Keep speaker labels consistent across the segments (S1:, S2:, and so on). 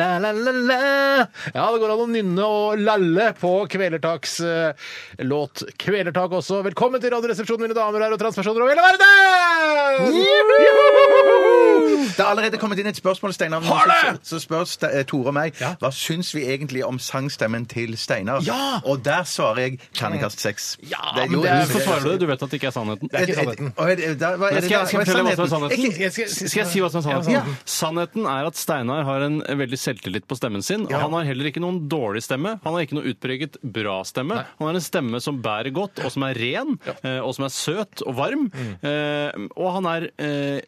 S1: Ja, det går an å nynne og lalle på Kvelertaks eh, låt Kvelertak også. Velkommen til Radioresepsjonen, mine damer og herrer og transpersoner over hele verden!
S2: Det har allerede kommet inn et spørsmål, Steinar.
S1: Har det?
S2: Så så spør Ste- eh, Tore meg
S1: Ja.
S2: hva syns vi egentlig om sangstemmen til Steinar.
S1: Ja!
S2: Og der svarer jeg terningkast seks.
S1: Ja,
S2: Det er
S1: men
S2: jo-
S1: det er-
S3: Hvorfor svarer du Eh, det? Du vet at det ikke er sannheten.
S2: Et- et- og et- da- hva er
S3: Men
S2: det
S3: Skal
S2: da?
S3: jeg, skal jeg
S2: Hva er
S3: fortelle hva som er sannheten?
S1: Ikke- jeg skal-
S3: Skal jeg si hva som er sannheten?
S1: Ja.
S3: Sannheten er at Steinar har en veldig selvtillit på stemmen sin. Og han har heller ikke noen dårlig stemme. Han har ikke noe utpreget bra stemme. Han har en stemme som bærer godt, og som er ren, eh, og som er søt og varm. Eh, Og han er eh,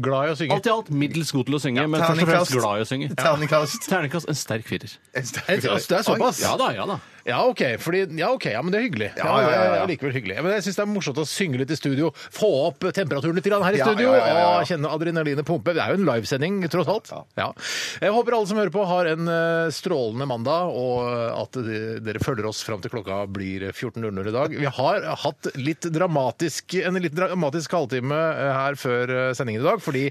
S1: Glad i å synge.
S3: alt i alt middels god til å synge, men først og
S2: terningkast.
S3: fremst glad i å synge.
S2: Terningkast.
S3: Terningkast en sterk firer.
S1: Det er såpass?
S3: Ja da, ja da.
S1: Ja, OK. Fordi, ja, ok, ja, men det er hyggelig. Ja,
S2: ja, ja, ja.
S1: det er Likevel hyggelig. Ja, Men jeg syns det er morsomt å synge litt i studio. Få opp temperaturen litt grann her i
S2: Ja,
S1: studio.
S2: ja, ja, ja, ja.
S1: Og kjenne adrenalinet pumpe. Det er jo en livesending, tross alt. Ja. Jeg håper alle som hører på, har en eh, strålende mandag, og eh, at de- dere følger oss fram til klokka blir 14.00 i dag. Vi har hatt litt dramatisk, en litt dramatisk halvtime eh, her før eh, sendingen i dag, fordi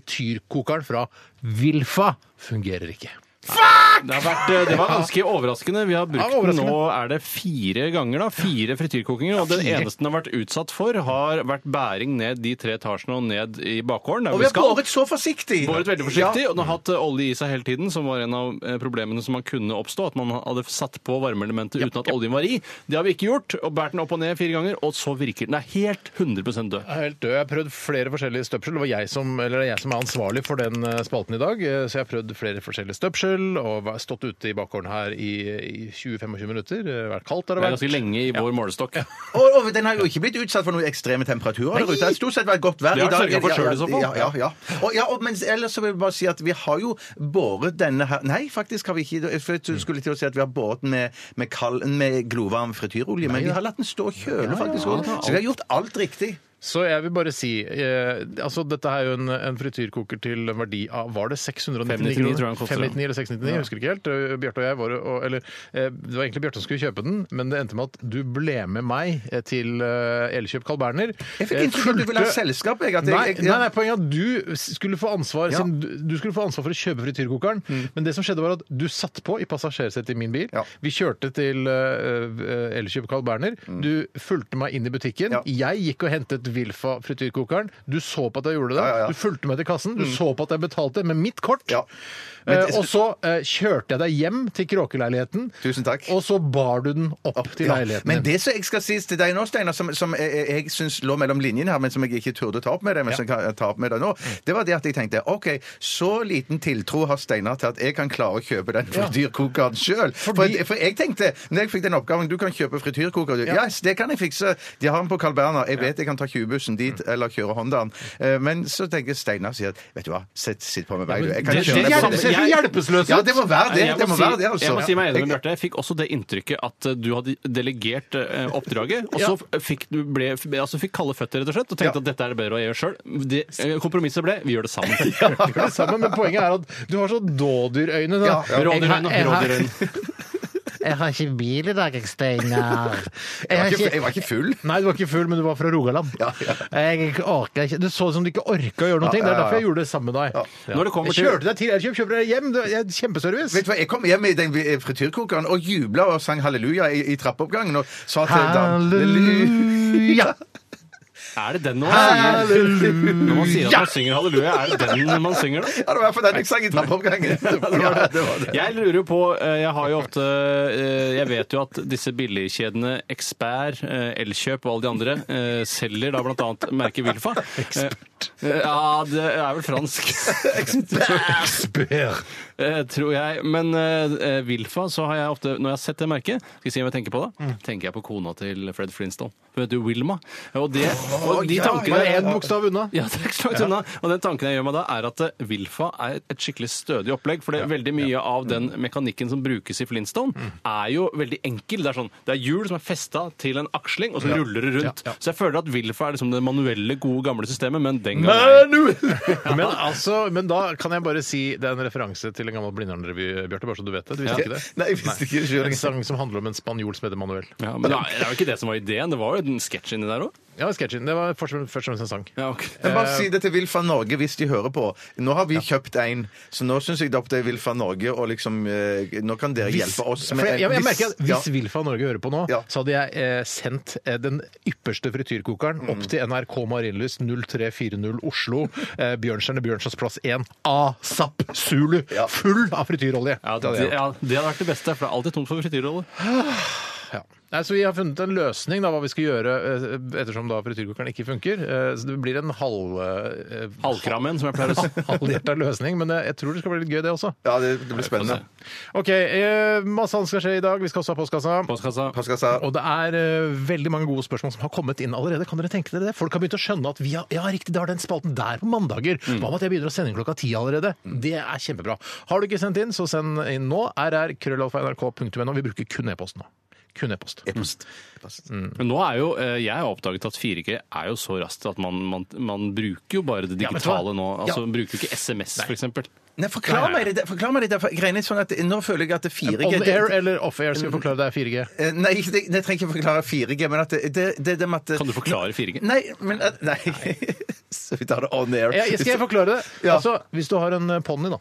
S1: frityrkokeren fra Vilfa fungerer ikke.
S3: Det, har vært, eh, det var ganske overraskende. Vi har
S1: Ja,
S3: brukt den
S1: overraskende.
S3: nå er det fire ganger. da, Fire frityrkokinger. Og den eneste den har vært utsatt for, har vært bæring ned de tre etasjene og ned i bakgården. der
S2: Og vi har båret så forsiktig!
S3: Båret veldig forsiktig, og den har hatt eh, olje i seg hele tiden, som var en av eh, problemene som man kunne oppstå, at man hadde satt på varmeelementet uten at oljen var i. Det har vi ikke gjort, og bært den opp og ned fire ganger, og så virker den. Den er helt 100 død.
S1: Jeg er helt død. Jeg har prøvd flere forskjellige støpsel. Det var jeg som, eller det er jeg som er ansvarlig for den eh, spalten i dag. Eh, Så jeg har prøvd flere forskjellige støpsel og vært- stått ute i bakgården her i, i 20-25 minutter. Det har vært kaldt har det
S3: Det er
S1: vært.
S3: ganske lenge i vår målestokk.
S2: Og, og den har jo ikke blitt utsatt for noen ekstreme temperaturer. der ute. Det har stort sett vært godt vær.
S3: Det har
S2: i dag.
S3: sørget for selv i så fall.
S2: Ja, ja, ja. Og, ja, og, men ellers så vil jeg bare si at vi har jo båret denne her Nei, faktisk har vi ikke for
S3: Mm.
S2: Jeg skulle til å si at vi har båret den med, med, kald, med glovarm frityrolje, men vi har latt den stå og kjøle, faktisk. også. Så vi har gjort alt riktig.
S1: Så jeg vil bare si eh, altså Dette er jo en, en frityrkoker til en verdi av Var det 699
S3: 599 tror jeg den koster,
S1: 599 eller 699, jeg husker ikke helt. Eh, Bjarte og jeg var og, Eller eh, det var egentlig Bjarte som skulle kjøpe den, men det endte med at du ble med meg eh, til eh, Elkjøp Carl Berner. Eh,
S2: Jeg fikk inntrykk av at du ville ha selskap. Jeg, at jeg,
S1: Nei,
S2: jeg,
S1: nei, nei, poenget er at du skulle få ansvar
S2: Ja. Mm.
S1: siden du, du skulle få ansvar for å kjøpe frityrkokeren. Men det som skjedde var at du satt på i passasjersetet i min bil.
S2: Ja.
S1: Vi kjørte til uh, Elkjøp Carl Berner. Du fulgte meg inn i butikken.
S2: Mm. Ja.
S1: Jeg gikk og hentet Wilfa frityrkokeren. Du så på at jeg gjorde det.
S2: Ja, ja, ja.
S1: Du fulgte meg til kassen. Du så på at jeg betalte med mitt kort.
S2: Ja.
S1: Eh,
S2: Men-
S1: og så eh, kjørte jeg deg hjem til kråkeleiligheten.
S2: Tusen takk.
S1: Og så bar du den opp, til
S2: Ja,
S1: leiligheten
S2: Men
S1: din.
S2: det som jeg skal si til deg nå, Steinar, som, som jeg, jeg syns lå mellom linjene her, men som jeg ikke turde ta opp med deg, men som jeg kan ta opp med deg nå, det var det at jeg tenkte OK, så liten tiltro har Steinar til at jeg kan klare å kjøpe den frityrkokeren sjøl. For,
S1: Fordi-
S2: for jeg tenkte, når jeg fikk den oppgaven, du kan kjøpe frityrkoker, du. Ja. Yes, det kan jeg fikse. De har den på Carl Berner. Jeg vet jeg kan ta 20-bussen dit, eller kjøre Hondaen. Eh, Men så tenker jeg Steinar sier at vet du hva, sitt, sitt på med meg, du. Jeg kan
S3: det-
S2: kjøre
S3: det
S2: den.
S3: hjelper- ser så
S1: hjelpeløs
S2: Ja, det må være det.
S3: Jeg
S2: Det
S3: må
S2: må
S3: si-
S2: være det, altså.
S3: Jeg må si meg enig med Bjarte. Jeg fikk også det inntrykket at eh, du hadde delegert eh, oppdraget, og så f- fikk du ble, f- altså fikk kalde føtter, rett og slett, og
S2: Ja.
S3: tenkte at dette er det bedre å gjøre sjøl. Kompromisset ble vi gjør det sammen.
S1: gjør det sammen, men poenget er at du har så dådyrøyne. da.
S2: Ja, ja.
S3: Rådyrøyne,
S1: Jeg har- jeg har-
S3: rådyrøyne.
S1: Jeg har ikke bil i dag, jeg, Steinar. Jeg har
S2: Jeg var ikke-
S1: ikke-
S2: jeg var ikke full.
S1: Nei, du var ikke full, men du var fra Rogaland.
S2: Ja, ja.
S1: Jeg orka ikke Du så ut som du ikke orka å gjøre noe.
S2: Ja, ja,
S1: Det er
S2: ja.
S1: derfor jeg gjorde det sammen med deg. Ja.
S3: Når det kommer
S1: jeg
S3: til-
S1: kjørte deg til Elkjøp, kjøper deg hjem. Det er kjempeservice.
S2: Vet du hva, Jeg kom hjem i den eh, frityrkokeren og jubla og sang halleluja i, i trappeoppgangen. Og sa til damen
S1: Halleluja!
S3: Er det den når man sier, når man sier at man synger halleluja? Er det den man synger, da?
S2: Ja, det var i hvert fall den jeg sang i trappeoppgangen. Ja, det var det.
S3: Jeg lurer jo på eh, Jeg har jo ofte eh, Jeg vet jo at disse billigkjedene Expert, eh, Elkjøp og alle de andre eh, selger da blant annet merket Wilfa. Expert. Ja, det er vel fransk.
S1: Spør.
S3: Eh, tror jeg. Men eh, eh, Wilfa, så har jeg ofte, når jeg har sett det merket, skal jeg si om jeg tenker på det,
S2: Mm.
S3: tenker jeg på kona til Fred Flintstone. Hun heter jo Wilma. Og, det, og de
S2: ja,
S3: tankene
S1: Bare én bokstav unna.
S3: ja, det er ikke så langt unna. Og den tanken jeg gjør meg da, er at eh, Wilfa er et skikkelig stødig opplegg. For det er veldig mye av den mekanikken som brukes i Flintstone, er jo veldig enkel. Det er sånn, det er hjul som er festa til en aksling, og så ruller det rundt. Så jeg føler at Wilfa er liksom det manuelle, gode, gamle systemet, men den gang.
S1: Men, altså, men da kan jeg bare si det er en referanse til en gammel Blindern-revy, Bjarte, bare så du vet det. Du visste ikke det?
S2: Nei, jeg visste ikke det selv.
S1: En sang som handler om en spanjol som heter Manuel.
S3: Ja, men det er- det er jo ikke det som var ideen. Det var jo den sketsjen inni der òg.
S1: Ja, sketsjen. Det var først og fremst- først og fremst en sang.
S3: Ja, ok.
S2: Men bare si det til Vil fra Norge hvis de hører på. Nå har vi kjøpt en, så nå syns jeg det er opp til Vil fra Norge og liksom eh, Nå kan dere hjelpe oss
S1: For
S2: med
S1: jeg, jeg, jeg
S2: en-
S1: merker at Hvis
S2: ja.
S1: Wilfa Norge hører på nå,
S2: Ja.
S1: så hadde jeg eh, sendt eh, den ypperste
S2: Mm.
S1: frityrkokeren opp til NRK Marienlyst 0340 Oslo, eh, Bjørnstjerne Bjørnsons plass 1, ASAP Zulu,
S2: Ja.
S1: full av frityrolje.
S3: Ja,
S1: Det hadde jeg
S3: det,
S1: gjort.
S3: ja, det hadde vært det beste, for det er alltid tomt for frityrroller.
S1: Ja. Nei, så Vi har funnet en løsning, da, hva vi skal gjøre eh, ettersom da frityrkokeren ikke funker. Eh, så Det blir en halv... eh,
S3: Halvkrammen, som jeg pleier å si.
S1: Halvhjerta løsning, men eh, jeg, jeg tror det skal bli litt gøy, det også.
S2: Ja, det, det blir spennende.
S1: OK, eh, masse annet skal skje i dag. Vi skal også ha postkassa.
S3: Postkassa.
S2: Pascal sa
S1: Og det er eh, veldig mange gode spørsmål som har kommet inn allerede. Kan dere tenke dere det? Folk har begynt å skjønne at vi har, ja, riktig, det har den spalten der på mandager.
S3: Mm.
S1: Hva med at jeg begynner å sende inn klokka ti allerede? Det er kjempebra. Har du ikke sendt inn, så send inn nå. rr.krøllalfa.nrk.no. Vi bruker kun e-post nå. Kun e-post.
S2: e-post. E-post.
S3: Men nå er jo, eh, jeg har oppdaget at 4G er jo så raskt at man, man, man bruker jo bare det
S1: Ja, vet du
S3: digitale
S1: hva?
S3: nå.
S1: Ja.
S3: Altså, man bruker jo ikke SMS, for eksempel.
S2: Nei, forklar meg det. der, Forklar meg det der, for greiene er sånn at Nå føler jeg at det er 4G
S1: On
S2: det-
S1: air eller off air? Skal vi forklare det er 4G?
S2: Eh, Nei, ikke- det, jeg trenger ikke forklare 4G, men at det, det, det, det med at
S3: Kan du forklare 4G?
S2: Nei, men at, Nei. Så vi tar det on air.
S1: Jeg, skal jeg forklare det?
S2: Ja.
S1: Altså, hvis du har en ponni, da.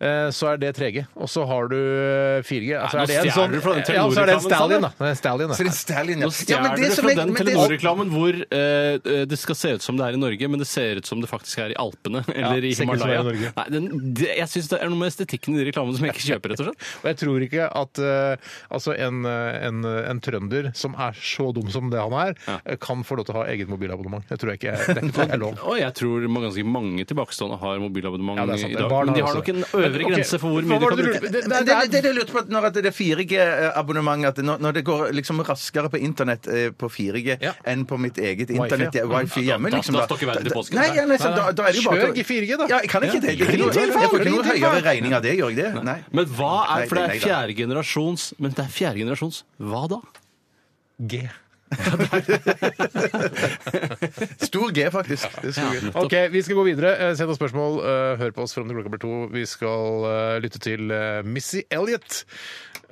S1: eh, Så er det 3G. Og så har du eh, 4G. Altså, er
S3: Nei, nå
S1: det en
S3: stjeler
S1: sånn,
S3: du fra den
S1: ja, så er det en stallion,
S3: Telenor-reklamen, Sander.
S1: da. Det er en stallion, da.
S2: Så det er Stalin, ja.
S3: Nå
S2: Ja, men
S3: stjeler
S2: det
S3: du
S2: som
S3: fra
S2: jeg-
S3: den
S2: men det-
S3: Telenor-reklamen hvor eh, eh, det skal se ut som det er i Norge, men det ser ut som det faktisk er i Alpene eller i
S1: ser ikke ut som det er i
S3: Himalaya.
S1: Norge.
S3: Nei, den, det, jeg syns det er noe med estetikken i de reklamene som jeg ikke kjøper, rett og slett.
S1: Og jeg tror ikke at eh, altså en, eh, en, eh, en trønder som er så dum som det han er, eh, kan få lov til å ha eget mobilabonnement. Det tror jeg ikke er, det er ikke- det er lov.
S3: Og jeg tror ma- ganske mange tilbakestående har mobilabønnement
S1: Ja, det er sant.
S3: i dag.
S1: Barn
S3: Men de
S1: har
S3: har nok
S1: også.
S3: en øvre
S1: Men, ok,
S3: grense for hvor
S1: hva
S3: mye de
S1: var
S3: kan
S1: det du
S3: bruke.
S1: lurte- det-
S2: Men det, det, det jeg lurte på når at det er 4G-abonnement at når, når det går liksom raskere på internett eh, på 4G
S1: Ja.
S2: enn på mitt eget internett ja, wifi hjemme
S3: Da-
S2: liksom
S3: da står ikke verden til påske.
S2: Nei, ja, nei, så, da, da er det jo bare
S1: Kjør i 4G da.
S2: Ja, jeg kan ikke det. Jeg,
S1: Ring til, faen,
S2: jeg får ikke
S1: ring
S2: noe
S1: til, faen.
S2: høyere regning av det, gjør jeg det? Nei.
S3: Men hva er
S2: Nei,
S3: For det
S2: nei,
S3: er
S2: da.
S3: fjerde generasjons Men det er fjerde generasjons hva da?
S1: G.
S2: Stor G, faktisk. Det er stor G.
S1: Ok, vi skal gå videre. Eh, Send oss spørsmål. eh, Hør på oss fram til klokka blir to. Vi skal eh, lytte til eh, Missy Elliot.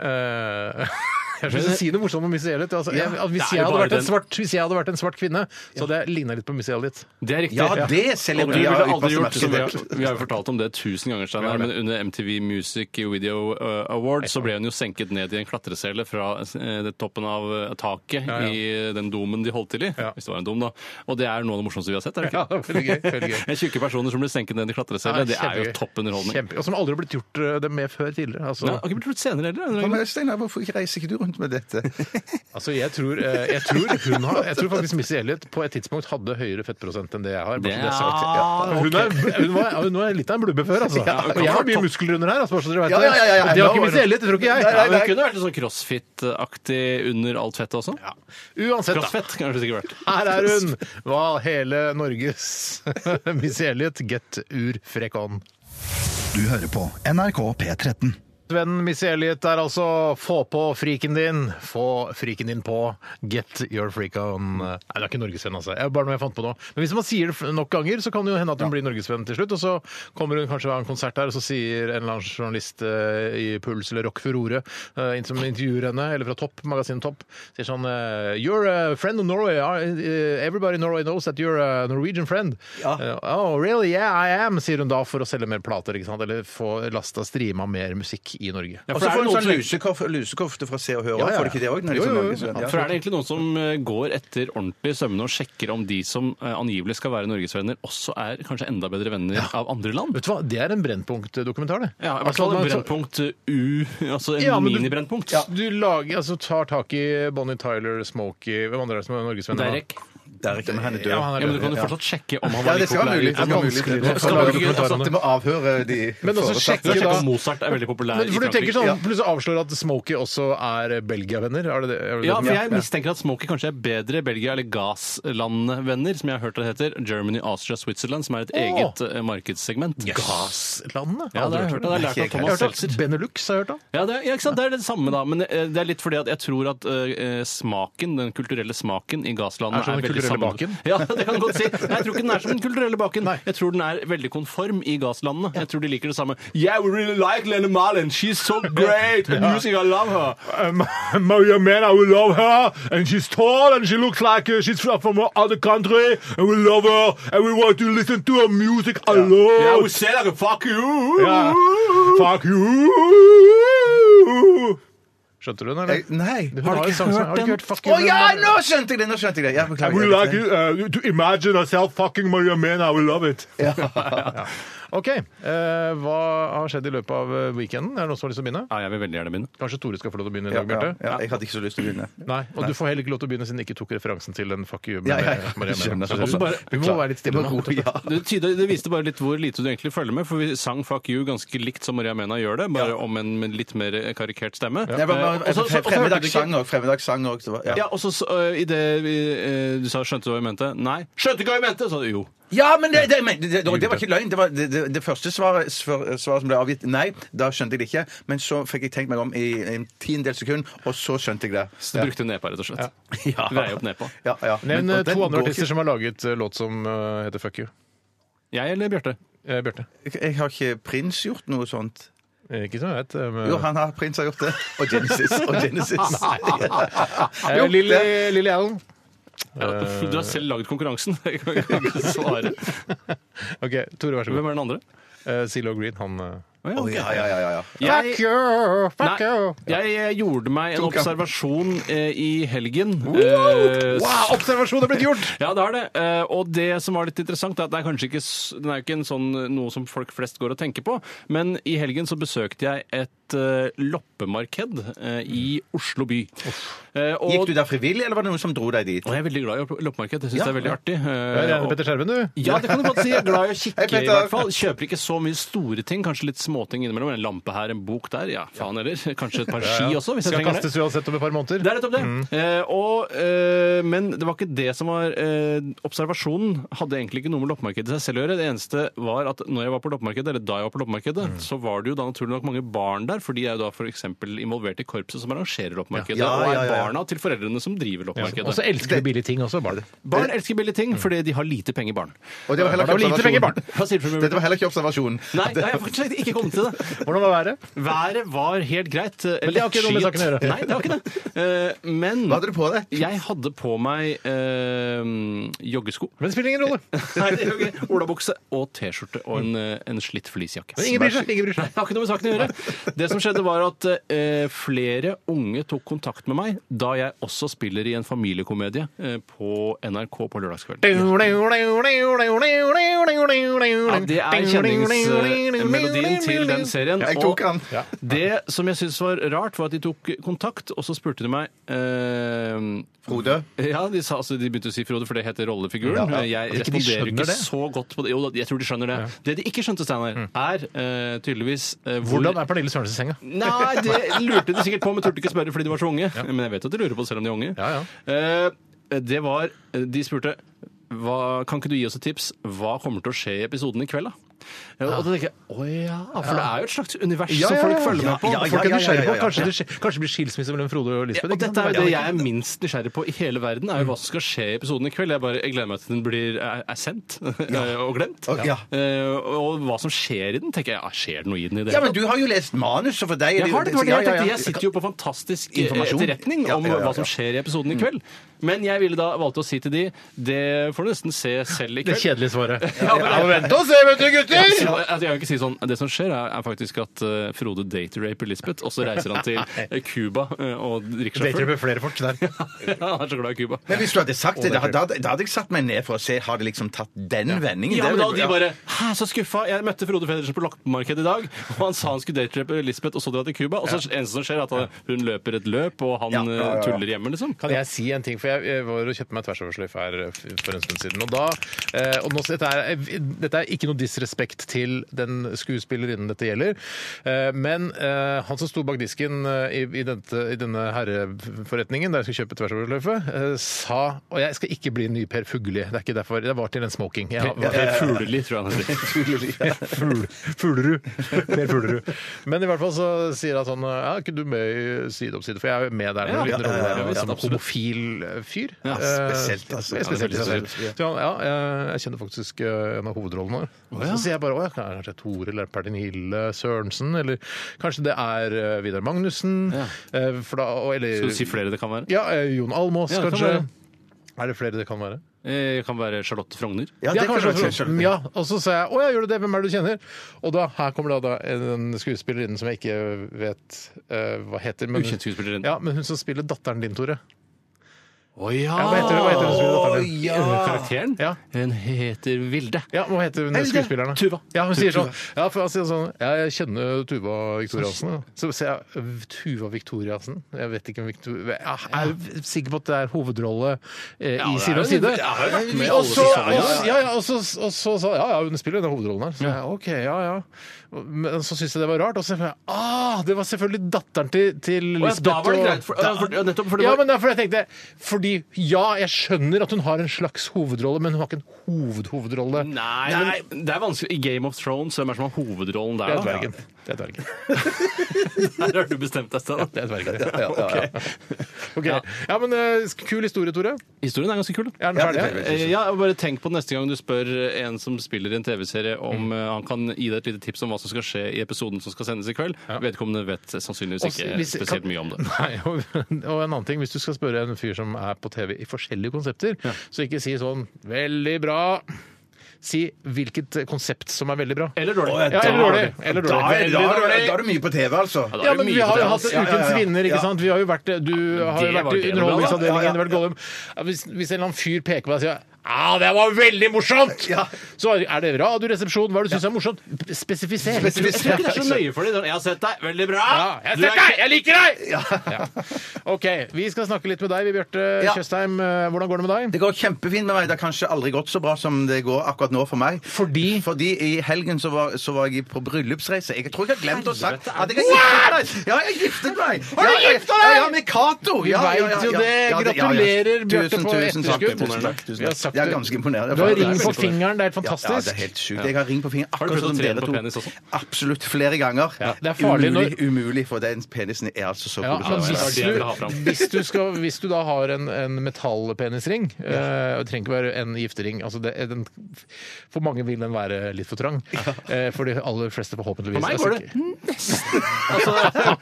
S1: Eh, Jeg skal ikke si noe morsomt om Missy Elliot. Altså, jeg, at hvis, jeg
S3: det er jo
S1: hadde
S3: bare
S1: vært en
S3: den-
S1: svart, hvis jeg hadde vært en svart kvinne, så hadde jeg ligna litt på Missy Elliot.
S3: Det er riktig.
S2: Ja, det
S3: Og vi
S2: selger
S3: burde aldri gjort som vi har, vi har jo fortalt om det tusen ganger, Steinar, men under MTV Music Video eh, Award så ble hun jo senket ned i en klatresele fra eh, det toppen av eh, taket
S1: ja.
S3: i eh, den domen de holdt til i.
S1: Ja.
S3: Hvis det var en dom, da. Og det er noe av det morsomste vi har sett, er det
S1: Ja,
S3: ikke?
S1: det var veldig gøy, veldig gøy.
S3: Tjukke personer som blir senket ned i klatresele, det er jo
S1: kjempegøy.
S3: topp underholdning.
S1: Kjempe. Og som aldri har blitt gjort eh, det med før tidligere. Altså,
S3: Nei, har ikke blitt gjort senere heller.
S2: Men Steinar, hvorfor ikke reiser ikke du rundt med dette?
S1: altså jeg, tror, eh, jeg, tror hun har, jeg tror faktisk Missy Elliot på et tidspunkt hadde høyere fettprosent enn det jeg har. bare så det er sagt.
S3: Ja,
S1: Hun, er, hun, var, hun var litt av en blubbe før, altså.
S3: Ja, hun
S1: og jeg har
S3: kan være
S1: mye
S3: topp.
S1: muskler under her. Altså, bare så dere vet
S2: Ja, ja, ja, ja, ja.
S1: det. det var
S2: Nå
S1: ikke
S2: var
S1: Missy
S2: det-
S1: Elliot, det tror ikke jeg.
S2: Nei,
S3: Ja,
S2: nei,
S3: hun
S2: nei.
S3: kunne vært litt sånn crossfit-aktig under alt fettet også.
S1: Ja. Uansett, da.
S3: Crossfit kunne hun sikkert vært.
S1: Her er hun! Hva hele Norges Missy Elliot, get ur frekk on.
S4: Du hører på NRK P13.
S1: Vennen Missy Elliot er altså få på friken din, få friken din på, get your freak on. Nei, det er ikke norgesvenn, altså. Det er bare noe jeg fant på nå. Men hvis man sier det nok ganger, så kan det jo hende at hun blir norgesvenn til slutt. Og så kommer hun kanskje av en konsert der, og så sier en eller annen journalist eh, i Puls eller Rock Furore, eh, inn som intervjuer henne, eller fra Topp, magasinet Topp, sier sånn eh, You're a friend of Norway. are- eh, Everybody in Norway knows that you're a Norwegian friend. Eh, Oh, really? Yeah, I am, sier hun da, for å selge mer plater, ikke sant? Eller få lasta streama mer musikk i Norge.
S2: Og
S3: Ja,
S2: så
S3: for er
S2: får
S3: det
S2: du
S3: noen
S2: sånn
S3: som-
S2: lusekof, lusekofte fra Se og Hør.
S1: Ja, ja.
S2: Får du ikke det òg?
S1: Jo, jo, jo.
S3: For er det egentlig noen som eh, går etter ordentlig i sømmene og sjekker om de som eh, angivelig skal være norgesvenner, også er kanskje enda bedre venner av andre land?
S1: Vet du hva, Det er en Brennpunkt-dokumentar, det.
S3: Ja, i hvert
S1: Altså,
S3: fall
S1: man-
S3: et brennpunkt eh, U, altså en
S1: Ja, men du-
S3: mini-brennpunkt.
S1: så- Du lager, altså, tar tak i Bonnie Tyler, Smokey Hvem andre er det som er norgesvenner? nå?
S3: Derek.
S2: Det er ikke men han er død.
S1: Ja, han er
S3: Ja, men
S1: død.
S3: du kan jo
S1: ja.
S3: fortsatt sjekke om han
S2: Ja,
S3: var
S2: det
S3: like
S2: skal være mulig.
S3: populær. i-
S2: Det skal være mulig.
S1: Vanskeligere.
S2: Det skal være mulig.
S1: dokumentarene.
S2: Altså, at det må avhøre de
S1: Men også
S2: foresatte.
S1: sjekke-
S3: Du kan
S1: da-
S3: sjekke om Mozart er veldig populær
S1: Men,
S3: i
S1: for du tenker
S3: Frankrike.
S1: sånn, Plutselig avslår at Smokey også er Belgia-venner? Er det det? Er det
S3: Ja,
S1: det som-
S3: for jeg mistenker at Smokey kanskje er bedre Belgia- eller Gasland-venner, som jeg har hørt det heter. Germany, Austria, Switzerland, som er et eget eh, markedssegment.
S1: Gasslandet?
S3: Ja, det har jeg hørt. Det har jeg lært av
S1: Jeg har
S3: Thomas
S1: hørt at
S3: Seltzer.
S1: Benelux har jeg hørt om.
S3: Ja, det, er- ja, ikke sant? det er det samme, da. Men eh, det er litt fordi at jeg tror at eh, smaken, den kulturelle smaken
S1: Er
S3: i Gaslandet
S1: som den
S3: er, veldig
S1: kulturelle kulturelle baken?
S3: sammen. Ja, det kan du godt si. Nei, jeg tror ikke den er som den kulturelle baken. Jeg tror den er veldig konform i gasslandene. Jeg tror de liker det samme. Yeah, we really like Lenny Marlin. She's so great. The music, I love her.
S1: Um, Maria Mena, we love her, and she's tall, and she looks like uh, she's from from other country, and we love her, and we want to listen to her music a lot.
S3: Yeah, we say like a fuck you.
S1: Yeah. Fuck you! Skjønte du den, eller?
S2: Eh, Nei.
S1: Har du ikke hørt den?
S2: Å sånn- ja, nå skjønte jeg det! Nå skjønte jeg det. Ja, beklager.
S1: We like you, uh, to imagine ourselves fucking Maria Mena, we love it. Ok, eh, hva har skjedd i løpet av eh, weekenden? Er det noen som har lyst til å begynne?
S3: Ja, jeg vil veldig gjerne begynne.
S1: Kanskje Tore skal få lov til å begynne i
S2: Ja,
S1: dag, Bjarte?
S2: ja, jeg hadde ikke så lyst til å begynne.
S1: Nei, og du får heller ikke lov til å begynne siden jeg ikke tok referansen til den fuck you med
S2: Ja, ja, ja.
S1: Maria Mena.
S2: Skjønner,
S1: Så du
S2: skjønner.
S1: bare- Vi må være litt stille nå.
S2: Det var god,
S3: Det, tyder, det viste bare litt hvor lite du egentlig følger med, for vi sang Fuck You ganske likt som Maria Mena gjør det, bare om en med litt mer karikert stemme.
S2: ja. Det var
S3: Eh,
S2: bare-
S3: og så- så- så hørte du ikke-
S2: Fremmedagsang òg. Fremmedagsang òg. så var-
S3: Ja, og så uh, i det vi, eh, du sa 'skjønte du hva jeg mente'? Nei. 'Skjønte ikke hva jeg mente!' Så, jo.
S2: Ja, men det, det, men det, det, det var ikke løgn. Det var det, det, det første svaret, svar- svaret som ble avgitt. Nei, da skjønte jeg det ikke. Men så fikk jeg tenkt meg om i en tiendedel sekund, og så skjønte jeg det.
S3: Så du brukte nepa, rett og slett.
S2: Ja.
S3: Vrei opp nepa.
S2: Ja, ja.
S1: Nevn
S2: Men-
S1: eh,
S2: og den
S1: to andre
S2: går
S1: artister som har laget eh, låt som eh, heter Fuck You.
S3: Jeg eller Bjarte?
S1: Eh, Bjarte.
S2: ikke- Jeg har ikke Prins gjort noe sånt.
S1: Eh, Ikke som jeg vet. eh, men-
S2: Jo, han har Prins har gjort det. Og Genesis. Og Genesis.
S1: Eh,
S2: Jo,
S1: Lily,
S2: det-
S1: Lily Allen.
S3: Du har selv laget konkurransen. Jeg kan ikke svare.
S1: Ok, Tore, vær så
S3: Hvem
S1: god.
S3: er den andre?
S1: Eh, CeeLo Green, han eh,
S3: Å,
S2: Å, ja, ja, ja, ja, ja.
S3: Jeg,
S1: you!
S3: Nei, jeg, eh, gjorde meg en observasjon eh, i helgen. Eh,
S1: Wow, observasjon er blitt gjort!
S3: Ja, det har det. Eh, Og det som var litt interessant, er at det er kanskje ikke, s- den er jo ikke en sånn, noe som folk flest går og tenker på, men i helgen så besøkte jeg et eh, loppemarked eh, i Oslo by. Eh, og-
S2: Gikk du der frivillig, eller var det noen som dro deg dit?
S3: Og jeg er veldig glad i lopp- loppemarked. Jeg syns
S2: Ja.
S3: det er veldig artig.
S1: Du er
S3: Eh,
S1: rene
S3: og-
S1: Petter Skjerven, du.
S3: Ja, det kan du godt si. Jeg er glad i å
S2: Hei,
S3: kikke,
S2: Petter.
S3: i hvert fall. Kjøper ikke så mye store ting. Kanskje litt småting innimellom. En lampe her, en bok der. Ja, faen heller. Kanskje et par ski også, hvis
S1: Skal
S3: jeg trenger det.
S1: kastes uansett om et par måneder.
S3: Det er nettopp det. Eh, og, eh, men det var ikke det som var eh, Observasjonen hadde egentlig ikke noe med loppemarkedet i seg selv å gjøre. Det eneste var at når jeg var på loppemarkedet, eller da jeg var på loppemarkedet, så var det jo da naturlig nok mange barn der, for de er jo da f.eks. involvert i korpset som arrangerer loppemarkedet,
S2: Ja, ja, ja,
S3: og er
S2: ja.
S3: barna til foreldrene som driver loppemarkedet.
S1: Og så elsker du billige ting også, barn.
S3: Barn elsker billige ting fordi de har lite penger, barn.
S2: Og det var heller
S1: Var det lite penger, barn?
S3: Hva sier du for
S2: Dette
S3: meg?
S2: var heller ikke observasjonen.
S3: Nei, nei, jeg har faktisk ikke kommet til det.
S1: Hvordan var været?
S3: Været var helt greit. Men
S1: det har ikke noe med saken å gjøre.
S3: Nei, det har ikke det. Eh, Men
S2: Hva hadde du på deg?
S3: jeg hadde på meg eh, joggesko.
S1: Men det spiller ingen rolle.
S3: Nei, det gjør ikke. Olabukse og T-skjorte og en, eh, en slitt fleecejakke.
S1: Men ingen bryr seg. Ingen bryr
S3: Nei,
S1: seg.
S3: det har ikke noe med saken å gjøre. Det som skjedde, var at eh, flere unge tok kontakt med meg da jeg også spiller i en familiekomedie eh, på NRK på lørdagskvelden. Ja, det er kjenningsmelodien til den serien.
S2: Jeg tok han.
S3: Og Det som jeg syntes var rart, var at de tok kontakt, og så spurte de meg eh,
S2: Frode?
S3: ja, de, sa, altså, de begynte å si Frode, for det heter rollefiguren.
S2: Ja,
S3: Jeg
S1: At ikke de
S3: responderer
S1: skjønner
S3: ikke
S1: det?
S3: så godt på det. Jo, da, jeg tror de skjønner det. Det de ikke skjønte, Steinar, er eh, tydeligvis eh, hvor-
S1: Hvordan er Pernille Sørensen i senga?
S3: Nei, det lurte de sikkert på, men turte ikke spørre fordi de var så unge. Men jeg vet at de lurer på det selv om de er unge.
S1: Ja,
S3: Eh, det var De spurte hva, Kan ikke du gi oss et tips? Hva kommer til å skje i episoden i kveld, da? Eh, Og da tenker jeg å ja, for det er jo et slags univers som folk følger med på.
S2: Ja, ja,
S1: Folk er
S2: ja, ja,
S1: nysgjerrige på.
S2: ja, ja.
S1: Kanskje det skje- kanskje det blir skilsmisse mellom Frode og
S3: Ja,
S1: Lisbeth?
S3: og
S1: ikke sant?
S3: dette er jo det
S1: Ja.
S3: jeg er minst nysgjerrig på i hele verden, er jo hva som skal skje i episoden i kveld. Jeg, bare, jeg gleder meg til den blir, er, er sendt og glemt.
S2: Ok, ja.
S3: Eh, og hva som skjer i den, tenker jeg. Ja, skjer det noe i den i det
S2: Ja,
S3: hele
S2: men du har jo lest manuset for deg. er
S3: jeg har det, det var det
S2: Ja,
S3: jeg
S2: ja, ja.
S3: tenkte. Jeg sitter jo på fantastisk eh,
S2: Informasjon.
S3: etterretning
S2: Ja,
S3: om
S2: ja, ja,
S3: hva som
S2: ja.
S3: skjer i episoden i kveld. Men jeg ville da valgte å si til de det får du nesten se selv i
S1: Det
S3: kveld.
S1: kjedelige svaret.
S3: Ja, men-
S1: Ja, vent og se, vet du, gutter!
S3: Så jeg- jeg kan ikke si sånn, Det som skjer, er, er faktisk at eh, Frode dateraper Lisbeth, og så reiser han til eh, Cuba eh, og drikker
S1: Dater
S3: seg full.
S1: med flere folk der.
S3: Ja, han er så glad i Cuba.
S2: Men hvis du hadde sagt det, da, da, da hadde jeg satt meg ned for å se Har det liksom tatt den vendingen.
S3: Ja,
S2: Det
S3: men da
S2: ville-
S3: de bare Hæ, så skuffa! Jeg møtte Frode Federsen på loppemarkedet i dag, og han sa han skulle daterape Lisbeth, og så dra til Cuba. Og så eneste som skjer, er at han- hun løper et løp, og han
S2: Ja, ja, ja, ja.
S3: eh, tuller hjemme, liksom.
S1: Kan jeg si en ting? For jeg, jeg var og kjøpte meg tversoversløyfe her eh, for en stund siden. Og da, eh, og nå, eh, dette, er, dette er ikke noe respekt til den skuespillerinnen dette gjelder. Eh, Men eh, han som sto bak disken eh, i, i, dette, i denne herreforretningen, der jeg skulle kjøpe tversoverløyfe, eh, sa Og jeg skal ikke bli en ny Per Fugelli. Det er ikke derfor. Det var til en smoking. Jeg,
S3: Per Per Fugleli, tror jeg han heter.
S1: Fugl- Fuglerud. Per Fuglerud. Men i hvert fall så sier han sånn Ja, er ikke du med i Side om side? For jeg er jo med der
S3: Ja,
S1: når du
S3: ja,
S1: rolle
S3: ja, ja,
S1: der,
S3: ja,
S1: som
S3: absolutt.
S1: homofil eh, fyr.
S3: Ja,
S1: Eh,
S2: spesielt, altså.
S1: ja, spesielt i seg selv. Så han, ja, jeg- jeg kjenner faktisk eh, en av hovedrollene våre. Så sier jeg bare å ja, kanskje Tore eller Pernille Sørensen, eller kanskje det er eh, Vidar Magnussen. eh, For da, og- eller
S3: Skal du si flere det kan være?
S1: Ja, eh, Jon Almaas,
S3: Ja, det kan
S1: kanskje.
S3: være.
S1: Er det flere det kan være?
S3: Eh, kan være Charlotte Frogner.
S1: Ja,
S2: Ja, det kan
S1: kanskje
S2: jeg godt
S1: også.
S2: skjønne.
S1: ja, og så sa jeg 'Å ja, gjør du det? Hvem er det du kjenner?' Og da, her kommer da, da en skuespillerinne som jeg ikke vet eh, hva heter. Men,
S3: Ukjent skuespillerinne.
S1: Ja, men hun som spiller datteren din, Tore.
S3: Å ja!
S1: Ja, hva heter, hun- hva heter hun som spiller datteren din?
S2: Å, ja.
S3: Eh, Karakteren?
S1: Ja.
S3: Hun heter Vilde.
S1: Ja, hva heter hun
S3: Elde.
S1: skuespilleren? da?
S3: Tuva.
S1: Ja, hun sier sånn. Ja, for han sier sånn ja, 'Jeg kjenner Tuva Viktoriassen'. da. Så ser jeg Tuva Viktoriassen. Jeg vet ikke om Victor... Jeg er sikker på at det er hovedrolle eh,
S3: Ja,
S1: i
S3: det er
S1: Side om
S3: jo-
S1: side.
S3: ja, det er jo- med
S1: Og
S3: alle
S1: så
S3: disse her, ja,
S1: og- ja, ja, og så- og så sa ja, ja, hun spiller jo den hovedrollen her. Så jeg, OK, ja, ja. Men så syntes jeg det var rart. Og så tenkte jeg ah, det var selvfølgelig datteren til, til
S3: Å, ja,
S1: Lisbeth.
S3: da var det
S1: og-
S3: greit. For, ja, for, ja, nettopp, for det
S1: ja,
S3: var,
S1: men derfor jeg tenkte Fordi, ja, jeg skjønner at hun har en slags hovedrolle, men hun har ikke en hovedhovedrolle.
S3: Nei, men det er vanskelig. I Game of Thrones, hvem er det som har hovedrollen
S1: Det
S3: der?
S1: er
S3: da?
S1: dvergen. Det er dvergen.
S3: Der har du bestemt deg, Steinar.
S1: Det er dvergen. Ok. Ja, men eh, sk- kul historie, Tore.
S3: Historien er ganske kul.
S1: Er den
S2: Ja, det er
S1: ferdig?
S2: ferdig.
S3: Eh, Ja, og bare tenk på neste gang du spør en som spiller i en TV-serie om eh, han kan gi deg et lite tips om hva som skal skje i episoden som skal sendes i kveld. Vedkommende vet sannsynligvis
S1: Og s-
S3: ikke
S1: hvis-
S3: spesielt
S1: kan-
S3: mye om det.
S1: Nei, og, og en annen ting, hvis du skal spørre en fyr som er på TV i forskjellige konsepter, så ikke si sånn 'veldig bra'. Si hvilket konsept som er veldig bra.
S3: Eller dårlig.
S2: Å, ja,
S1: Ja, eller dårlig. Eller
S2: Da
S1: dårlig.
S2: er, da, er, da, er det mye på TV, altså.
S3: da
S1: Ja,
S3: er det
S1: men vi
S3: mye
S1: har jo
S3: på det,
S1: hatt
S3: altså.
S2: Ja, ja,
S1: Ukens
S2: ja.
S1: vinner, ikke
S2: Ja.
S1: sant? Vi har jo vært, du har jo
S3: det
S1: vært
S3: var
S1: i
S3: det,
S1: Underholdningsavdelingen,
S2: ja, ja,
S1: du har vært Gollum. Ja, Hvis, hvis en eller annen fyr peker på deg og sier ja, det var veldig morsomt! Så er det Radioresepsjonen. Hva er det du syns er morsomt? Spesifiser.
S3: Jeg tror ikke det er sånn så nøye for dem. Jeg har sett deg. Veldig bra!
S1: Ja, jeg har
S3: Du er
S1: sett deg! Jeg liker deg! Ja. OK, vi skal snakke litt med deg, vi, Bjarte
S2: Ja.
S1: Tjøstheim. Eh, Hvordan går det med deg?
S2: Det går kjempefint med meg. Det har kanskje aldri gått så bra som det går akkurat nå for meg.
S1: Fordi?
S2: Fordi i helgen så var, så var jeg på bryllupsreise. Jeg tror jeg har glemt å sagt
S3: Helvete,
S2: at jeg har giftet meg! Ja, jeg har giftet meg! Har
S1: du giftet deg?
S2: Ja, med Cato!
S1: Vi
S2: Ja, ja,
S1: vet
S2: ja,
S1: jo
S2: ja.
S1: det.
S2: Ja, ja, ja.
S1: Gratulerer, Bjarte,
S2: Tusen,
S1: på
S2: tusen
S1: etterskudd.
S2: takk. Tusen takk,
S1: Vi
S2: tusen
S1: har
S2: takk.
S1: sagt
S2: Jeg
S1: det.
S2: er ganske imponert.
S1: Du har ring
S2: Det er
S1: på
S2: veldig
S1: fingeren, det er helt
S2: Ja, det er
S1: fantastisk.
S2: helt sykt. Jeg har ring på fingeren
S3: du
S2: akkurat
S3: prøvd å
S2: som
S3: trene
S2: dere
S3: på
S2: to.
S3: penis også?
S2: Absolutt flere ganger.
S1: Ja, det er farlig
S2: umulig,
S1: når-
S2: umulig, for den penisen er altså så
S1: Ja, men
S2: god.
S3: det var
S1: hvis,
S3: det jeg ville ha
S1: du,
S3: fram.
S1: hvis, du skal, hvis du da har en, en metallpenisring eh, og Det trenger ikke være en giftering. Altså det, er den, for mange vil den være litt for trang. Eh, for de aller fleste, forhåpentligvis.
S3: For meg
S1: Altså
S3: går det
S1: ikke-
S3: nesten. Altså,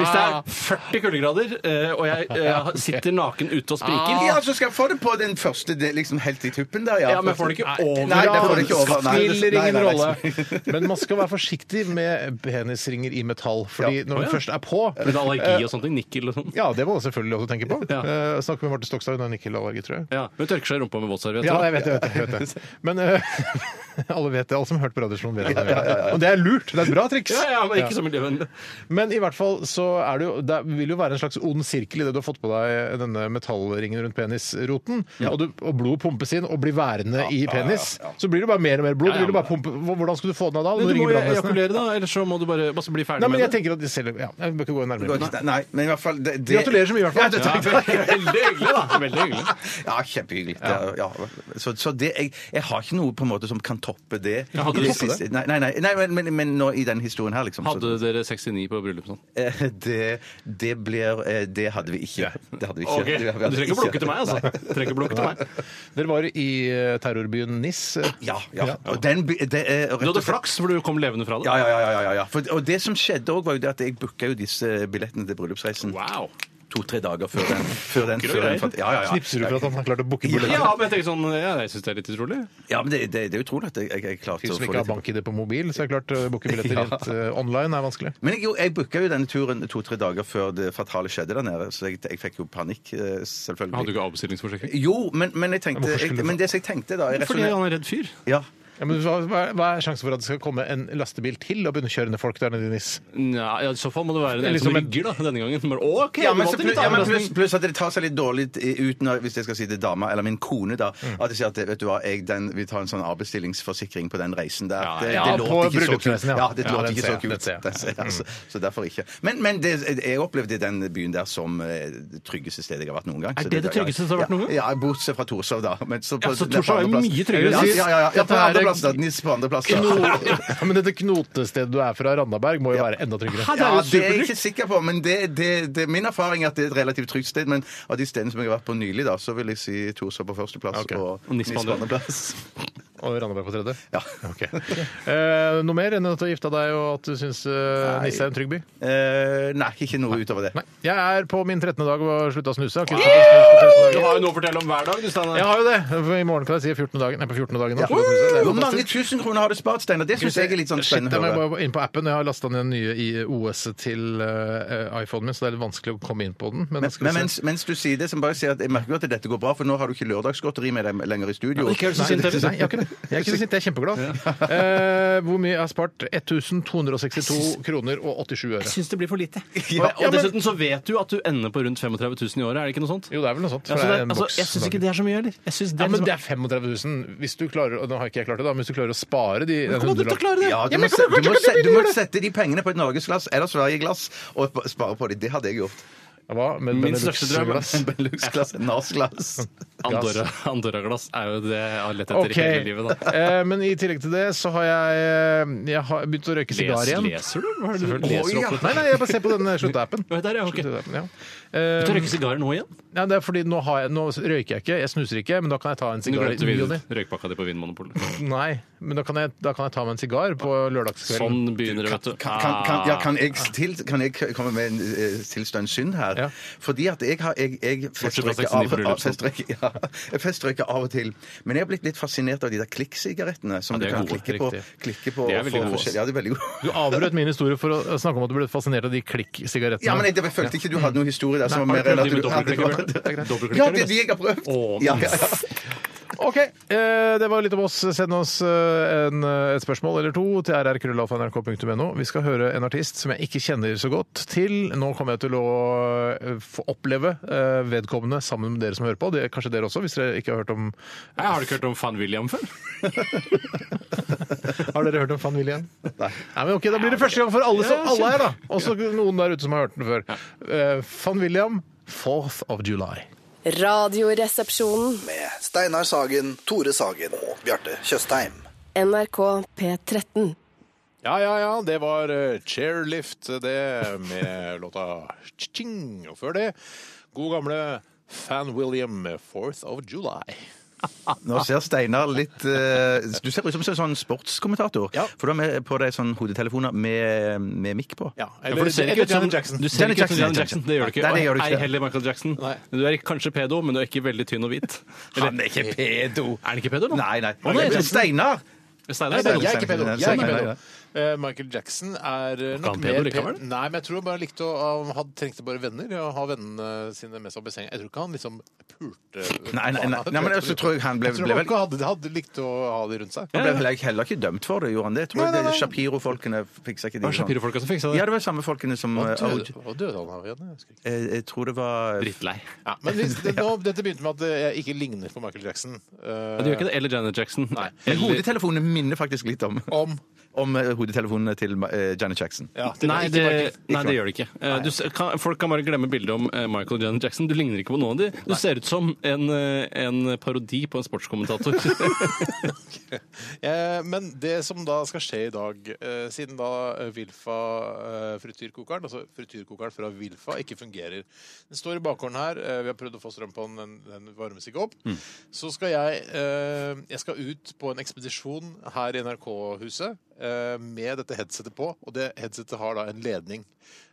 S3: hvis det er 40 kuldegrader, eh, og jeg eh, sitter naken ute og spriker
S2: Ja, så skal jeg få det på den første, det, liksom helt i tuppen der.
S3: Ja, men får det ikke over?
S2: Nei, det får det ikke over. Nei, det-
S1: Spiller
S2: nei,
S1: ingen
S2: nei, nei.
S1: rolle. Men man skal være forsiktig med penisringer i metall, fordi
S2: Ja.
S1: når
S3: Å, ja.
S1: den først er på
S3: Blir det allergi og sånt? Nikkel og sånn?
S1: Ja, det må man selvfølgelig også tenke på.
S3: Ja.
S1: Eh, snakker med Marte Stokstad, hun har nikkelallergi, tror jeg.
S3: Ja. Hun tørker seg i rumpa med våtserviett.
S1: Ja,
S3: da.
S1: jeg vet det. Jeg vet det, jeg vet det. Men eh, alle vet det. Alle som har hørt på Radioresepsjonen, vet det. Og det er lurt. Det er et bra triks.
S3: ja, ja, men ikke så miljøvennlig.
S1: Men i hvert fall så er det jo Det vil jo være en slags ond sirkel i det du har fått på deg denne metallringen rundt penisroten, og, du, og blod pumpes inn og blir værende i penis. Så blir det bare mer og mer blod.
S3: Ja,
S1: Du
S3: ja,
S1: vil jo
S3: men-
S1: bare pumpe, Hvor- hvordan skal du få den av da?
S3: Men
S1: Nå
S3: du må
S1: ringer
S3: jo
S1: brannvesenet.
S3: ejakulere, da, ellers så må du bare, bare bli ferdig
S1: Nei, men
S3: med
S1: jeg tenker at de selv, ja, jeg bør ikke gå nærmere. på det.
S2: Nei, men i hvert fall det, det...
S1: Gratulerer så mye, i hvert fall.
S2: Ja, det, takk.
S3: det. Veldig hyggelig, da. Veldig hyggelig.
S2: ja kjempehyggelig. Ja. Ja. Så, så det, jeg, jeg har ikke noe på en måte som kan toppe det.
S3: Ja, hadde
S2: I
S3: du
S2: det
S3: toppet
S2: siste- Nei, nei, nei, nei men, men, men nå i den historien her, liksom.
S3: Hadde dere 69 på sånn? bryllupsnatt?
S2: Så, eh, det, det blir eh, Det hadde vi ikke. Det hadde vi ikke.
S3: Ok,
S2: Det hadde vi
S3: Du trenger ikke
S2: ikke.
S3: blokke til meg, altså. Du trenger ikke blokke til meg.
S1: Dere var i eh, terrorbyen Nis.
S2: Ja, ja. Og den, by- det, er rett og
S3: Du hadde
S2: slett-
S3: flaks, for du kom levende fra det.
S2: Ja, ja, ja. ja, ja, ja. For, og det som skjedde òg, var jo det at jeg booka jo disse billettene til bryllupsreisen
S3: Wow.
S2: to-tre dager før den. Før den, før
S3: greier.
S2: den fant- ja, ja, ja.
S1: Snipser du for at han har klart å booke billetter?
S3: Ja, men jeg tenker sånn, ja, jeg syns det er litt utrolig.
S2: ja, men det, det, det er utrolig at jeg, jeg, jeg klarte
S1: Hvis
S2: å
S1: som
S2: få
S1: ikke
S2: det
S1: har
S2: til.
S1: bank-ID på mobil, så er det klart å booke billetter
S2: Ja.
S1: rent eh, online er vanskelig.
S2: Men jeg, jo, jeg booka jo denne turen to-tre dager før det fatale skjedde der nede, så jeg, jeg fikk jo panikk, eh,
S3: Hadde du
S2: selvfølgelig.
S3: ikke avbestillingsforsikring?
S2: Jo, men, men, jeg tenkte,
S1: Hvorfor skulle
S2: jeg,
S1: du-
S2: men det som jeg tenkte da jeg
S3: Fordi
S2: resonerte-
S3: han er redd fyr.
S2: Ja.
S1: Ja, men hva, hva- hva er sjansen for at det skal komme en lastebil til og begynne å kjøre ned folk der nede i NIS?
S3: Ja, ja, I så fall må det være en
S1: Liksom
S3: som
S1: en-
S3: rygger da, denne gangen. Men, ok,
S2: Ja,
S3: vi
S2: men,
S3: måtte
S2: så
S3: litt
S2: pluss, ja, men
S3: annerledes.
S2: pluss, pluss at det tar seg litt dårlig ut når, hvis jeg skal si til dama, eller min kone, da, at jeg sier at vet du hva, jeg, den, vi tar en sånn avbestillingsforsikring på den reisen der.
S3: Ja,
S2: Det,
S3: ja,
S2: det
S1: på
S2: låter ikke så kult.
S1: bryllupsreisen, ja.
S2: Ja, det
S1: Ja,
S2: låter
S1: den
S2: ikke
S1: ser
S2: så
S1: jeg, den
S2: kult.
S1: ser jeg.
S2: Den ser jeg, altså.
S3: Mm.
S2: Så derfor ikke. Men, men det, jeg opplevde den byen der som eh, det tryggeste stedet jeg har vært noen gang.
S3: Er
S2: så
S3: det det
S2: var-
S3: tryggeste som har vært noen gang?
S2: Ja, ja, bortsett fra Torshov, da. Men så
S3: Ja, så
S2: det er på
S3: Torshov er jo
S2: andreplass.
S3: mye tryggere.
S2: Ja, ja, ja, ja,
S1: Dette
S2: på
S1: er-
S2: andreplass, da. Nis på andreplass, da.
S1: Ja, men dette knotestedet du er fra, Randaberg, må jo være enda tryggere.
S3: Hæ, det er
S2: Ja,
S3: jo
S2: det er jeg
S3: supertrygt.
S2: ikke sikker på, men det, det, det, min erfaring er at det er et relativt trygt sted. Men av de stedene som jeg har vært på nylig, da, så vil jeg si Torshov på førsteplass
S1: Ok.
S2: og
S3: Og Nis på
S2: Nis på
S3: andre.
S2: andreplass.
S1: Og Randaberg på tredje?
S2: Ja.
S1: Ok. Eh, noe mer enn at du har gifta deg og at du syns eh, NIS er en trygg by?
S2: Eh, nei, ikke noe utover det.
S1: Nei. Jeg er på min 13. dag og har slutta å snuse. Jeg har ikke sluttet å snuse på 13
S3: Du
S1: dager.
S3: har jo noe å fortelle om hver dag, du, Steinar.
S1: Jeg har jo det! For I morgen kan jeg si 14. dagen. Nei, på 14. dagen nå.
S2: Ja. Hvor mange tusen kroner har du spart, Steinar? Det syns jeg er litt sånn
S1: Shit,
S2: spennende
S1: jeg
S2: å
S1: må
S2: høre.
S1: bare inn på appen. Jeg har lasta ned den nye IOS-et til eh, iPhonen min, så det er litt vanskelig å komme inn på den. Men,
S2: Men,
S1: skal vi
S2: men
S1: se.
S2: mens, mens du sier det, så må jeg bare si at jeg merker jo at dette går bra, for nå har du ikke lørdagsgodteri med deg lenger i studio.
S3: ikke er du så
S1: Nei,
S3: sint,
S1: det-
S3: heller.
S1: nei, jeg er ikke det. Jeg er ikke så sint, jeg er kjempeglad. Eh, hvor mye jeg har spart? 1262 kroner og 87 øre.
S3: syns det blir for lite.
S2: Ja,
S3: og, og dessuten så vet du at du ender på rundt 35 000 i året, er det ikke noe sånt?
S1: Jo, det er vel noe sånt.
S3: Ja,
S1: for
S3: så
S1: det
S3: det,
S1: er en
S3: altså,
S1: boks
S3: jeg syns ikke
S1: dagen.
S3: det er så mye heller. Jeg synes det
S1: ja,
S3: er
S1: men
S3: liksom-
S1: det er 35 000. Hvis du klarer, og nå har ikke jeg klart det, da, men hvis du klarer å spare de den
S3: Kommer du til å
S1: hundrelappen-
S3: klare det?
S2: Ja, du, må, se, du, må se, du må sette de pengene på et norgesglass eller Sverigeglass og spare på de. Det hadde jeg gjort.
S1: Ja, Hva? Med
S3: Min
S1: Benelux-
S3: største drøm.
S1: glass?
S2: En Belux-glass, en Nars-glass.
S3: Andorra- Andorra-glass er jo det jeg har lett etter
S1: Ok.
S3: i hele livet. da.
S1: Eh, men i tillegg til det så har jeg, eh, jeg har begynt å røyke sigar
S3: Les,
S1: igjen.
S3: leser du? Hva er det du
S1: Selvfølgelig.
S3: leser opp?
S1: Nei, nei, jeg bare ser på den eh, sluttappen.
S3: Nei, der, ja, ok.
S1: Sluttappen, ja.
S3: Du
S1: Eh,
S3: røyker sigarer nå igjen?
S1: nei, det er fordi nå, har jeg, nå røyker jeg ikke, jeg snuser ikke, men da kan jeg ta en
S3: Du
S1: sigar i
S3: glemte
S1: ny og ne.
S3: vin- røykpakka di på Vinmonopolet.
S1: Nei, men da kan, jeg, da kan jeg ta meg en sigar på lørdagskvelden.
S3: Sånn begynner det, vet du. Ah.
S2: Kan, kan, kan, ja, kan, jeg til, kan jeg komme med en eh, tilstående synd her?
S1: Ja.
S2: Fordi at jeg har jeg, jeg
S3: fra
S2: festrøyker
S3: 69
S2: av,
S3: på
S2: av,
S3: bryllupsnatt.
S2: festrøyker, ja, jeg festrøyker av og til. Men jeg har blitt litt fascinert av de der klikksigarettene som
S3: Ja, de
S2: du
S3: er
S2: kan
S3: gode,
S2: klikke på,
S1: riktig.
S2: klikke på.
S3: De er
S2: og
S3: veldig
S2: få
S3: gode.
S2: forskjell- Ja, de er veldig gode.
S1: Du avbrøt min historie for å snakke om at du ble fascinert av de klikk-sigarettene.
S2: Ja, men jeg, jeg følte ikke du hadde noen historie der som var
S3: Har
S2: mer
S3: du
S2: enn
S3: prøvd de med
S2: at du-
S3: dobbeltklikker? Dobbeltklikker,
S2: Ja, det er
S3: eller?
S2: de jeg har prøvd.
S3: Å,
S2: Ja, ja, ja.
S1: OK, eh, det var litt om oss. Send oss eh, en, eh, et spørsmål eller to til rrkrøllalfa.nrk.no. Vi skal høre en artist som jeg ikke kjenner så godt til. Nå kommer jeg til å eh, få oppleve eh, vedkommende sammen med dere som hører på. Det, kanskje dere også, hvis dere ikke har hørt om
S3: Jeg har du ikke hørt om Fan William før?
S1: Har dere hørt om Fan William? Nei. men ok, Da blir det første gang for alle, så alle her, da. Også noen der ute som har hørt den før. Eh, Fan William, 4th of July.
S5: Radioresepsjonen.
S6: med Steinar Sagen, Tore Sagen og Bjarte Tjøstheim.
S5: NRK P13.
S7: Ja, ja, ja. Det var eh, Chairlift, det, med låta Ching. Og før det, god gamle Fan William med 4th of July.
S2: Nå ser Steinar litt eh, Du ser ut som en sånn sportskommentator.
S7: Ja.
S2: For du har med på deg sånn hodetelefoner med, med mikk på.
S7: Ja,
S3: Ja,
S7: eller,
S3: for du ser
S7: eller
S3: ikke ut som
S7: Janet Jackson.
S3: Du ser
S2: Janet
S3: ikke ut som
S2: Jackson,
S3: Janet Jackson. Det gjør du ikke.
S2: Nei, det gjør du ikke.
S3: Ei heller Michael Jackson.
S7: Nei.
S3: Du er kanskje pedo, men du er ikke veldig tynn og hvit. Eller,
S2: Han er ikke pedo!
S3: er han ikke pedo, da?
S2: Nei, nei.
S3: Å, nei,
S2: Men
S3: Steinar.
S2: Steinar!
S3: Steinar er
S7: Nei,
S3: pedo.
S7: jeg er ikke pedo. Jeg er ikke
S2: Nei, nei,
S7: pedo. Eh, Michael Jackson er eh,
S3: Var
S7: nok
S3: han pedo
S7: mer
S3: likevel?
S7: pedo. Nei, men jeg tror han bare likte å han hadde, trengte bare venner. Og ha vennene sine med seg opp i senga. Jeg tror ikke han liksom pulte eh,
S2: Nei, nei, nei. Nei, men også tror jeg han ble-
S7: Jeg tror
S2: ble
S7: nok
S2: vel-
S7: han hadde, hadde likt å ha de rundt seg.
S2: Han ble heller ikke- heller ikke dømt for det, gjorde han det? Tror jeg det- Shapiro-folkene fiksa ikke
S3: Det
S2: de
S3: var Shapiro-folka som fiksa
S2: Ja,
S3: det.
S2: det var samme folkene som
S7: Hva
S2: eh,
S7: døde,
S2: Aud-
S7: hva døde han av igjen? Jeg husker ikke.
S2: eh, Jeg tror det var
S3: Drittlei.
S7: Ja, men hvis, det, nå, dette begynte med at eh, jeg ikke ligner på Michael Jackson. Eh,
S3: Ja, du gjør ikke det. Eller Janet Jackson. Nei.
S2: Men
S3: Eller,
S2: hodetelefonene minner faktisk litt om
S7: Om
S2: Om eh, hodetelefonene til eh, Janet Jackson.
S7: ja,
S3: nei,
S7: ikke
S3: det,
S7: Michael.
S3: nei, det gjør det ikke. Eh, Du, s- kan, folk kan bare glemme bildet om eh, Michael og Janet Jackson. Du ligner ikke på noen av de. Du ser ut som en, eh, en parodi på en sportskommentator.
S7: Eh, men det som da skal skje i dag, eh, siden da eh, Wilfa eh, frityrkokeren, altså frityrkokeren fra Wilfa, ikke fungerer Den står i bakgården her. Eh, vi har prøvd å få strøm på den, den, den varmes ikke opp.
S1: Mm.
S7: Så skal jeg, eh, jeg skal ut på en ekspedisjon her i NRK-huset eh, med dette headsetet på, og det headsetet har da en ledning.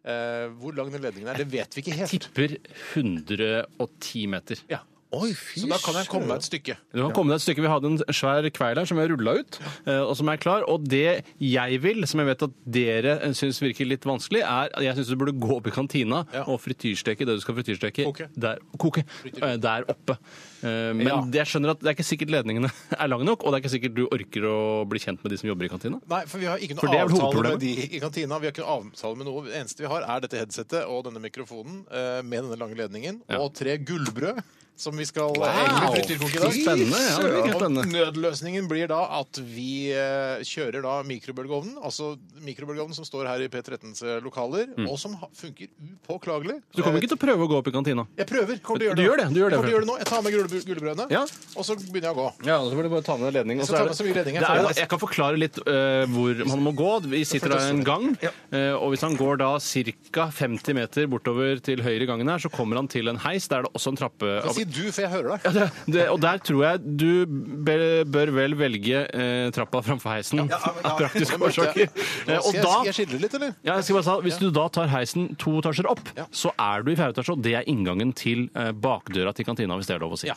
S7: Eh, hvor lang den ledningen er, det vet vi ikke helt.
S3: Tipper 110 meter.
S7: Ja.
S2: Oi, fy
S1: Så da kan jeg komme meg et stykke.
S3: Du kan komme deg et stykke. Vi hadde en svær kveil her som vi har rulla ut, eh, og som er klar. Og det jeg vil, som jeg vet at dere syns virker litt vanskelig, er at jeg syns du burde gå opp i kantina
S1: Ja.
S3: og frityrsteke det du skal frityrsteke
S1: Koke.
S3: der, koke, eh, der oppe. Eh, Men
S1: Ja.
S3: jeg skjønner at det er ikke sikkert ledningene er lange nok, og det er ikke sikkert du orker å bli kjent med de som jobber i kantina.
S1: Nei, for vi har ikke
S3: For
S1: noe
S3: det er vel
S1: avtale med de
S3: hovedproblemet.
S1: i kantina. Vi har ikke noe avtale med noe. Det eneste vi har, er dette headsetet og denne mikrofonen eh, med denne lange ledningen
S3: Ja.
S1: og tre gullbrød. Som vi skal wow. egentlig frityrkoke i dag.
S3: Så spennende, ja, det virker
S1: Og
S3: spennende.
S1: Nødløsningen blir da at vi eh, kjører da mikrobølgeovnen, altså mikrobølgeovnen som står her i P13s lokaler, og som ha- funker upåklagelig.
S3: Mm.
S1: Eh,
S3: Så du kommer ikke til å prøve å gå opp i kantina?
S1: Jeg prøver. Kommer til å gjøre
S3: Du gjør det, du gjør
S1: jeg
S3: det,
S1: kommer til å
S3: Fred.
S1: gjøre det nå. Jeg tar med gullbrø- gullbrødene,
S3: Ja.
S1: og så begynner jeg å gå.
S3: Ja, så får du bare ta med deg ledning. og
S1: Jeg skal
S3: så er
S1: ta med så mye ledning jeg
S3: det er,
S1: får.
S3: jo- jeg kan forklare litt eh, hvor man må gå. Vi sitter da i en gang, eh, og hvis han går da ca. 50 meter bortover til høyre i gangen her, så kommer han til en heis. Der er det også en trappe.
S1: Si du, for jeg hører deg.
S3: Ja, det, det, og der tror jeg du be, bør vel velge eh, trappa framfor heisen av praktiske
S1: Nå skal
S3: årsaker.
S1: jeg-
S3: Eh,
S1: Nå skal
S3: og
S1: jeg,
S3: da
S1: skal jeg skille litt, eller?
S3: ja, jeg skal bare si, at Hvis du da tar heisen to etasjer opp,
S1: Ja.
S3: så er du i fjerde etasje, og det er inngangen til eh, bakdøra til kantina, hvis det er lov å si.
S1: Ja.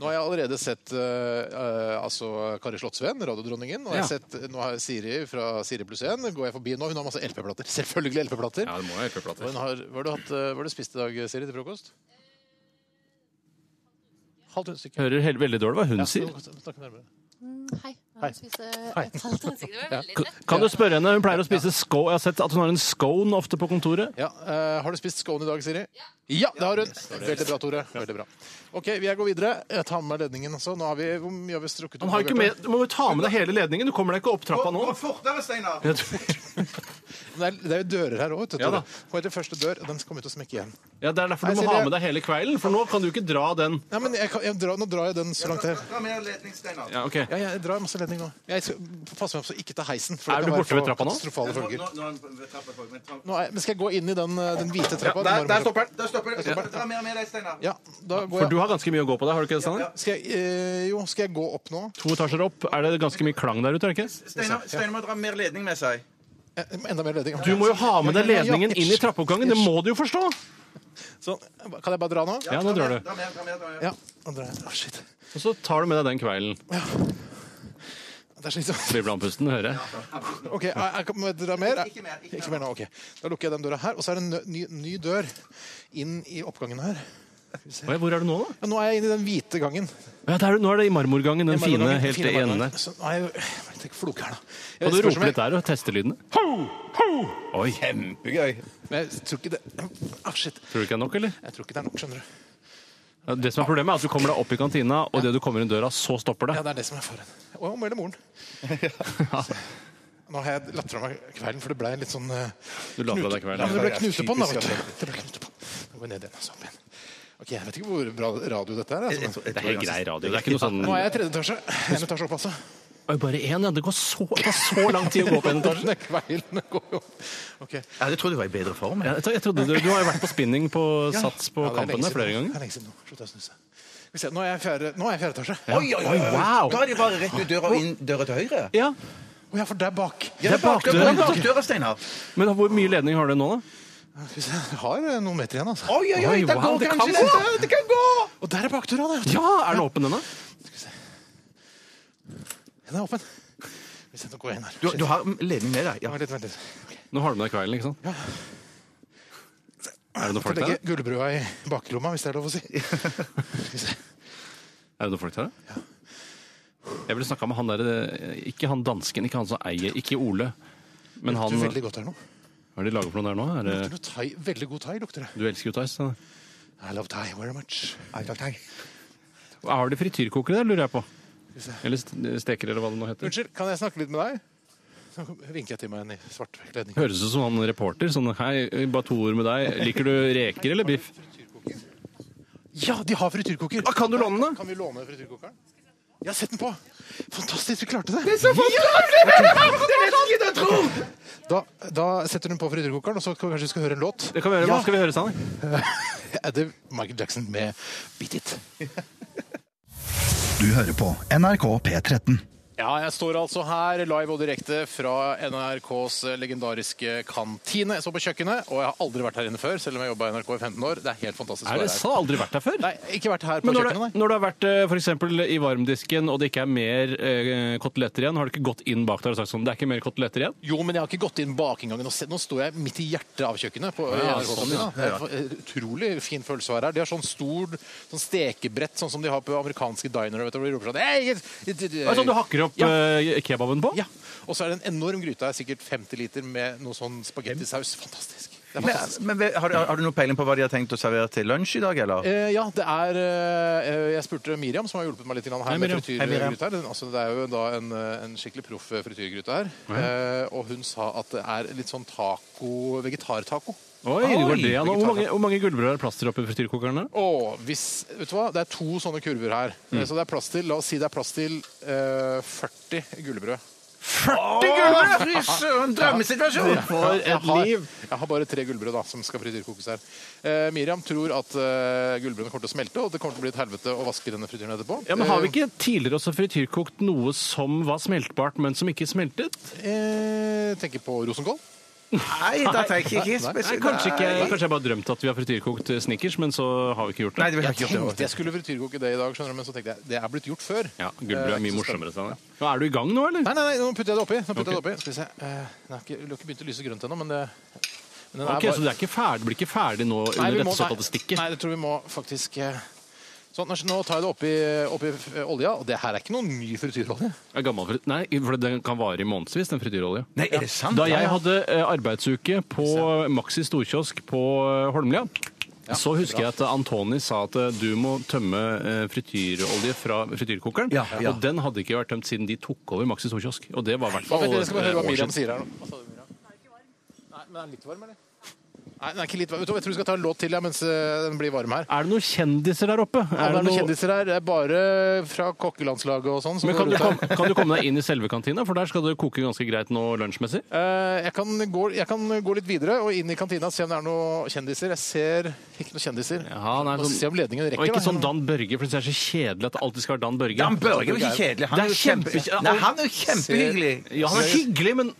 S1: Nå har jeg allerede sett eh, eh, altså Kari Slottsveen, radiodronningen. Og jeg har
S3: Ja.
S1: sett, nå har jeg Siri fra Siri pluss 1. Går jeg forbi nå? Hun har masse LP-plater. Selvfølgelig LP-plater.
S3: det må jeg ikke prate
S1: Og hun har, hva har du, hatt, eh, hva har du spist i dag, Siri, til frokost? Halvt hundestykke.
S3: Hører hel- veldig dårlig hva hun sier.
S8: Hei. Hei. Et halvt ansikt. Det var veldig trett.
S3: Kan du spørre henne? Hun pleier å spise scone. Jeg har sett at hun har en scone ofte på kontoret.
S1: Ja, eh, Har du spist scone i dag, Siri? Ja, det har hun. Veldig bra, Tore. Veldig bra. OK, jeg går videre. Jeg tar med meg ledningen også. Nå har vi, hvor mye har vi strukket
S3: Han har jo ikke med, du må jo ta med deg hele ledningen. Du kommer deg ikke opp trappa nå.
S2: fortere, Steinar!
S3: Jeg tror-
S1: Det er, det er jo dører her òg, vet du.
S3: Ja da.
S1: Tore. Hva heter første dør? Den kommer ut og smekke igjen.
S3: Ja, Det er derfor du
S1: Nei,
S3: må
S1: Silje.
S3: ha med deg hele kvelden, for nå kan du ikke dra den.
S1: Nei, men jeg kan, jeg drar, nå drar jeg den så langt jeg
S2: Ta mer ledning, Steinar.
S3: Ja, ok.
S1: Ja, jeg drar masse ledning nå. Jeg skal passe meg opp så ikke ta heisen. For
S3: Er
S1: det
S3: du
S1: kan være
S3: borte ved
S1: få
S3: trappa nå?
S1: Katastrofale følger.
S2: Der
S1: Nå er, men skal jeg gå inn i den, eh, den hvite trappa? den varme trappa?
S2: stopper den. Der stopper den. Ta mer med deg, Steinar.
S1: Ja, da går
S3: For
S1: jeg.
S3: du har ganske mye å gå på der, har du ikke det, Steinar?
S1: Skal jeg, eh, jo, skal jeg gå opp nå?
S3: To etasjer opp. Er det ganske mye klang der ute, er det ikke?
S2: Steinar Steinar må dra mer ledning med seg.
S1: Eh, Enda mer ledning.
S3: Du må jo ha med deg
S1: Ja, ja, ja.
S3: ledningen inn i trappeoppgangen. Det må du jo forstå!
S1: Sånn. Kan jeg bare dra nå?
S3: Ja, nå
S2: Dra
S3: drar
S2: mer,
S3: du.
S2: dra mer, dra mer, dra mer.
S1: Ja. Nå drar jeg. Å, shit.
S3: Og så tar du med deg den kvelden.
S1: Det er slitsomt.
S3: Blir blandpusten, hører jeg.
S1: OK, jeg, jeg, kan- må jeg dra mer?
S2: Ikke mer, ikke mer.
S1: Ikke mer nå, OK. Da lukker jeg den døra her. Og så er det en nø- ny, ny dør inn i oppgangen her.
S3: Oi, Hvor er du nå, da?
S1: Ja, nå er jeg inne i den hvite gangen.
S3: Ja, der, nå er det i marmorgangen, den fine,
S1: Marmorgangen,
S3: helt
S1: fine
S3: i enden
S1: marmorgangen.
S3: der.
S1: Så nå er jeg jo jeg tenker, Floker her, da. Jeg
S3: Kan du
S1: spørs om
S3: rope
S1: jeg-
S3: litt der og teste lydene? Oi.
S1: Kjempegøy. Men jeg tror ikke det Ah, shit.
S3: Tror du ikke det er nok, eller?
S1: Jeg tror ikke det er nok, skjønner du.
S3: Ja, Det som er Problemet er at du kommer deg opp i kantina, og det du kommer inn døra, så stopper det.
S1: Ja, det er det som er faren. Og om eller moren. Nå har jeg latt fra meg kvelden, for det ble en litt sånn eh,
S3: Du la fra deg kvelden.
S1: Ja, men det ble knute på den, da. vet du. Det ble knute på den. Nå går jeg ned igjen. altså, opp igjen. Ok, Jeg vet ikke hvor bra radio dette er. Altså.
S3: Det er helt grei radio. Det er ikke noe sånn
S1: Nå er jeg i tredje etasje. En etasje opp, altså.
S3: Oi, Bare én, ja. Det går så, det tar så lang tid å gå opp en etasje.
S1: Denne kvelden går jo opp. Ok.
S2: Ja, det trodde jeg var i bedre form.
S3: Ja, Jeg, tro- jeg trodde du, du har jo vært på spinning på Sats på
S1: Ja, det er lenge
S3: Kampene
S1: siden.
S3: flere
S1: Det
S3: ganger.
S1: er lenge siden nå. Slutt å snuse. Skal vi se, Nå er jeg i fjerde, nå er jeg i fjerde etasje.
S2: Oi, oi, oi, oi.
S3: Wow.
S2: Da er det bare rett ut døra og inn døra til høyre.
S3: Ja,
S1: Å ja, for der bak.
S2: Ja,
S3: Det er bakdøra.
S2: Det er bakdøra, Steinar.
S3: Men hvor mye ledning har du nå, da?
S1: Skal vi se, Jeg har eh, noen meter igjen, altså.
S2: Oi, oi, oi,
S3: Oi,
S2: det
S3: wow,
S2: går
S3: det kan
S2: kanskje
S3: gå.
S2: dette. Det kan gå!
S1: Og der er bakdøra, da. vet du.
S3: Ja, Er den åpen ennå?
S1: Den er åpen. Hvis jeg nå går jeg inn her.
S2: Du, du har ledning med deg. Ja.
S1: Vent litt, vent litt.
S3: Nå har du med deg kvelden, ikke sant? Er det noen
S1: Får
S3: folk der?
S1: legge gullbrua i baklomma, hvis det er lov å si. Skal vi se.
S3: Er det noen folk der, da? Jeg ville snakka med han der eh, Ikke han dansken, ikke han som eier Ikke Ole. Men han
S1: Lukter
S3: Hva
S1: veldig godt her nå.
S3: er det de lager for noe der nå? Er det,
S1: Lukter noe thai. Veldig god thai lukter det.
S3: du elsker jo Theis. da.
S1: I love thai very much.
S3: Har de frityrkokere der, lurer jeg på? Eller st- steker, eller hva det nå heter.
S1: Unnskyld, kan jeg snakke litt med deg? Så vinker jeg til meg en i svart kledning.
S3: Høres ut som han reporter. Sånn, hei, bare to ord med deg. Liker du reker eller biff?
S1: Ja, de har frityrkoker!
S3: Ah, kan du låne den?
S1: Kan vi låne frityrkokeren? Ja, sett den på! Fantastisk, vi klarte det! Da, da setter hun på frityrkokeren, og så kan vi kanskje vi skal høre en låt.
S3: Det kan vi gjøre. Hva
S1: Ja.
S3: skal vi høre, Sanner?
S1: Er det Michael Jackson med Beat It?
S4: Du hører på NRK P13.
S1: Ja, jeg står altså her live og direkte fra NRKs legendariske kantine. Jeg står på kjøkkenet, og jeg har aldri vært her inne før, selv om jeg jobba i NRK i 15 år. Det er helt fantastisk å
S3: Er
S1: være
S3: det
S1: her.
S3: sant? Har Aldri vært der før?
S1: Nei, ikke vært her på
S3: Men når du,
S1: kjøkkenet, nei.
S3: når du har vært eh, for eksempel i varmdisken og det ikke er mer eh, koteletter igjen, har du ikke gått inn bak der og sagt sånn Det er ikke mer koteletter igjen?
S1: Jo, men jeg har ikke gått inn bak engangen. og sett- Nå står jeg midt i hjertet av kjøkkenet. På,
S3: Ja,
S1: NRK
S3: sånn,
S1: kantine. Det er en eh, Utrolig fin følelse å være her. De har sånn stor sånn stekebrett, sånn som de har på amerikanske dinere. Vet du, hvor de roper sånn «Hey, it- it- it-
S3: Det er sånn du hakker opp
S1: Ja.
S3: eh, kebaben på?
S1: Ja. Og så er det en enorm gryte her, sikkert 50 liter med noe sånn spagettisaus. Fantastisk. Det er
S2: Men,
S1: fantastisk.
S2: men har, du- har du noe peiling på hva de har tenkt å servere til lunsj i dag, eller?
S1: Eh, ja, det er eh, Jeg spurte Miriam, som har hjulpet meg litt grann her
S3: Hei,
S1: med
S3: Miriam.
S2: Hei, Miriam.
S1: frityrgryte. her. Den- Altså, det er jo da en, eh, en skikkelig proff frityrgryte her. Eh, og hun sa at det er litt sånn taco Vegetartaco.
S3: Oi, det var det, ja. Nå,
S1: Vegetar-
S3: Hvor mange, hvor mange gullbrød er det plass til oppi frityrkokerne?
S1: Og hvis, vet du hva, Det er to sånne kurver her.
S3: Mm.
S1: Eh, Så det er plass til, La oss si det er plass til eh, 40 gullbrød.
S2: Fy søren, drømmesituasjon!
S3: For
S1: Jeg har, jeg har bare tre gullbrød da, som skal frityrkokes her. Eh, Miriam tror at eh, gullbrødene kommer til å smelte, og det kommer til å bli et helvete å vaske denne frityren etterpå.
S3: Ja, men Har vi ikke tidligere også frityrkokt noe som var smeltbart, men som ikke smeltet?
S1: Eh, tenker på rosenkål.
S2: Nei, da tenker jeg ikke
S3: Nei,
S2: spesielt.
S3: kanskje, ikke, kanskje jeg bare har drømt at vi har frityrkokt eh, snickers, men så har vi ikke gjort det.
S2: Nei, det vil jeg
S1: Jeg
S2: ikke gjøre.
S1: tenkte jeg skulle frityrkoke det i dag, skjønner du, men så tenkte jeg det er blitt gjort før.
S3: Ja,
S1: Eh,
S3: Gullbrød er
S1: ikke
S3: mye
S1: så
S3: morsommere.
S1: spennende.
S3: Steinar. Ja, er du i gang nå, eller?
S1: Nei, nei, nei, nå putter jeg det oppi. Nå putter jeg
S3: Ok.
S1: det oppi. Skal vi se. Eh, Den har ikke, den har ikke begynt å lyse grønt ennå, men det men den er
S3: Ok,
S1: bare-
S3: Så det er ikke ferdig, blir ikke ferdig nå
S1: Nei, vi
S3: under
S1: må-
S3: dette såkalte stikket?
S1: Nei, det tror vi må faktisk eh, Sånn, Nå tar jeg det oppi, oppi eh, olja, og det her er ikke noen ny frityrolje.
S3: Ja, Gammel frit nei, for den kan vare i månedsvis, den frityrolja.
S2: Nei, er det sant?
S3: Da jeg hadde eh, arbeidsuke på Maxi storkiosk på eh, Holmlia, så husker jeg at Antoni sa at eh, du må tømme eh, frityrolje fra frityrkokeren.
S2: Ja, ja.
S3: Og den hadde ikke vært tømt siden de tok over Maxi storkiosk. Og det var i hvert
S1: Hva,
S3: fall
S1: vent, dere skal bare høre hva
S3: eh, år
S1: Miriam
S3: siden.
S1: sier her nå. Hva sa du, Miriam? Nei, men er den litt varm, eller? Nei, den er ikke litt varm. Vet du hva, Jeg tror vi skal ta en låt til ja, mens eh, den blir varm her.
S3: Er det noen kjendiser der oppe?
S1: Ja, det er noen
S3: noe-
S1: kjendiser her. Det er bare fra kokkelandslaget og sånn. som
S3: Men
S1: går
S3: kan du,
S1: rundt her.
S3: kom, kan du komme deg inn i selve kantina, for der skal det koke ganske greit nå lunsjmessig?
S1: Eh, Jeg kan, gå, jeg kan gå litt videre og inn i kantina og se om det er noen kjendiser. Jeg ser ikke noen kjendiser.
S3: Ja, nei,
S1: Må
S3: sånn-
S1: se om ledningen rekker.
S3: Og ikke
S1: da.
S3: sånn Dan Børge, for det er så kjedelig at det alltid skal være Dan Børge.
S2: Dan Børge er jo ikke kjedelig. Han
S3: Det
S2: er
S3: er
S2: jo kjempe...
S3: kjempe-
S2: Nei, han er jo kjempehyggelig.
S3: Ja, han er hyggelig, men,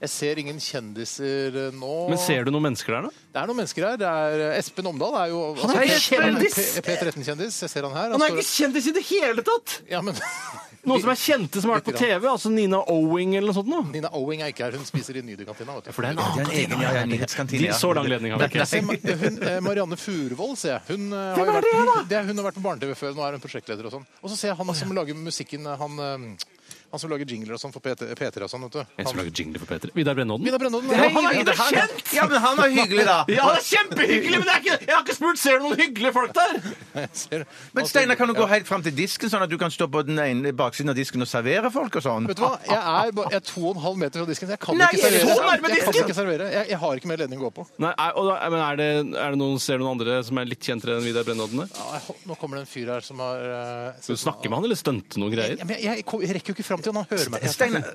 S1: Jeg ser ingen kjendiser eh, nå.
S3: men ser du noen mennesker der, da?
S1: Det er noen mennesker her. Det er eh, Espen Omdal er jo altså,
S3: Han er ikke kjendis!
S1: P13-kjendis. Jeg ser han her.
S3: Han er ikke kjendis i det hele tatt!
S1: ja, men...
S3: Noen som er kjente som har vært på TV, altså Nina Owing eller noe sånt noe.
S1: Nina Owing er ikke her. Hun spiser i Nydekantina. vet du.
S3: For det er en annen
S2: En egen, ja, ja, nyhetskantine,
S3: De,
S2: ja.
S3: så lang ledning har vi
S1: Jeg
S3: ikke.
S1: ser Ma- hun, eh, Marianne Furuvold, ser jeg. Hun, eh, har jo
S3: er
S1: vært,
S3: det, da?
S1: hun, det er- hun har vært på barne-TV før. Nå er hun prosjektleder og sånn. Og så ser jeg han som lager musikken eh, Han, eh, han som lager jingler og sånn for P3 P3 og sånn, vet du.
S3: En som
S1: Han-
S3: lager jingle for Peter. Vidar Brennodden.
S1: Vidar Brennodden.
S2: Hei,
S1: Han er-
S2: Vidar, han- Ja, men han er hyggelig, da.
S3: Ja, det er kjempehyggelig, men det er ikke, jeg har ikke spurt ser du noen hyggelige folk der.
S1: Ser-
S2: Men Steinar, kan du gå helt fram til disken, sånn at du kan stå på den ene baksiden av disken og servere folk og sånn?
S1: Vet du hva? Jeg er, bare, jeg er to og en halv meter fra disken. så Jeg kan
S2: Nei,
S1: ikke
S2: er du
S1: servere.
S2: så nærme
S1: Jeg, kan
S2: disken?
S1: ikke servere. Jeg, jeg har ikke mer ledning å gå på.
S3: Nei, er, og da, men er det, er det noen, ser du noen andre som er litt kjentere enn Vidar Brennodden? der?
S1: Ja, jeg, hå- nå kommer det en fyr her som har eh,
S3: Skal du snakke med han, eller stunte noen
S1: Jeg,
S3: greier?
S1: men jeg, jeg, kom- jeg rekker jo ikke fram til han. Han hører meg.
S2: Ah, Steinar,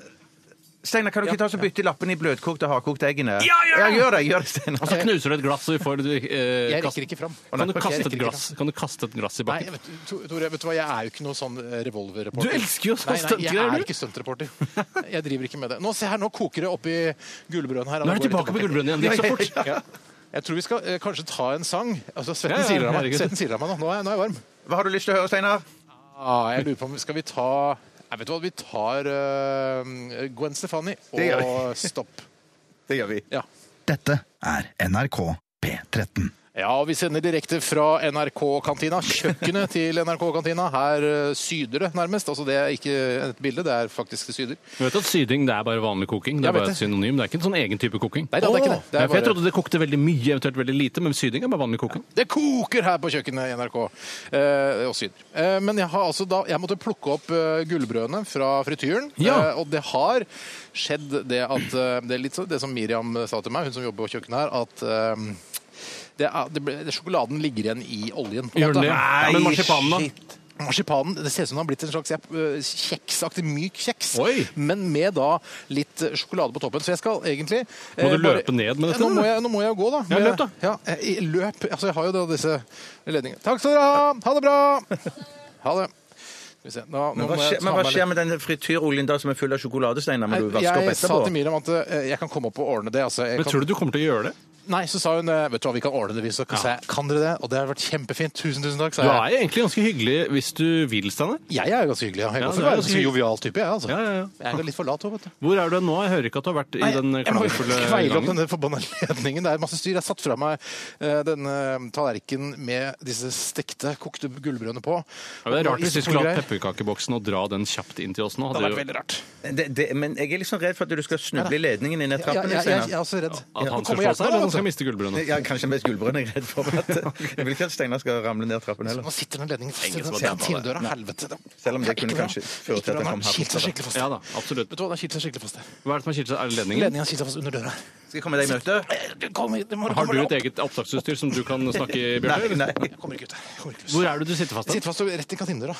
S2: Steinar, kan du ikke ta oss og bytte lappen i bløtkokte og hardkokte eggene?
S3: Ja, gjør det!
S2: gjør det, gjør det, Steinar.
S3: Og så knuser du et glass, og vi får eh,
S1: Jeg
S3: kast-
S1: rekker ikke fram.
S3: Kan du
S1: Jeg
S3: kaste
S1: rekker
S3: et
S1: ikke
S3: glass? Kan du kaste et glass i
S1: Nei,
S3: bakken?
S1: vet, du, To- Tore, vet du hva, jeg er jo ikke noen sånn eh, revolverreporter.
S3: Du elsker jo sånn
S1: Nei, nei, Jeg
S3: stuntgreier,
S1: er
S3: du.
S1: ikke stuntreporter. Jeg driver ikke med det. Nå, se her, nå koker det oppi gullbrøden her.
S3: Nå er du tilbake på gullbrønnen igjen. Det gikk så fort.
S1: Ja. Jeg tror vi skal eh, kanskje ta en sang. Altså, Svetten
S3: Ja, ja,
S1: siler av meg.
S3: herregud.
S1: Svetten siler av meg nå. Nå er, jeg- nå er jeg varm.
S2: Hva har du lyst til å høre, Steinar?
S1: Ah, jeg lurer på om Skal vi ta Nei, vet du hva, vi tar eh, Gwen Stefani
S2: Det gjør
S1: og Stopp.
S2: Det gjør vi.
S1: Ja.
S4: Dette er NRK P13.
S1: Ja, og vi sender direkte fra NRK-kantina, kjøkkenet til NRK-kantina. Her eh, syder det nærmest. Altså, det er ikke et bilde, det er faktisk det syder.
S3: Du vet at syding det er bare vanlig koking? Det
S1: Jeg
S3: er
S1: vet
S3: bare et
S1: det.
S3: synonym? Det er ikke en sånn egen type koking?
S1: Nei, da, det er ikke det. Det er
S3: Nei, for Jeg
S1: bare-
S3: trodde det kokte veldig mye, eventuelt veldig lite, men syding er bare vanlig koking.
S1: Det koker her på kjøkkenet i NRK. Eh, og syder. Eh, men jeg har altså da Jeg måtte plukke opp eh, gullbrødene fra frityren.
S3: Ja.
S1: Eh, og det har skjedd det at eh, Det er litt sånn det som Miriam sa til meg, hun som jobber på kjøkkenet her, at eh, det er, det ble, sjokoladen ligger igjen i oljen. på en
S3: Gjør den
S1: måte.
S3: det?
S1: Ja,
S3: Men
S1: men
S3: marsipanen, da?
S1: Marsipanen det ser ut som den har blitt en slags eh, kjeksaktig myk kjeks,
S3: Oi!
S1: men med da litt eh, sjokolade på toppen. Så jeg skal egentlig eh,
S3: Må du løpe ned med dette,
S1: Ja, Nå må
S3: eller?
S1: jeg, Eh, nå må jeg jo gå, da.
S3: Ja,
S1: Men-
S3: løp da.
S1: Ja, eh, jeg, jeg- løp. Altså, jeg har jo da disse ledningene. Takk skal dere ha! Ha det bra! Ha det. Skal vi se. Nå, nå
S2: Men hva,
S1: må jeg
S2: skjer,
S1: ta
S2: men hva
S1: meg litt-
S2: skjer med den frityroljen da som er full av sjokoladesteiner? Må du vaske opp
S1: Jeg sa til
S2: etterpå?
S1: Miriam at eh, jeg kan komme opp og ordne det. Altså, jeg
S3: Men
S1: kan...
S3: tror du du kommer til å gjøre det?
S1: Nei, så sa hun eh, vet du hva, vi kan ordne det. Vi så kan, sa jeg, kan dere det? Og det har vært kjempefint. Tusen, tusen takk, sa
S3: Du
S1: jeg.
S3: er jo egentlig ganske hyggelig hvis du vil, Steinar.
S1: Jeg er jo ganske hyggelig. ja. Jeg
S3: Ja,
S1: går for å
S3: du
S1: være en
S3: er ganske
S1: ganske
S3: hyggelig.
S1: jovial type, jeg. altså.
S3: Ja, ja, ja.
S1: Jeg er litt for lat òg, vet du.
S3: Hvor er du hen nå? Jeg hører ikke at du har vært i den
S1: jeg må
S3: klagefulle
S1: kveile opp
S3: gangen.
S1: denne forbanna ledningen. Det er masse styr. Jeg satt fra meg eh, denne tallerkenen med disse stekte, kokte gullbrødene på.
S3: Ja, det er rart hvis vi skulle hatt
S1: Greier.
S3: pepperkakeboksen og dra den kjapt inn til oss nå.
S1: Det hadde vært
S3: Hadde jo,
S1: veldig rart.
S2: Det, det, men jeg er litt sånn redd for at du skal snuble i ledningen inn i
S1: Jeg,
S2: trappen.
S1: jeg, jeg, jeg
S2: Steinar.
S1: er også redd.
S3: at
S1: Nå
S3: han
S1: kommer
S3: skal slå
S1: hjertet
S3: seg, eller
S1: nå,
S3: at han
S1: vet du.
S3: skal miste gullbrønnen.
S2: Ja, kanskje mest gullbrønnen jeg er redd for. At, jeg vil ikke at Steinar skal ramle ned trappen heller.
S1: Nå sitter den ledningen fast i
S3: Ingen som har
S1: den
S3: dæmpa
S1: timedøra. Helvete. det-
S2: Selv om det kunne
S1: Ikke bra.
S2: kanskje føre
S1: Ikke
S2: til at
S1: bra,
S2: den
S1: den
S2: kom her
S1: skilt
S2: på
S1: seg skikkelig fast.
S3: Ja da, absolutt.
S1: Vet du hva, den har skilt seg skikkelig fast. her.
S3: Hva er det som har skilt seg? Er det ledningen?
S1: Ledningen har skilt seg fast under døra. her.
S2: Skal jeg komme deg i møte?
S1: Kom, hit, du må-
S3: Har
S1: kommer
S3: du
S1: deg
S3: et
S1: opp.
S3: eget opptaksutstyr som du kan snakke i,
S2: Nei,
S3: Bjarte?
S2: nei.
S1: Jeg kommer ikke ut. Jeg kommer ikke ut.
S3: Hvor er det du sitter fast?
S1: Jeg
S3: da?
S1: sitter fast rett i kantinedøra.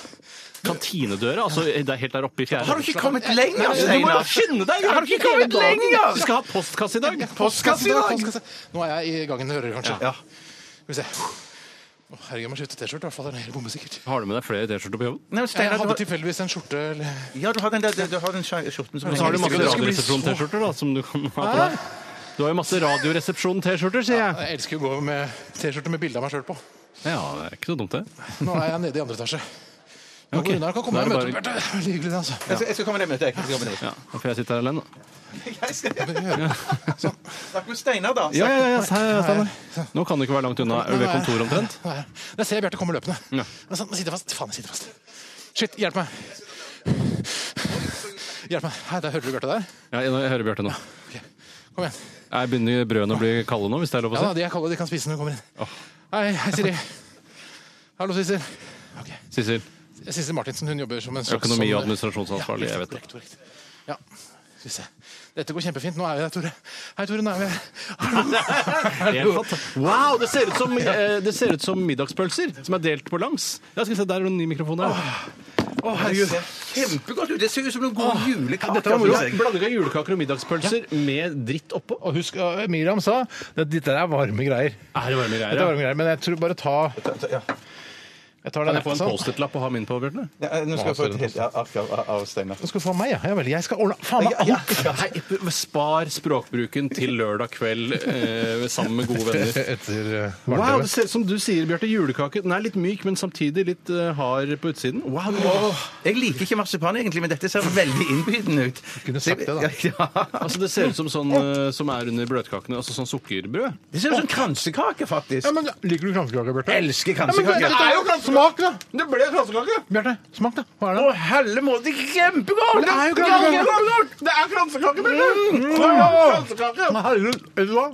S3: Kantinedøra? Altså, det er helt der oppe i fjerde?
S2: Har du ikke kommet lenger,
S3: Du må bare
S2: Steinar?
S3: skynde deg!
S2: Har du ikke kommet lenger?
S3: Du skal ha postkasse i dag!
S2: Postkasse i dag!
S1: Postkasse. Nå er jeg i gangen og rører, kanskje.
S2: Ja.
S1: Skal vi se. Å, herregud, jeg må skifte T-skjorte. i hvert fall. Det er helt bombesikkert.
S3: Har du med deg flere T-skjorter på jobben?
S2: Nei, men
S1: Jeg
S2: Steinar, du
S1: hadde
S2: har-
S1: tilfeldigvis en skjorte eller
S2: ja, du har den der du har den skjorten som
S3: Så har du
S1: skulle- det skulle
S3: masse
S1: bli
S3: Radioresepsjon-T-skjorter da, som du kan ha på deg. Du har jo masse Radioresepsjon-T-skjorter, sier jeg.
S1: Jeg elsker jo å gå med T-skjorte med bilde av meg sjøl på.
S3: Ja, det er ikke så dumt, det.
S1: Nå er jeg nede i andre etasje. Nå
S3: Ok.
S1: går Runar kan
S3: Da
S1: komme
S3: er
S1: og
S3: det
S1: møte opp. Bjarte. Veldig hyggelig, det, altså.
S2: Jeg skal- jeg skal komme deg i møte. jeg. Jeg skal komme deg i møte.
S3: Ja, da får jeg sitte her alene. da.
S2: Snakk med Steinar, da.
S3: Ja, ja, ja, her, Steinar. Nå kan du ikke være langt unna ved kontoret omtrent.
S1: Nå er jeg- Når jeg ser Bjarte komme løpende.
S3: Ja.
S1: Men sånn, nå sitter jeg fast. Faen, jeg sitter fast. Shit, hjelp meg. Hjelp meg. Hei, der hører du Bjarte der?
S3: Ja, jeg jeg hører Bjarte nå.
S1: Kom igjen.
S3: Er begynner brødene å bli kalde nå, hvis det er lov å
S1: Ja, da,
S3: si?
S1: de er kalde, de kan spise når de kommer inn. Hei, hei, Siri. Hallo, Sissel. Ok.
S3: Sissel,
S1: Sissel Martinsen hun jobber som en slags
S3: økonomi- og
S1: sånn- Ja,
S3: administrasjonsansvarlig, jeg vet det.
S1: korrekt, korrekt. Ja. Skal vi se. Dette går kjempefint. Nå er vi der, Tore. Hei, Tore. Nå er vi her. Hallo.
S3: Helt fatt. Wow, det ser, ut som, eh, det ser ut som middagspølser som er delt på langs. Ja, skal vi se, der er det en ny mikrofon der.
S2: Å, herregud. Det ser Kjempegodt ut. Det ser ut som noen gode julekaker.
S3: Dette var moro.
S2: synes jeg.
S3: Blanding av julekaker og middagspølser med dritt oppå.
S1: Og husk, uh, Miriam sa at dette er varme greier.
S3: Er det varme
S1: Dette er varme greier, Men jeg tror bare ta Jeg tar
S3: Kan
S1: den
S3: jeg få en
S1: sånn.
S3: Post-It-lapp å ha min på, Bjørte?
S2: Ja, eh, Nå skal jeg få et helt ja, ark av, av- av Steinar.
S1: Nå skal du få meg, ja. ja vel, jeg skal ordne Faen meg
S2: Ja, ja.
S1: alt!
S3: Nei, spar språkbruken til lørdag kveld eh, sammen med gode venner.
S1: Etter uh,
S3: Wow, det ser ut som du sier, Bjarte, julekake. Den er litt myk, men samtidig litt eh, hard på utsiden. Wow, det er-
S2: Jeg liker ikke marsipan egentlig, men dette ser veldig innbydende ut.
S1: kunne sagt det, da.
S2: Ja, ja.
S3: altså, det ser ut som sånn eh, som er under bløtkakene, altså sånn sukkerbrød.
S2: Det ser ut som kransekake, faktisk.
S1: Ja, men Liker du kransekake, Bjarte?
S2: Elsker
S1: Ja, men
S2: kransekake.
S1: det- det er jo krans- Smak, da!
S3: Det ble kransekake!
S1: Bjarte, smak, da. Hva er det?
S2: Å, helle må det kjempegodt!
S1: Det er jo kransekake.
S3: Det er kransekake,
S2: Mm.
S1: Men herregud, vet du hva?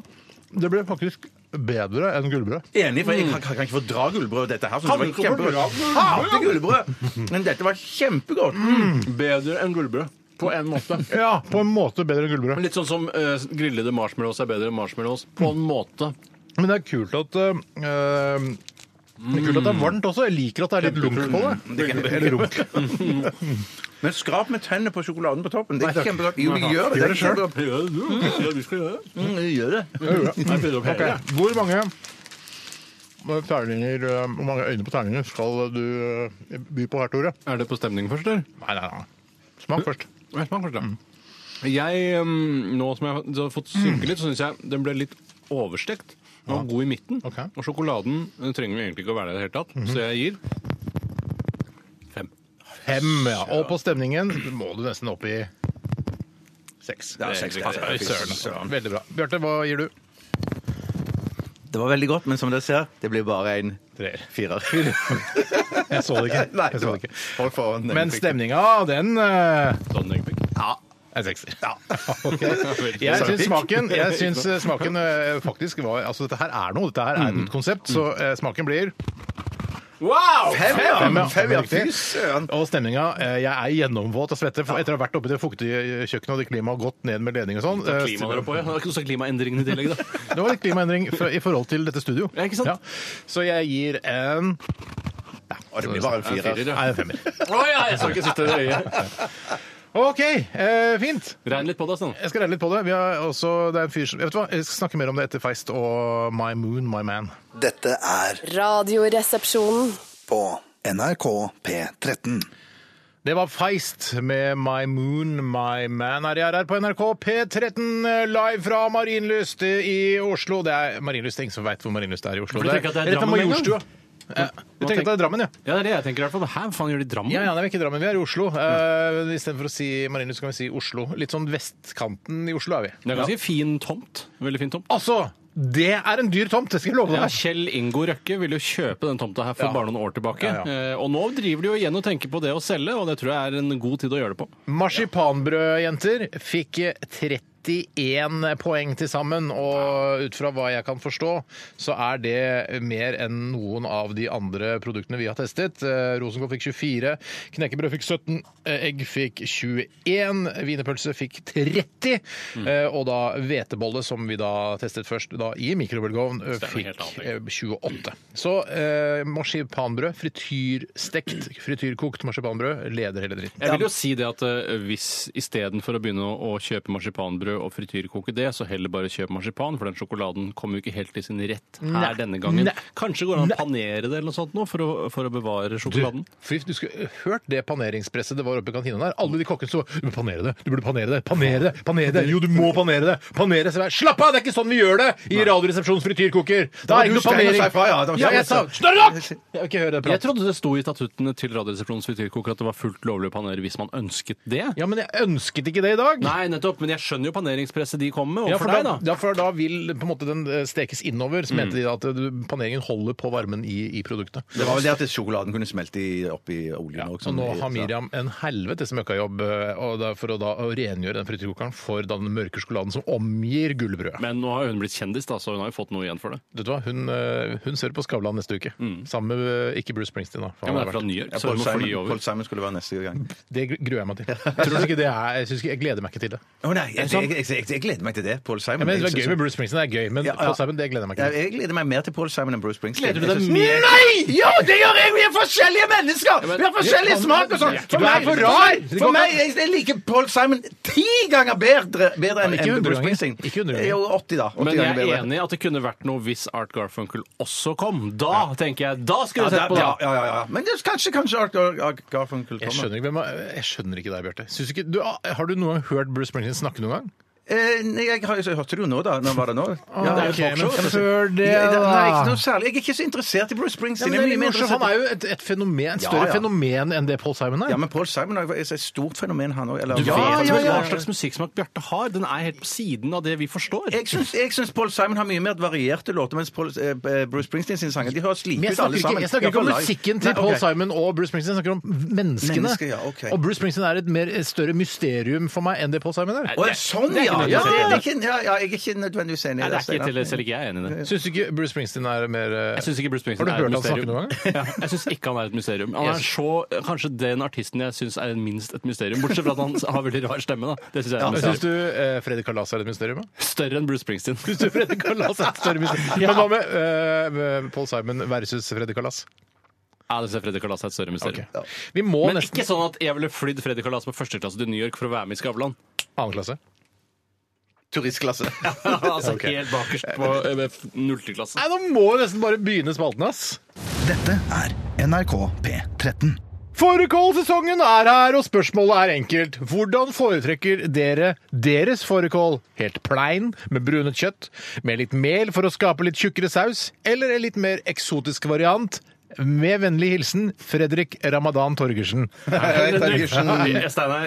S1: Det ble faktisk bedre enn gullbrød.
S2: Enig, for jeg kan, kan ikke fordra gullbrød. Dette her synes jeg var kjempegodt. Hater gullbrød! Men dette var kjempegodt.
S3: Bedre enn gullbrød. På en måte.
S1: Ja, på en måte bedre enn gullbrød.
S3: Litt sånn som eh, grillede marshmallows er bedre enn marshmallows. På en måte.
S1: Men det er kult at øh, øh, det er kult at det er varmt også. Jeg liker at det er litt lunk på det. Eller runk.
S2: Mm. Men skrap med tennene på sjokoladen på toppen. Det er ikke kjempegodt. Jo, vi gjør det.
S1: Gjør det
S2: det er
S1: selv.
S2: kjempegodt.
S3: Ja, vi skal gjøre det.
S2: Mm, vi gjør det.
S1: Ok, Hvor mange øh, terninger, øh, hvor mange øyne på terningen skal du øh, by på her, Tore?
S3: Er det på stemning først, eller?
S1: Nei, nei, nei. Smak først.
S3: Jeg smaker først, da. Jeg, ehm, nå som jeg har fått synke litt, så syns jeg den ble litt overstekt. Den var god i midten.
S1: Ok.
S3: Og sjokoladen eh, trenger jo egentlig ikke å være der i det hele tatt, så jeg gir fem.
S1: Fem, ja. Og på stemningen må du nesten opp i seks.
S2: Ja, seks, ja,
S1: Fy
S2: seks.
S1: søren, altså. Veldig bra. Bjarte, hva gir du?
S2: Det var veldig godt, men som dere ser, det blir bare en
S1: Treer.
S2: firer.
S1: Jeg så det ikke.
S2: Nei,
S1: Jeg så det ikke.
S2: Folk får den
S1: Men
S2: fikk-
S1: stemninga, den eh,
S3: Sånn, Egenbygg.
S1: er sekser. Jeg syns smaken, jeg syns eh, smaken eh, faktisk var Altså, dette her er noe. Dette her er et nytt konsept, så eh, smaken blir
S3: Wow!
S2: Fem,
S1: Fem,
S2: ja!
S1: ja.
S2: Fem, ja. Fy
S1: Riktig.
S2: søren.
S1: Og stemninga eh, Jeg er gjennomvåt av svette for etter å ha vært oppe i det fuktige eh, kjøkkenet og det klimaet og gått ned med ledning og sånn. eh,
S3: Klima der oppe, ja. Det var ikke noe sånn klimaendringene i tillegg, da.
S1: Det var litt klimaendring for- i forhold til dette studio.
S3: Ja, ikke sant?
S1: Så jeg gir en
S2: Og det blir bare en firer.
S3: Firer, ja.
S1: Nei, en femmer.
S3: Å ja, jeg så ikke sitte i øyet.
S1: OK, eh, fint.
S3: Regn litt på deg, sånn.
S1: Jeg skal regne litt på det. Vi har også, det er en fyr som Vet du hva, jeg skal snakke mer om det etter Feist og My Moon, My Man.
S4: Dette er
S5: Radioresepsjonen.
S4: på NRK P13.
S1: Det var Feist med My Moon, My Man her jeg er her på NRK P13 live fra Marienlyst i Oslo. Det er Marienlyst, det er ingen som veit hvor Marienlyst er i Oslo.
S3: For du tenker at det er
S1: rett ved
S3: Drammen en gang?
S1: Majorstua. Ja, Du tenker at det er Drammen, ja?
S3: Ja, det er det jeg tenker i hvert fall. Hæ, hva faen gjør de i Drammen?
S1: Ja, ja, det er ikke Drammen, vi er i Oslo. Uh, Istedenfor å si Marienlyst, kan vi si Oslo. Litt sånn vestkanten i Oslo er vi.
S3: Det er ganske fin tomt. Veldig fin tomt.
S1: Altså, det er en dyr tomt, det skal jeg love
S3: Ja,
S1: deg.
S3: Kjell Ingo Røkke ville jo kjøpe den tomta her for
S1: Ja.
S3: bare noen år tilbake.
S1: Ja, ja.
S3: Eh, Og nå driver de jo igjen og tenker på det å selge, og det tror jeg er en god tid å gjøre det på.
S1: Marsipanbrødjenter fikk 31 poeng til sammen, og ut fra hva jeg kan forstå, så er det mer enn noen av de andre produktene vi har testet. Eh, Rosenkål fikk 24, knekkebrød fikk 17, eh, egg fikk 21, wienerpølse fikk 30,
S3: Mm.
S1: eh, og da hvetebolle, som vi da testet først da i mikrobølgeovn, eh,
S3: Stemmer,
S1: fikk
S3: helt annet,
S1: eh, 28. Så eh, marsipanbrød, frityrstekt, frityrkokt marsipanbrød, leder hele dritten.
S3: Jeg vil jo si det at eh, hvis istedenfor å begynne å, å kjøpe marsipanbrød og frityrkoke det, så heller bare kjøp marsipan, for den sjokoladen kommer jo ikke helt til sin rett her denne gangen.
S1: Nei.
S3: Kanskje går det an å panere det eller noe sånt nå, for å, for å bevare sjokoladen?
S1: Du, Frif, du skulle eh, hørt det paneringspresset det var oppe i kantina der. Alle de kokkene så Du burde panere det, du burde panere det, panere det, panere det. Jo, du må panere det! Panere! Så jeg, Slapp av, det er ikke sånn vi gjør det i Radioresepsjonens frityrkoker! Da
S2: var
S1: er det
S2: du,
S1: ikke noe panering.
S2: Steiner, sa fra, ja, det var
S1: ja,
S2: Steiner
S1: jeg sa
S2: som-
S1: Snørr nok! Jeg vil ikke høre det
S3: Jeg
S1: pratet.
S3: trodde det sto i statuttene til Radioresepsjonens frityrkoker at det var fullt lovlig å panere hvis man ønsket det.
S1: Ja, men jeg ønsket ikke det i dag.
S3: Nei, nettopp, men jeg skjønner jo paneringspresset de kommer med. Og
S1: Ja,
S3: for,
S1: for,
S3: deg, da.
S1: Ja, for da vil på en måte den eh, stekes innover. Så mente de da at eh, du, paneringen holder på varmen i, i produktet.
S2: Det var vel det at sjokoladen kunne smelte i- opp i oljen
S1: Ja,
S2: også,
S1: og
S2: som-
S1: nå har Miriam en helvetes møkkajobb eh, og da- for å da å rengjøre den frityrkokeren for da den mørke sjokoladen som omgir gullbrødet.
S3: Men nå har hun blitt kjendis, da, så hun har jo fått noe igjen for det.
S1: Vet du hva, hun, eh, hun ser på Skavlan neste uke. Sammen med eh, ikke Bruce Springsteen, da. for
S3: Ja,
S1: han
S3: men
S1: har
S3: det er fra
S1: vært-
S3: New York,
S2: Mm. Ja,
S3: så
S2: Paul
S3: hun må fly
S2: Simon,
S3: over.
S2: Paul Simon skulle være neste gang.
S1: det gr- gruer jeg meg til. Jeg, tror ikke det er, jeg, synes ikke, jeg gleder meg ikke til det.
S2: Å nei, jeg, jeg, jeg, jeg, jeg gleder meg til sånn. det. Paul Simon.
S1: Jeg mener, det
S2: Jeg
S1: er gøy
S2: synes-
S1: med Bruce Springsteen, det er gøy, men
S2: Ja, ja.
S1: Paul Simon, det gleder jeg meg
S2: Ja,
S1: ikke til.
S2: jeg gleder meg mer til Paul Simon enn Bruce Springsteen.
S3: Gleder du deg
S2: Jeg synes-
S3: mer?
S2: Nei! Jo, det gjør jeg! Vi er forskjellige mennesker! Vi har forskjellig smak og sånn!
S1: Du er for rar! Det går
S2: For meg, jeg, jeg liker Paul Simon ti ganger bedre, bedre enn
S1: Ikke
S2: enn
S1: hundre
S2: Bruce
S1: ganger.
S2: Springsteen.
S1: Ikke hundre ganger.
S2: Jo, 80, da. 80
S3: Men jeg
S2: ganger
S3: er
S2: bedre.
S3: enig i at det kunne vært noe hvis Art Garfunkel også kom. Da tenker jeg, da skulle du sett på det!
S2: ja, ja, ja, ja. Men det, er kanskje, kanskje Art Gar- Gar- Garfunkel
S1: Jeg
S2: kommer.
S1: skjønner ikke, hvem er- jeg skjønner ikke deg, Bjarte. Syns du ikke- du- ah, Har du noen gang hørt Bruce Springsteen snakke noen gang?
S2: Eh, nei, jeg, har- jeg hørte det jo nå, da. Når var det nå? Ja,
S1: Ah, ok,
S2: det er et
S1: men
S2: talkshow.
S1: før det,
S2: Ja, det-
S1: da.
S2: Nei, ikke noe særlig. Jeg er ikke så interessert i Bruce Springsteen.
S1: Ja, men det
S2: Jeg
S1: er
S2: mye mer
S1: morsomt. han
S2: interessert i-
S1: er jo et, et fenomen, et større
S2: Ja, ja.
S1: fenomen enn det Paul Simon er.
S2: Ja, men Paul Simon er jo et stort fenomen, han òg.
S3: Du vet vel hva slags musikksmak Bjarte har? Den er helt på siden av det vi forstår.
S2: Jeg syns, jeg syns Paul Simon har mye mer varierte låter, mens Paul, eh, Bruce Springsteen sine sanger De høres like
S1: Men jeg
S2: ut,
S1: snakker,
S2: alle
S1: ikke,
S2: sammen.
S1: jeg snakker ikke om
S2: Iallfall live.
S1: musikken til
S2: Nei,
S1: Paul
S2: ok.
S1: Simon og Bruce Springsteen, jeg snakker om menneskene.
S2: Mennesker, ja, ok.
S1: Og Bruce Springsteen er et, mer, et større mysterium for meg enn det Paul Simon er.
S2: Å, ja, sånn,
S3: Det
S2: ja!
S3: er ikke
S2: ja, det, det er
S3: nødvendigvis
S2: ikke, ja, ja! Jeg er ikke nødvendigvis enig
S3: Nei,
S2: i det.
S3: det er ikke
S2: Steinar.
S3: til, selv ikke jeg er enig i det.
S1: Syns du ikke Bruce Springsteen er mer eh,
S3: Jeg syns ikke Bruce Springsteen
S1: Har du
S3: er
S1: hørt han
S3: et
S1: snakke
S3: mysterium.
S1: noen gang?
S3: Ja, jeg syns ikke han er et mysterium. Han er så, kanskje den artisten jeg syns er minst et mysterium. Bortsett fra at han har veldig rar stemme, da. Det syns jeg er et
S1: Syns
S3: mysterium.
S1: du eh, Freddy Kalas er et mysterium? da?
S3: Større enn Bruce Springsteen.
S1: Syns du Freddy Kalas er et større mysterium? Men hva med eh, med Paul Simon versus Freddy Kalas?
S3: Ja, det syns jeg Freddy Kalas er et større mysterium.
S1: Vi må
S3: Men
S1: nesten
S3: ikke sånn at jeg ville flydd Freddy Kalas på første klasse til New York for å være med i Skavlan.
S1: Annen klasse.
S2: Turistklasse.
S3: altså helt bakerst på eh, nullte klasse.
S1: Nei, nå må vi nesten bare begynne spalten, ass.
S4: Dette er NRK P13.
S1: Fårikålsesongen er her, og spørsmålet er enkelt. Hvordan foretrekker dere deres fårikål? Helt plein, med brunet kjøtt, med litt mel for å skape litt tjukkere saus, eller en litt mer eksotisk variant? Med vennlig hilsen Fredrik Ramadan Torgersen.
S3: Nei, Steinar,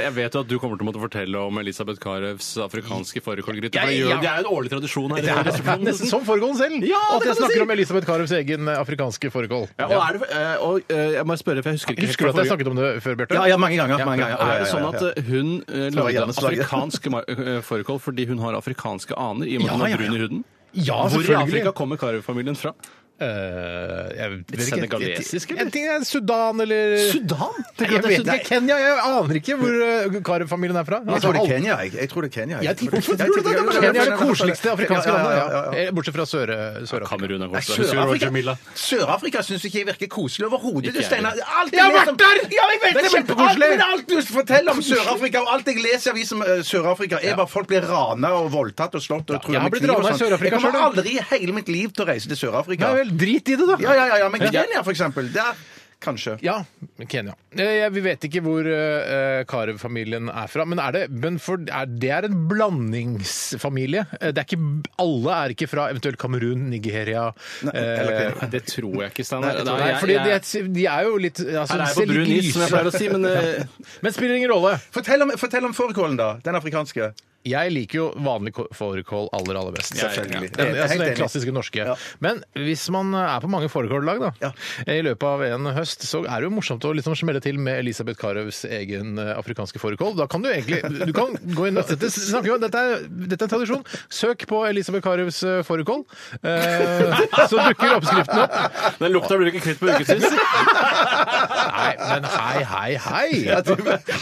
S3: jeg vet jo at du kommer til å måtte fortelle om Elisabeth Karevs afrikanske fårikålgryte. for Det
S1: Jeg-
S3: gjør-
S1: jeg-
S3: det er jo en årlig tradisjon her. i
S1: Nesten
S3: Radioresepsjonen.
S1: Altså, som fårikålen selv!
S3: Ja,
S1: og at jeg
S3: det kan du
S1: snakker
S3: si.
S1: om Elisabeth Karevs egen eh, afrikanske fårikål.
S3: Ja, og er det, eh, og eh, jeg må spørre, for jeg husker ikke helt
S1: Husker du
S3: fra
S1: at jeg
S3: forrige-
S1: snakket om det før, Bjarte?
S2: Ja, ja, mange ganger. Mange ganger. Ja, ja,
S3: Er det
S2: ja,
S3: sånn
S2: ja.
S3: at eh, hun eh,
S2: Slå
S3: lagde
S2: gjerne slaget.
S3: afrikansk ma- eh, fårikål fordi hun har afrikanske aner i og med at hun
S1: Ja,
S3: er
S1: ja, ja.
S3: brun i huden?
S1: Ja,
S3: Hvor i
S1: selvfølgelig.
S3: Afrika kommer Karev-familien fra?
S1: Eh, jeg vet ikke.
S3: senegalesisk, eller?
S1: En ting er Sudan eller
S2: Eh,
S3: Sudan?
S1: Jeg vet ikke. Kenya. Jeg aner ikke hvor eh, Karev-familien er fra.
S2: Jeg tror det er
S1: alt-
S2: Kenya. Jeg, jeg tror det er Kenya. jeg.
S1: Jeg tipper-
S2: Jeg
S1: Hvorfor tror du det?
S2: tipper-
S1: Kenya er det koseligste afrikanske
S2: Ja, ja,
S1: landet.
S2: ja, ja, ja.
S1: ja. Eh, Bortsett fra Sør- Sør-Afrika.
S3: Kamerun er godt. Husker du Roger
S2: Sør-Afrika
S3: Milla?
S2: Sør-Afrika syns ikke jeg virker koselig overhodet.
S3: Ikke
S2: du,
S3: jeg
S2: Steinar.
S3: heller.
S2: Alt
S1: Jeg har
S2: leser om-
S1: vært der!
S2: Ja, jeg vet
S1: Det er
S2: det, men
S1: kjempekoselig!
S2: Alt, men alt du forteller om Sør-Afrika, og alt jeg leser i aviser om eh, Sør-Afrika, er bare folk blir rana og voldtatt og slått og
S1: jeg
S2: trua
S1: har
S2: med
S1: blitt
S2: kniv og
S1: ranet i
S2: sånn.
S1: Sør-Afrika
S2: Jeg kommer
S1: selv,
S2: aldri i hele mitt liv til å reise til
S1: Ja
S2: Sør-Afrika.
S1: vel, drit i det, da!
S2: Ja, ja, ja, ja, men Kenya, for eksempel. Der Kanskje.
S1: Ja, Kenya. Eh, jeg- Vi vet ikke hvor eh, Karev-familien er fra, men, er det, men for, er, det er en blandingsfamilie. Eh, Det er ikke, alle er ikke fra eventuelt Kamerun, Nigeria eh,
S3: Det tror jeg ikke, Steinar.
S1: Nei, fordi de, er, de er jo litt altså, de
S3: Her er jeg på
S1: ser litt
S3: brun is, som
S1: lyse.
S3: jeg pleier å si, men eh,
S1: Men spiller ingen rolle.
S2: Fortell om, fortell om fårikålen, da. Den afrikanske.
S1: Jeg liker jo vanlig ko- fårikål aller, aller best.
S2: Selvfølgelig.
S1: Den,
S2: Jeg er
S1: altså,
S2: helt
S1: den
S2: enig.
S1: klassiske norske. Men hvis man er på mange fårikållag da, i løpet av en høst, så er det jo morsomt å liksom smelle til med Elisabeth Karøvs egen eh, afrikanske fårikål. Da kan du egentlig du kan gå inn, dette, snakker vi om, dette, er, dette er en tradisjon. Søk på Elisabeth Karøvs eh, fårikål, eh, så dukker oppskriften opp.
S3: den lukta blir du ikke kvitt på ukevis.
S1: Nei, men hei, hei, hei!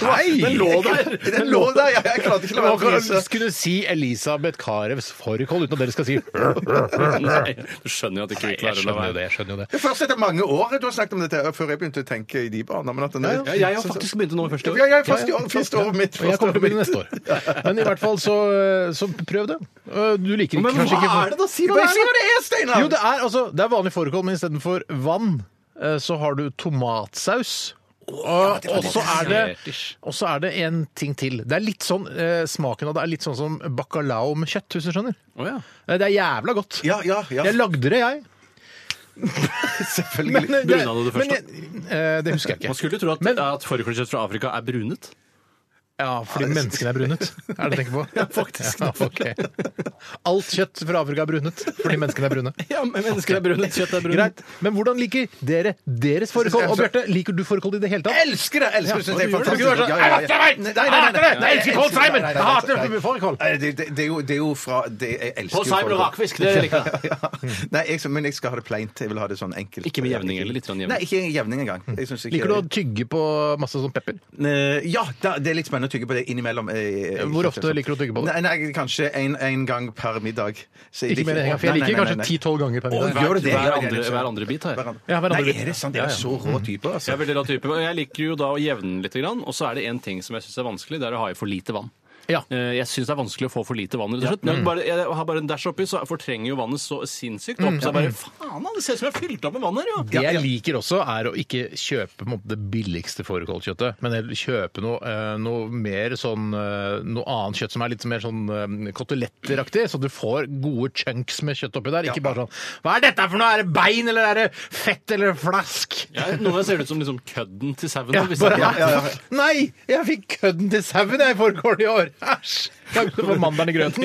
S1: Hei!
S3: Den lå der!
S2: Den lå der! Jeg, jeg klarte ikke å la
S1: Man
S2: være å
S1: kan
S2: fnise.
S1: kunne si Elisabeth Karevs fårikål uten at dere skal si
S3: Nei, du skjønner jo at ikke vi klarer å la være.
S1: jeg skjønner jo det.
S2: Det er Først etter mange år du har snakket om dette, før jeg begynte å tenke i de baner. Men at den,
S3: Ja, jeg har faktisk begynt nå i første
S2: Ja,
S3: år.
S2: jeg, første, år, første året mitt.
S1: Og jeg kommer til å begynne
S2: første året mitt.
S1: neste år. Men i hvert fall så, så prøv det. Du liker ikke,
S3: Men
S1: kanskje ikke
S3: hva er det da? Si hva
S2: Bare
S3: det
S2: si
S3: er!
S2: hva det er, Steinar!
S1: Jo, det er, altså, det er vanlig fårikål, men istedenfor vann eh, så har du tomatsaus. Og og så er, det- og så er det en ting til. Det er litt sånn, eh, Smaken av det er litt sånn som bacalao med kjøtt, hvis du skjønner.
S3: Å, ja.
S1: Eh, Det er jævla godt.
S2: Ja, ja, ja.
S1: Jeg lagde det, jeg. Selvfølgelig. Men,
S3: Bruna du det først,
S1: men jeg- eh, det husker jeg ikke.
S3: Man skulle jo tro at,
S1: Men-
S3: at fårikålkjøtt fra Afrika er brunet.
S1: Ja, fordi menneskene er brunet. Er det du tenker på? Ja, faktisk. Alt kjøtt fra Afrika er brunet fordi menneskene er brune.
S3: Ja, men mennesker er brunet, kjøtt er
S1: Greit. Men hvordan liker dere deres fårikål? Og Bjarte, liker du fårikål i det hele tatt?
S2: Elsker det! Elsker det! Synes jeg er
S1: Gjør det.
S2: fantastisk.
S1: Du er sånn,
S2: Ja, ja,
S1: «Jeg
S2: ja.
S1: hater det!
S2: Nei, nei, nei, nei, nei, nei,
S1: Jeg elsker Paul Simon!
S2: nei, nei, nei,
S1: Jeg hater
S2: nei, nei.
S1: fårikål!
S2: Nei, Det, det, det, er jo, det er jo fra det, Jeg elsker jo folk.
S3: rakfisk, det liker jeg.
S2: Ja.
S1: Mm.
S2: Nei, jeg, skal- men jeg skal ha det pleint. Jeg vil ha det sånn enkelt.
S3: Ikke med jevning, eller litt sånn jevning?
S2: Nei, ikke jevning engang. Jeg synes ikke-
S1: Liker du å tygge på masse sånn pepper?
S2: Eh, Ja, da- det er litt spennende å tygge på det innimellom. eh, eh,
S1: Hvor
S2: kjøtt,
S1: ofte
S2: altså.
S1: liker du å tygge på det?
S2: Nei, nei kanskje en, en gang per middag. Så jeg
S1: Ikke mer enn en gang, for
S2: Nei,
S1: jeg
S2: nei,
S1: liker
S2: nei,
S1: kanskje
S2: nei.
S1: 10-12 ganger per
S2: Å,
S1: middag.
S2: gjør du det? Ja,
S3: Hver
S2: ja,
S3: andre-
S2: ja.
S3: hver andre bit har jeg.
S2: Hver andre.
S1: Ja, hver andre
S2: Nei,
S1: bit.
S2: er det sant?
S1: Ja,
S2: Dere er
S1: ja.
S2: så rå typer,
S3: Jeg er
S2: altså.
S3: veldig rar type, og jeg liker jo da å jevne den litt, grann, og så er det en ting som jeg syns er vanskelig, det er å ha i for lite vann.
S1: Ja.
S3: Eh, Jeg syns det er vanskelig å få for lite vann. rett og slett. Når jeg, bare, jeg har bare en dash oppi, så fortrenger jo vannet så sinnssykt opp. Så jeg bare Faen, da, det ser ut som jeg har fylt opp med vann her, jo!
S1: Det jeg liker også, er å ikke kjøpe på en måte, det billigste fårikålkjøttet, men heller kjøpe noe, eh, noe mer sånn eh, Noe annet kjøtt som er litt mer sånn eh, koteletteraktig, så du får gode chunks med kjøtt oppi der. Ikke bare sånn Hva er dette for noe? Er det bein, eller er det fett, eller flask?
S3: Ja, noen ganger ser det ut som liksom kødden til sauen.
S1: Ja,
S3: hvis
S1: bare,
S3: jeg-
S1: Nei! Jeg fikk kødden til sauen jeg i fårikål i år! Æsj! Lagde for mandelen i grøten.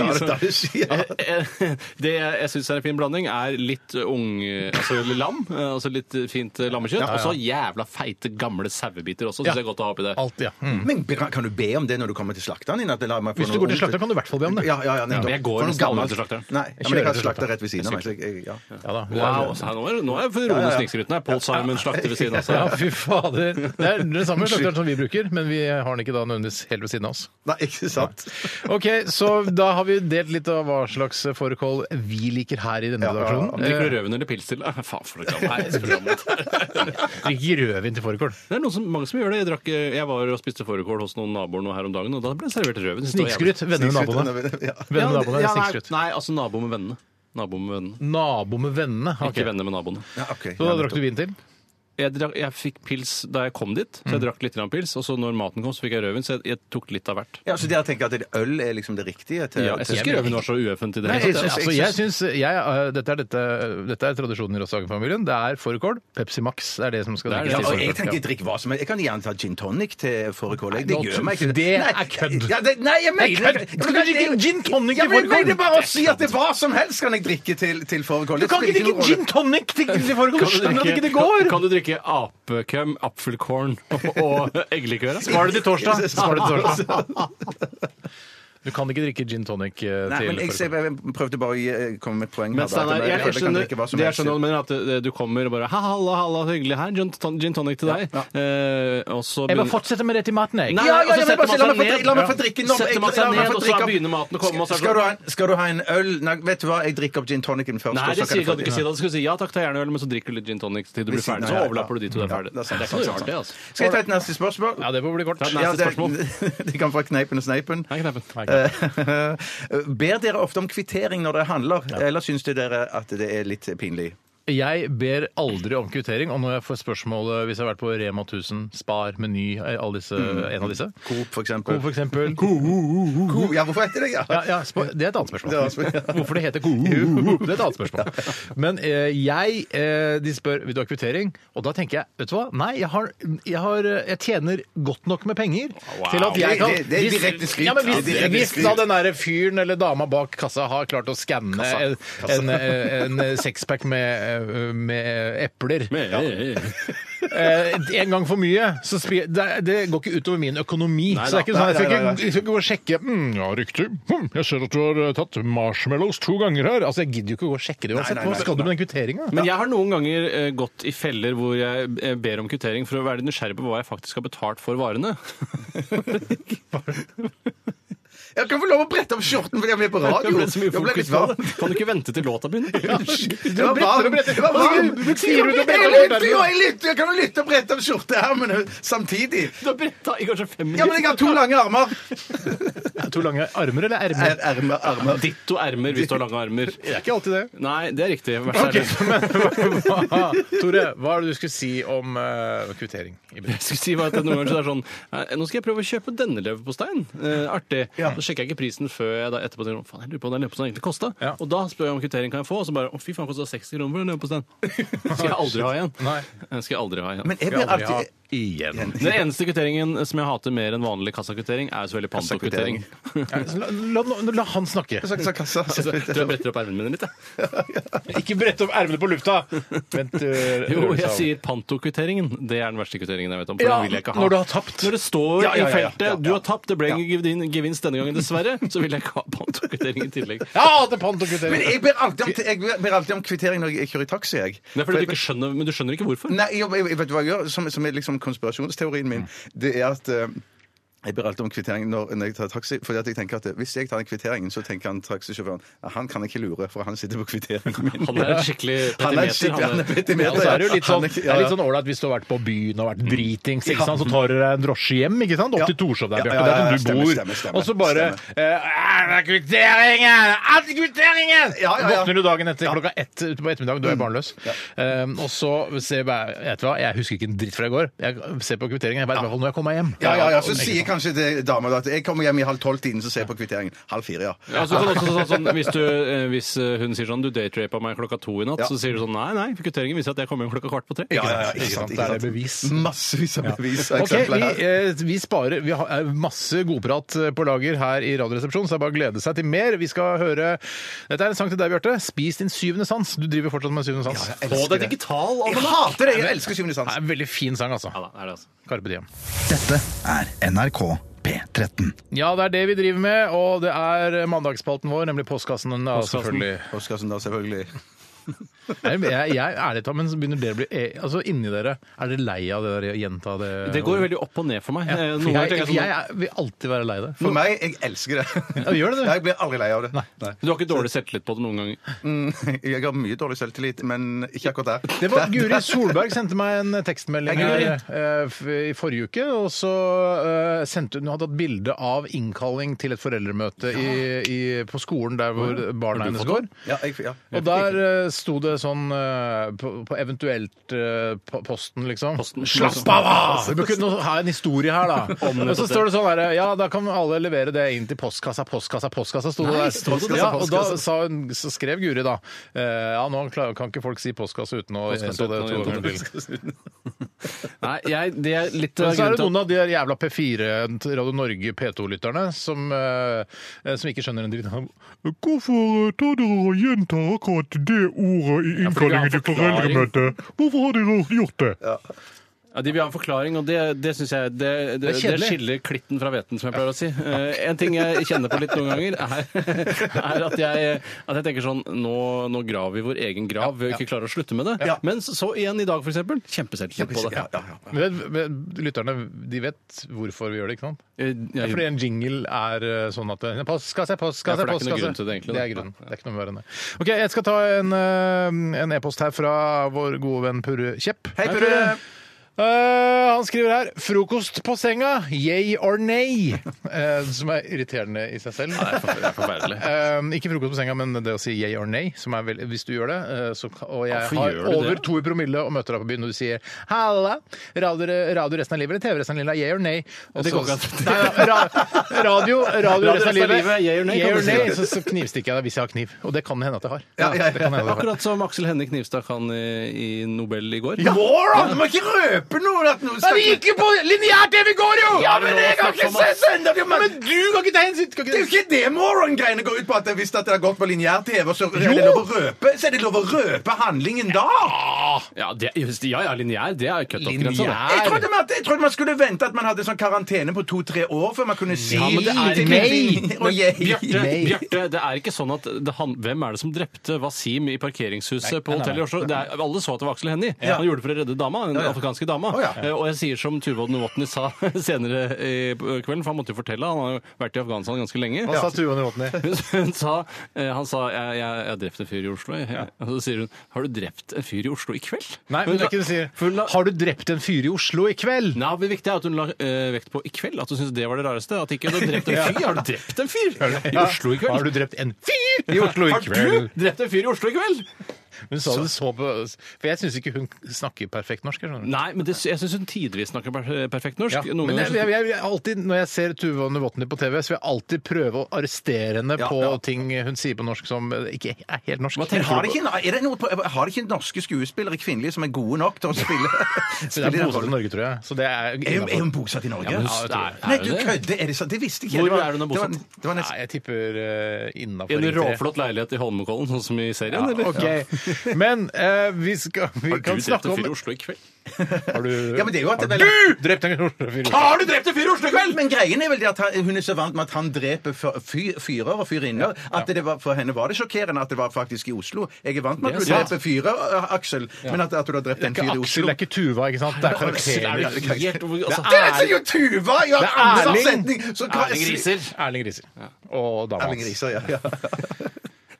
S3: Eh, Det jeg syns er en fin blanding, er litt ung altså lam, eh, altså litt fint eh, lammekjøtt, og så jævla feite gamle sauebiter også. Syns jeg er godt å ha oppi det.
S1: Alt, ja. Mm.
S2: Men bra, kan du be om det når du kommer til slakteren din? At det lar meg få
S1: Hvis du
S2: noe
S1: går til
S2: ord-
S1: slakteren, kan du i hvert fall be om det.
S2: Ja, ja, ja, nettopp.
S3: men jeg går
S2: For noe
S3: nesten aldri
S2: gammelt-
S3: til slakteren.
S2: Nei, ja, men
S1: kjører
S2: jeg har
S1: til
S2: slakter rett ved siden av meg. så jeg- jeg- Ja.
S1: Ja da.
S3: Wow, så her nå er, nå er jeg rolig sniksrytten her. Paul Simon slakter ved siden av altså.
S1: Ja,
S3: seg.
S1: fy fader. Det er den samme slakteren som vi bruker, men vi har den ikke da nødvendigvis helt ved siden av oss.
S2: Nei, ikke sant?
S1: Ok, så da har vi delt litt av hva slags fårikål vi liker her i denne
S2: Ja, ja, ja.
S1: redaksjonen.
S3: Drikker du rødvin eller pils til? Eh, Faen, for et gammelt program.
S1: Eh, Ikke rødvin til fårikål.
S3: Det er noen som, mange som gjør det. Jeg, drakk, eh, jeg var og spiste fårikål hos noen naboer nå her om dagen, og da ble det servert rødvin. Synes det var jævlig-
S1: Snikskryt. Venner med naboene.
S2: Ja.
S1: Venner med naboene,
S3: Ja, nei,
S1: Snikskryt.
S3: nei, altså nabo med vennene. Nabo med vennene.
S1: Nabo med vennene.
S3: Ikke
S1: ok.
S3: venner med naboene.
S2: Ja, ok.
S1: Så da drakk du vin til?
S3: jeg, drakk, jeg fikk pils da jeg kom dit,
S2: Mm.
S3: så jeg drakk litt grann pils. Og så når maten kom, så fikk jeg rødvin, så jeg, jeg tok litt av hvert.
S2: Ja, så dere tenker at øl er liksom det riktige? Til,
S3: Ja, jeg syns ikke rødvin var så ueffent i det
S1: Nei,
S3: hele
S1: jeg synes,
S3: tatt. jeg.
S1: altså, jeg synes, jeg, eh, dette, er, dette, dette er tradisjonen i Rosshagen-familien. Det er fårikål. Pepsi Max er det som skal
S3: Det er
S1: drikkes. til
S2: og
S3: det.
S2: altså. jeg
S1: fårikål.
S2: tenker drikk hva som helst. Jeg kan gjerne ta gin tonic til fårikål. jeg. Det
S1: Nei,
S2: gjør meg ikke
S1: det
S2: Nei,
S1: er kødd.
S2: Ja, det, nei,
S1: Det er
S2: jeg mener
S1: kødd. Skal du drikke gin tonic
S2: ja,
S1: til
S2: men Jeg
S1: fårikål?
S2: mener bare å si at det hva som helst kan jeg drikke til, til fårikål.
S1: Du kan ikke drikke gin tonic til til fårikål! Du skjønner at ikke det går!
S3: Kan, kan du drikke apekøm, apfelkorn og, og eggelikør? da?
S1: Var det til torsdag? Var det til torsdag? Du kan ikke drikke gin tonic eh,
S2: Nei,
S1: til
S2: men jeg,
S1: fårikål.
S2: jeg, jeg prøvde bare å gi- eh, komme med et poeng. her,
S3: Men
S2: da, at
S3: Steinar, jeg, jeg
S2: kan
S3: skjønner
S2: drikke hva som
S3: det jeg
S2: helst.
S3: skjønner hva du mener, at eh, du kommer og bare «Ha, Halla, halla, så hyggelig her. Gin, ton, gin tonic til deg. Eh, og
S1: Jeg må
S3: så begynner-
S1: fortsette med det til maten, jeg.
S3: Nei,
S2: Ja, ja,
S3: altså,
S2: ja, men
S3: setter
S2: bare si, la
S3: man seg
S2: meg få
S3: ned-
S2: dri- la meg få drikke nå.
S3: Setter man
S2: Jeg- la meg få
S3: seg ned, og så
S2: drikke opp-
S3: begynner maten å komme. Og så er det
S2: Skal du,
S3: sånn-
S2: ha en, skal du ha en øl? Nei, vet du hva, jeg drikker opp gin tonicen først.
S3: Nei,
S2: og så
S3: det
S2: kan
S3: sier
S2: jeg få-
S3: kan du ikke si. Da skal du si ja takk, ta gjerne øl, men så drikker du litt gin tonic til du blir
S2: Hvis-
S3: ferdig.
S2: nei,
S3: Så
S2: ja,
S3: overlapper du de to du er
S2: ja,
S3: ferdig.
S2: det er sant,
S3: Det er ikke
S2: det er
S3: noe
S2: sant.
S3: rart, det, altså.
S2: Skal jeg ta et neste spørsmål?
S1: Ja, det får bli kort.
S3: Ta et
S2: Ja,
S3: neste
S2: det,
S3: spørsmål.
S2: de kan fra Kneipen og Sneipen.
S3: Nei, kneppen.
S2: Eh, Ber dere ofte om kvittering når dere handler, eller syns dere at det er litt pinlig?
S1: Jeg ber aldri om kvittering, og når jeg får spørsmål eh, hvis jeg har vært på Rema 1000, Spar, Meny, eh, alle disse,
S2: Mm.
S1: en av disse
S2: Coop, for eksempel.
S1: Coop, for eksempel.
S2: Coop, Ja, hvorfor heter det ja?
S1: Ja, ja, spa- det er et annet spørsmål.
S2: Det er et annet spørsmål.
S1: Hvorfor det heter Coop, det er et annet spørsmål. Men eh, jeg eh, De spør vil du ha kvittering, og da tenker jeg vet du hva, nei, jeg, har, jeg, har, eh, jeg tjener godt nok med penger til at jeg
S2: Det-
S1: kan
S2: det- det er
S1: hvis-
S2: direkte skryt.
S1: Ja, men hvis,
S2: Det er direkte
S1: hvis da den der fyren eller dama bak kassa har klart å skanne en, en, en sexpack med, eh, med epler
S3: eh,
S1: Eh, en gang for mye, så spi- det, det går ikke utover min økonomi. så det er ikke sånn, jeg skal
S2: Nei, nei,
S1: ikke, jeg skal ikke gå og sjekke mm, Ja, riktig. Hm, jeg ser at du har eh, tatt marshmallows to ganger her. Altså, Jeg gidder jo ikke å gå og sjekke det uansett.
S2: nei,
S1: Hva
S2: nei,
S1: skal du med den kvitteringa?
S3: Men jeg har noen ganger eh, gått i feller hvor jeg eh, ber om kvittering for å være litt nysgjerrig på hva jeg faktisk har betalt for varene.
S2: Jeg kan få lov å brette opp skjorten fordi jeg er med på
S3: Det
S2: radio.
S3: ble så mye
S2: Ah, Jeg ble
S3: fokus
S2: litt
S3: på
S2: varm.
S3: det. Kan du ikke vente til låta begynner?
S2: Det var varm. Det var varm.
S1: Du sier du til å brette
S2: Jeg
S1: opp
S2: lytter jo,
S1: skjorteermene.
S2: jeg lytter. Jeg kan jo lytte og brette opp skjorteermene samtidig.
S3: Du har bretta i kanskje fem
S2: Ja, men jeg har to lange armer.
S1: To lange armer eller ermer?
S2: Er, ermer, armer.
S3: Ditto ermer hvis du har lange armer.
S1: Det er ikke alltid det.
S3: Nei, det er riktig. Vær så
S1: Ok,
S3: ærlig.
S1: men hva, Tore, hva er det du skulle si om eh, kvittering i bedrift?
S3: Jeg skulle si bare at noen ganger så er det sånn «Nei, Nå skal jeg prøve å kjøpe denne leverposteien. Eh, artig. Så sjekker jeg ikke prisen før jeg da etterpå tenker faen, jeg lurer på hva den leverposteien egentlig kosta.
S1: Ja.
S3: Og da spør jeg om kvittering kan jeg få, og så bare å fy faen, kosta 60 kroner for den leverposteien. skal jeg aldri ha igjen.
S1: Nei.
S3: Den skal jeg aldri ha igjen.
S2: Men jeg
S1: Skal
S2: blir
S1: aldri ha
S2: alltid
S1: igjen.
S3: den eneste kvitteringen som jeg hater mer enn vanlig kassakvittering, er jo så veldig pantokvittering.
S1: Ja, så La, la, la han snakke.
S2: Så- så kassa-
S3: Tror jeg Altså, bretter opp ermene mine litt, jeg.
S1: Ikke brett opp ermene på lufta! Vent, eh,
S3: Jo,
S1: Rødvik
S3: jeg
S1: sa-
S3: sier pantokvitteringen. Det er den verste kvitteringen jeg vet om. For
S1: Ja,
S3: den vil jeg ikke ha.
S1: når du har tapt.
S3: Når det står
S1: Ja, ja, ja,
S3: i
S1: ja,
S3: feltet
S1: ja, ja.
S3: 'du har tapt, det ble ingen din gevinst denne gangen, dessverre', så vil jeg ikke ha pantokvittering i tillegg.
S1: Ja, til pantokvittering!
S2: Men jeg ber alltid om, jeg ber alltid om kvittering når jeg kjører i taxi. Jeg.
S3: Det er fordi du ikke skjønner, men du skjønner ikke hvorfor.
S2: Nei, jeg, jeg, vet du hva jeg gjør? Som, som er liksom konspirasjonsteorien min. Det er at eh, jeg ber alltid om kvittering når, når jeg tar taxi. Fordi at jeg tenker at eh, Hvis jeg tar den kvitteringen, så tenker han taxisjåføren "Ja, han kan ikke lure, for han sitter på kvitteringen min.
S3: Han er en skikkelig
S2: Han er
S3: petimeter.
S2: skikkelig-
S3: Han
S2: han er
S3: er-
S1: Ja,
S2: petimeter,
S1: og så er det jo
S2: ja.
S1: litt sånn,
S2: Han er-
S1: det er
S2: ja, ja. Mm.
S1: litt sånn ålreit hvis du har vært på byen og vært dritings, ikke sant? så tar du deg en drosje hjem ikke sant? opp til Torshov der,
S2: Ja,
S1: Bjarte,
S2: ja, ja, ja,
S1: der som du
S2: stemmer,
S1: bor,
S2: stemmer, stemmer,
S1: og så bare
S2: stemmer.
S1: eh, «Er det kvitteringen! Er det kvitteringen!
S2: Ja, ja, Mm. ja.
S1: Våkner du dagen etter klokka ett ute på ettermiddagen, du er barnløs, Eh, og så ser jeg bare vet du hva, Jeg husker ikke en dritt fra i går. Jeg ser på kvitteringen, jeg vet i hvert fall når jeg kommer hjem.
S2: Ja, ja, ja, Så sier kanskje det dama da at jeg kommer hjem i halv tolv-tiden, så ser jeg på kvitteringen. Halv fire, ja.
S3: Ja, så kan det også, sånn, sånn, hvis, du, eh, hvis eh, hun sier sånn 'du daytrapa meg klokka to i natt',
S2: Ja.
S3: så sier du sånn 'nei, nei, kvitteringen viser at jeg kommer hjem klokka kvart på tre'.
S2: Ja, ja, ja,
S1: Ikke sant, da er det
S2: Mm.
S1: bevis.
S2: Massevis av bevis. og
S1: Ok,
S2: eksempler
S1: vi,
S2: her.
S1: eh, vi sparer Vi har eh, masse godprat eh, på lager her i Radioresepsjonen, så det er bare å glede seg til mer. Vi skal høre Dette er en sang til deg, Bjarte. Spis din syvende sans. Du driver fortsatt med syvende sans.
S2: jeg
S3: Få
S2: elsker
S3: deg
S2: det.
S3: digital
S2: Jeg
S3: almanakk!
S2: hater det! Jeg elsker Syvende
S1: Det
S2: sans.
S1: er en veldig fin sang, altså.
S3: Ja, da, er det altså.
S1: Carpe Diem.
S4: Dette er NRK P13.
S1: Ja, det er det vi driver med, og det er mandagsspalten vår, nemlig Postkassen. Ja,
S3: Postkassen.
S1: selvfølgelig.
S2: Oskarsen, da, selvfølgelig.
S1: Jeg, jeg, jeg ærlig talt, men så begynner dere å bli eh, Altså, inni dere, er dere lei av det der å gjenta det?
S3: Det går veldig opp og ned for meg. Eh,
S1: ja,
S3: Noen
S1: for
S3: ganger
S1: jeg,
S3: tenker jeg
S1: jeg,
S3: sånn,
S1: er- vil alltid være lei det.
S2: For meg, jeg elsker det.
S1: Ja, gjør det det?
S2: Jeg blir aldri lei av det. Nei.
S3: sånn, Du har ikke dårlig selvtillit på det noen ganger.
S2: Jeg har mye dårlig selvtillit, men ikke akkurat der.
S1: Det var Guri Solberg sendte meg en tekstmelding
S2: Hei, Guri.
S1: her eh, f- i forrige uke. Og så eh, sendte hun Hun hadde hatt bilde av innkalling til et foreldremøte i, i, på skolen der hvor barna hennes går.
S2: Ja, jeg, ja.
S1: Og der eh, sto det sånn eh, på, på eventuelt eh, på posten, liksom.
S3: Posten.
S1: Slapp av! da! Vi bør kunne ha en historie her, da.
S3: Om nettopp
S1: Og så står det sånn her Ja, da kan alle levere det inn til postkassa, postkassa, postkassa, sto det
S3: Nei,
S1: der.
S3: sto det det?
S1: ja, og da sa hun, så skrev Guri, da. eh, Ja, nå klar- kan ikke folk si postkassa uten å gjenta
S3: Postkassa
S1: Eh, det
S3: uten å
S1: to
S3: gjenta
S1: ganger til.
S3: sånn. Nei, jeg, det er litt
S1: Men så er
S3: grunnen
S1: det
S3: til at-
S1: noen av de der jævla P4 til Radio Norge P2-lytterne som, eh, som ikke skjønner en dritt av Hvorfor tar dere og gjentar akkurat det ordet i
S3: innkallingen til foreldremøtet?
S1: Hvorfor har dere gjort det?
S3: Ja, De vil ha en forklaring, og det, det synes jeg det, det, det,
S1: Det er kjedelig.
S3: skiller klitten fra veten, som jeg pleier å si. Eh, en ting jeg kjenner på litt noen ganger, er, er at, jeg, at jeg tenker sånn Nå, nå graver vi vår egen grav ved å ikke klare å slutte med det. Men så, så igjen i dag, for eksempel. Kjempeselvtillit på det.
S2: Ja, ja, ja.
S1: Men, men, lytterne de vet hvorfor vi gjør det, ikke sant?
S3: Eh,
S1: Det er
S3: jeg-
S1: fordi en jingle er eh, sånn at det- Postkasse, postkasse,
S3: Ja, for det er ikke noe
S1: postkasse.
S3: grunn til det, egentlig, da.
S1: Det er grunnen. Det er ikke noe verre enn det. Ok, Jeg skal ta en eh, en e-post her fra vår gode venn Purre Kjepp.
S2: Hei, Purre!
S1: Eh, han skriver her 'Frokost på senga, yay or nay'. Eh, som er irriterende i seg selv.
S3: Det er forferdelig.
S1: Eh, ikke frokost på senga, men det å si yay or nay. Som er vel, hvis du gjør det, eh, så, kan- og jeg
S3: Hvorfor
S1: har
S3: gjør du det?
S1: over to i promille og møter deg på byen, og du sier 'halla', radio, radio resten av livet eller TV resten av livet, yay or nay? Og
S3: Det
S1: så-
S3: går ikke an.
S1: Nei, ja, ra, radio, radio resten av livet,
S3: yay or nay,
S1: yay
S3: kan
S1: or
S3: du si.
S1: nay, så, så knivstikker jeg deg hvis jeg har kniv. Og det kan det hende at jeg har.
S2: Ja, ja, ja.
S1: Det kan hende at jeg har.
S3: Akkurat som Aksel Hennie Knivstad kan i, i Nobel i går.
S2: Må da! Du må ikke røpe noe! at noen snakker-
S1: gikk jo på lineær-TV i går, jo!
S2: Ja, men jeg har ikke
S3: sånn
S2: sett søndag! jo, men-
S1: Du kan ikke ta hensyn kan
S2: Det er jo
S1: ikke-
S2: ikke det moron-greiene går ut på! at det- Hvis det har gått på lineær-TV, så er det lov å røpe Så er det lov å røpe handlingen da!
S3: Ja, det, ja, ja lineær, det er cut-off-grensa. det.
S2: Jeg trodde, man, jeg trodde man skulle vente at man hadde sånn karantene på to-tre år før man kunne si
S3: Ja, men det er
S2: ting-
S3: nei.
S2: ting- og yay.
S3: Bjarte, Bjarte, det er ikke sånn at det han, Hvem er det som drepte Wasim i parkeringshuset på hotellet i Oslo? Det er, alle så at det var Aksel Hennie. Han gjorde det for å redde dama, den afrikanske dama.
S2: ja.
S3: Eh, Og jeg sier som Tuvold Novotny sa senere i kvelden, for han måtte jo fortelle, han har jo vært i Afghanistan ganske lenge.
S1: Hva sa Tuva Novotny?
S3: Hun sa, eh, han sa jeg, jeg, 'jeg drepte en fyr i Oslo'. Jeg, Og så sier hun 'har du drept en fyr i Oslo i kveld'?
S1: Nei, men det er ikke det du
S3: For hun
S1: sier.
S3: la-
S1: Har du drept en fyr i Oslo i kveld?
S3: Nei, men Det viktige er at hun la eh, vekt på 'i kveld'. At hun syntes det var det rareste. At ikke du har drept en
S1: Ja.
S3: fyr. Har du drept en fyr i
S1: Ja.
S3: Oslo i kveld?
S1: Har du drept en fyr i Oslo i
S3: Har
S1: kveld?
S3: du drept en fyr i Oslo i kveld?
S1: Hun sa det så på For jeg syns ikke hun snakker perfekt norsk. jeg skjønner.
S3: Nei, men det, jeg syns hun tidvis snakker per- perfekt norsk.
S1: Ja.
S3: Noen
S1: Men jeg,
S3: ganger
S1: jeg, jeg, vil alltid, når jeg ser Tuva Novotny på TV, så vil jeg alltid prøve å arrestere henne på ting hun sier på norsk som ikke er helt norsk.
S3: Hva tenker
S2: Har det, ikke, er det noe, på- har det ikke norske skuesspillere kvinnelige som er gode nok til å spille,
S1: Det
S2: spille
S1: er
S2: den
S1: bosatt i
S2: rollen?
S1: Norge, tror jeg. Så det er
S2: Er hun, er hun
S1: innenfor.
S2: bosatt i Norge?
S3: Ja, men
S1: Ja, jeg tror det.
S3: er,
S2: Nei,
S3: er
S2: du
S3: hun det?
S2: kødder! Er det sant? Det visste ikke jeg.
S3: Hvor
S2: Det var-
S3: er hun
S2: det var-
S3: bosatt?
S2: Det var
S1: Nei,
S2: nesten
S1: jeg tipper uh,
S3: I
S1: innafor
S3: en råflott leilighet i Holmenkollen, sånn som i serien? eller?
S1: Ok, Men eh, vi, skal, vi
S3: Har du
S1: kan
S3: drept
S1: snakke
S3: en
S1: om
S3: fyr i Oslo i kveld?
S1: Har du,
S2: Ja, men det er jo at
S1: har
S2: det vel-
S1: du drept en fyr?
S2: Har du drept en fyr i Oslo i kveld?! Men greien er vel det at han- hun er så vant med at han dreper fyr- fyr- fyrer og fyrinner. At det var, for henne var det sjokkerende at det var faktisk i Oslo. Jeg er vant med at du
S3: Det er sant.
S2: dreper fyrer, øh, Aksel, men at, at du har drept en
S1: Det
S2: fyr
S1: er
S2: i
S1: ikke Aksel,
S2: Oslo
S1: det er ikke Tuva, ikke sant? Det er
S3: Aksel, er
S1: karakteren.
S3: du helt altså,
S2: Det er jo Tuva! Ja,
S1: Det er
S2: ansatt
S1: Erling.
S2: setning, så kan-
S3: Erling Riser.
S1: Erling Riise og dama
S2: Erling
S1: hans.
S2: Riser, ja. ja.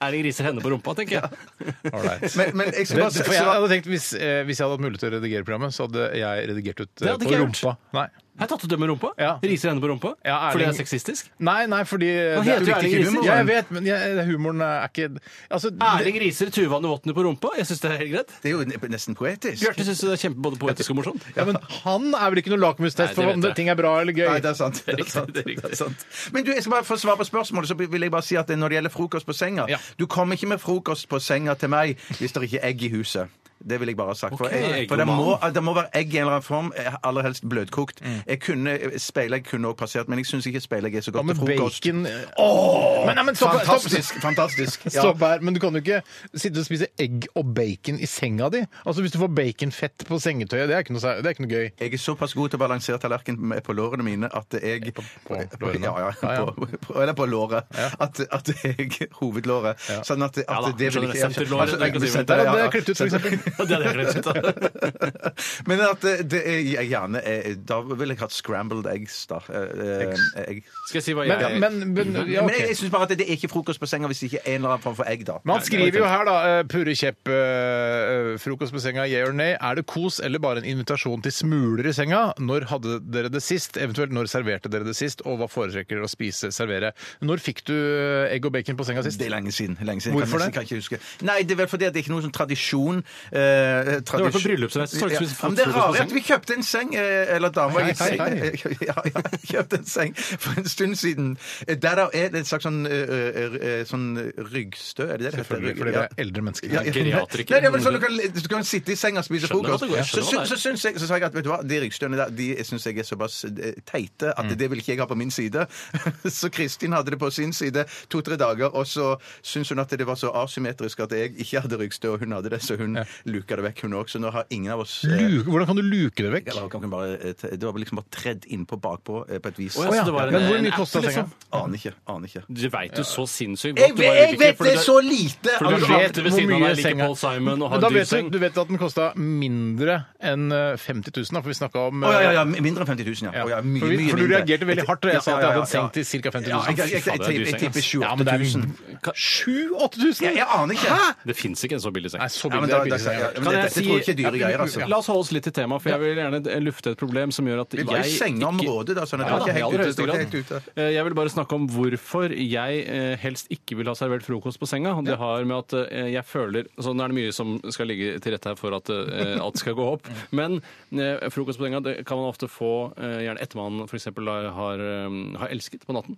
S3: Erling Riser henne på rumpa, tenker jeg.
S1: Ålreit.
S2: Men, men jeg skal
S1: Det-
S2: bare
S1: det- for jeg hadde tenkt, hvis, eh, hvis jeg hadde hatt mulighet til å redigere programmet, så hadde jeg redigert ut eh,
S3: hadde
S1: på
S3: ikke jeg
S1: rumpa. Nei.
S3: Har jeg tatt ut det med rumpa?
S1: Ja.
S3: Riser henne på rumpa?
S1: Ja, Erling-
S3: Fordi jeg er sexistisk?
S1: Nei, nei, fordi eh,
S3: Han
S1: det er
S3: heter jo
S1: jo
S3: Erling
S1: riktig
S3: Riise.
S1: humor. Ja, jeg vet, men jeg, humoren er ikke altså, det-
S3: Erling Riser, Tuva Novotny på rumpa? Jeg syns det er helt greit.
S2: Det er jo nesten poetisk.
S3: Bjarte syns det er kjempe både poetisk og morsomt.
S1: ja, men han er vel ikke noe
S3: Nei,
S1: lakmustest for om
S3: det vet jeg.
S1: det, ting er bra eller gøy?
S2: Nei, det er sant. Det er
S3: riktig,
S2: sant.
S3: det er riktig.
S2: Det er sant. Men du, jeg skal bare få svar på spørsmålet, så vil jeg bare si at når det gjelder frokost på senga
S1: Ja.
S2: Du kommer ikke med frokost på senga til meg hvis det ikke er egg i huset. Det vil jeg bare ha sagt. For,
S3: Ok,
S2: jeg, for det, må, det må være egg i en eller annen form, eh, aller helst bløtkokt. Jeg kunne, eh, Speilegg kunne også passert, men jeg syns ikke speilegg er så
S1: Ja,
S2: godt
S1: men
S2: til frokost.
S1: bacon eh, men, nei, men stopp, stopp,
S2: Fantastisk! fantastisk. Ja.
S1: Stopp her, men du kan jo ikke sitte og spise egg og bacon i senga di. Altså Hvis du får baconfett på sengetøyet, det er ikke noe, sær- det er ikke noe gøy.
S2: Jeg er såpass god til å balansere tallerkenen med- på lårene mine at jeg
S1: På- på lårene?
S2: Ja, ja,
S1: Ja, ja.
S2: på, på, eller på låret. At, at jeg Hovedlåret. Sånn at, at
S3: Ja
S2: det
S3: da,
S2: Altså, vil ikke
S3: skjønner jeg. Senterlåret, det er ikke å si det.
S2: senter,
S1: Der
S2: ja,
S1: hadde
S2: ja.
S1: jeg klippet ut, for eksempel.
S3: Ja, det er det jeg glemt ut av.
S2: Men at det, det er jeg gjerne er- Da ville jeg hatt scrambled eggs, da. Eh, eh, Egg.
S3: Skal jeg si hva jeg
S1: Men, men, men, ja,
S2: Men jeg,
S1: ok.
S2: jeg syns bare at det er ikke frokost på senga hvis det ikke er en eller annen form for egg, da.
S1: Men han skriver jo her, da. eh, Purre kjepp, eh, eh, frokost på senga, yeah or nay. Er det kos eller bare en invitasjon til smuler i senga? Når hadde dere det sist? Eventuelt når serverte dere det sist? Og hva foretrekker dere å spise, servere? Når fikk du eh, egg og bacon på senga sist?
S2: Det er lenge siden. Lenge siden.
S1: Hvorfor det?
S2: jeg kan, nesten- kan ikke huske. Nei, det er vel fordi at det er ikke noen sånn tradisjon. Eh, tradisjon.
S3: Det var på bryllupsreise, så har du spist
S2: Ja, men det er
S3: frokost på
S2: rare at vi kjøpte en seng, eh, eller dama
S1: sånn Hei,
S2: gikk
S1: hei, hei.
S2: Ja, ja, kjøpte en seng for en stund siden. Eh, Der da er det en slags sånn, eh, eh, eh, sånn ryggstø, er det det det heter?
S1: Selvfølgelig, for dere er eldre mennesker.
S2: Ja, ja.
S3: Geriatrikere.
S2: Nei, det er vel sånn du kan, du kan sitte i senga og spise
S3: Skjønner
S2: frokost.
S3: at det går, jeg
S2: Så,
S3: skjønner
S2: sy-
S3: hva det
S2: så,
S3: er.
S2: syns jeg, så sa jeg at vet du hva, de ryggstøene der de syns jeg er såpass eh, teite
S3: Mm.
S2: at det vil ikke jeg ha på min side. Så Kristin hadde det på sin side to-tre dager, og så syns hun at det var så asymmetrisk at jeg ikke hadde ryggstø, og hun hadde det, så hun luka det vekk, hun òg. Så nå har ingen av oss eh,
S1: Luke, hvordan kan du luke det vekk?
S2: eller kan hun bare, eh, t- det var liksom bare tredd innpå bakpå eh, på et vis.
S3: Å, ja, så det var en-
S1: Men hvor
S3: en
S1: mye
S3: app,
S1: kosta senga?
S3: liksom?
S2: Aner ikke. Aner ikke.
S3: Du veit jo så sinnssykt
S2: Jeg,
S3: godt. du bare vil ikke,
S2: vet
S3: fordi
S2: det
S3: du-
S2: så lite!
S3: For du
S1: Du
S3: vet ved
S1: hvor
S3: siden av
S1: mye
S3: deg liker
S1: senga-
S3: Paul Simon
S1: Men
S3: og har
S1: da
S3: en dyr
S1: vet
S3: seng.
S1: du, du vet at den kosta mindre enn eh, 50 000, da, for vi snakka om
S2: Å ja, ja,
S1: eh,
S2: ja, mindre enn 50 000, ja. Å, ja mye,
S1: for, vi,
S2: mye
S1: for du
S2: mindre.
S1: reagerte veldig hardt da jeg sa at jeg hadde senkt til ca. 50
S2: Ja,
S1: 000.
S2: jeg, jeg, jeg, jeg,
S3: Fy faen, det er
S2: tipper- jeg
S3: dyr seng,
S2: tipper
S3: ass.
S2: 7
S1: Ja,
S2: 8000.
S1: men det er 7000-8000?
S2: Jeg, jeg aner ikke.
S3: Det fins ikke en så billig seng.
S1: Nei, så
S2: Ja,
S1: billig
S2: men da,
S1: er
S2: da,
S1: billig
S2: dette, ja, men
S3: Kan jeg
S2: dette
S3: si-
S2: tror jeg ikke er dyre
S3: Ja,
S2: greier,
S3: La
S2: altså.
S3: oss holde oss litt til temaet, for jeg vil gjerne d- lufte et problem som gjør at
S2: Vi var i
S3: jeg
S2: sengeområdet, da, så det var
S3: da,
S2: ikke
S3: i
S2: helt
S3: aller
S2: ute. det
S3: høyeste
S2: var
S3: grad.
S2: ikke helt ute.
S3: Eh, Jeg vil bare snakke om hvorfor jeg eh, helst ikke vil ha servert frokost på senga. Det har med at eh, jeg føler altså, Nå er det mye som skal ligge til rette her for at eh, alt skal gå opp. Men eh, frokost på senga det kan man ofte få eh, gjerne etter man f.eks. har, eh, har elsket på natten.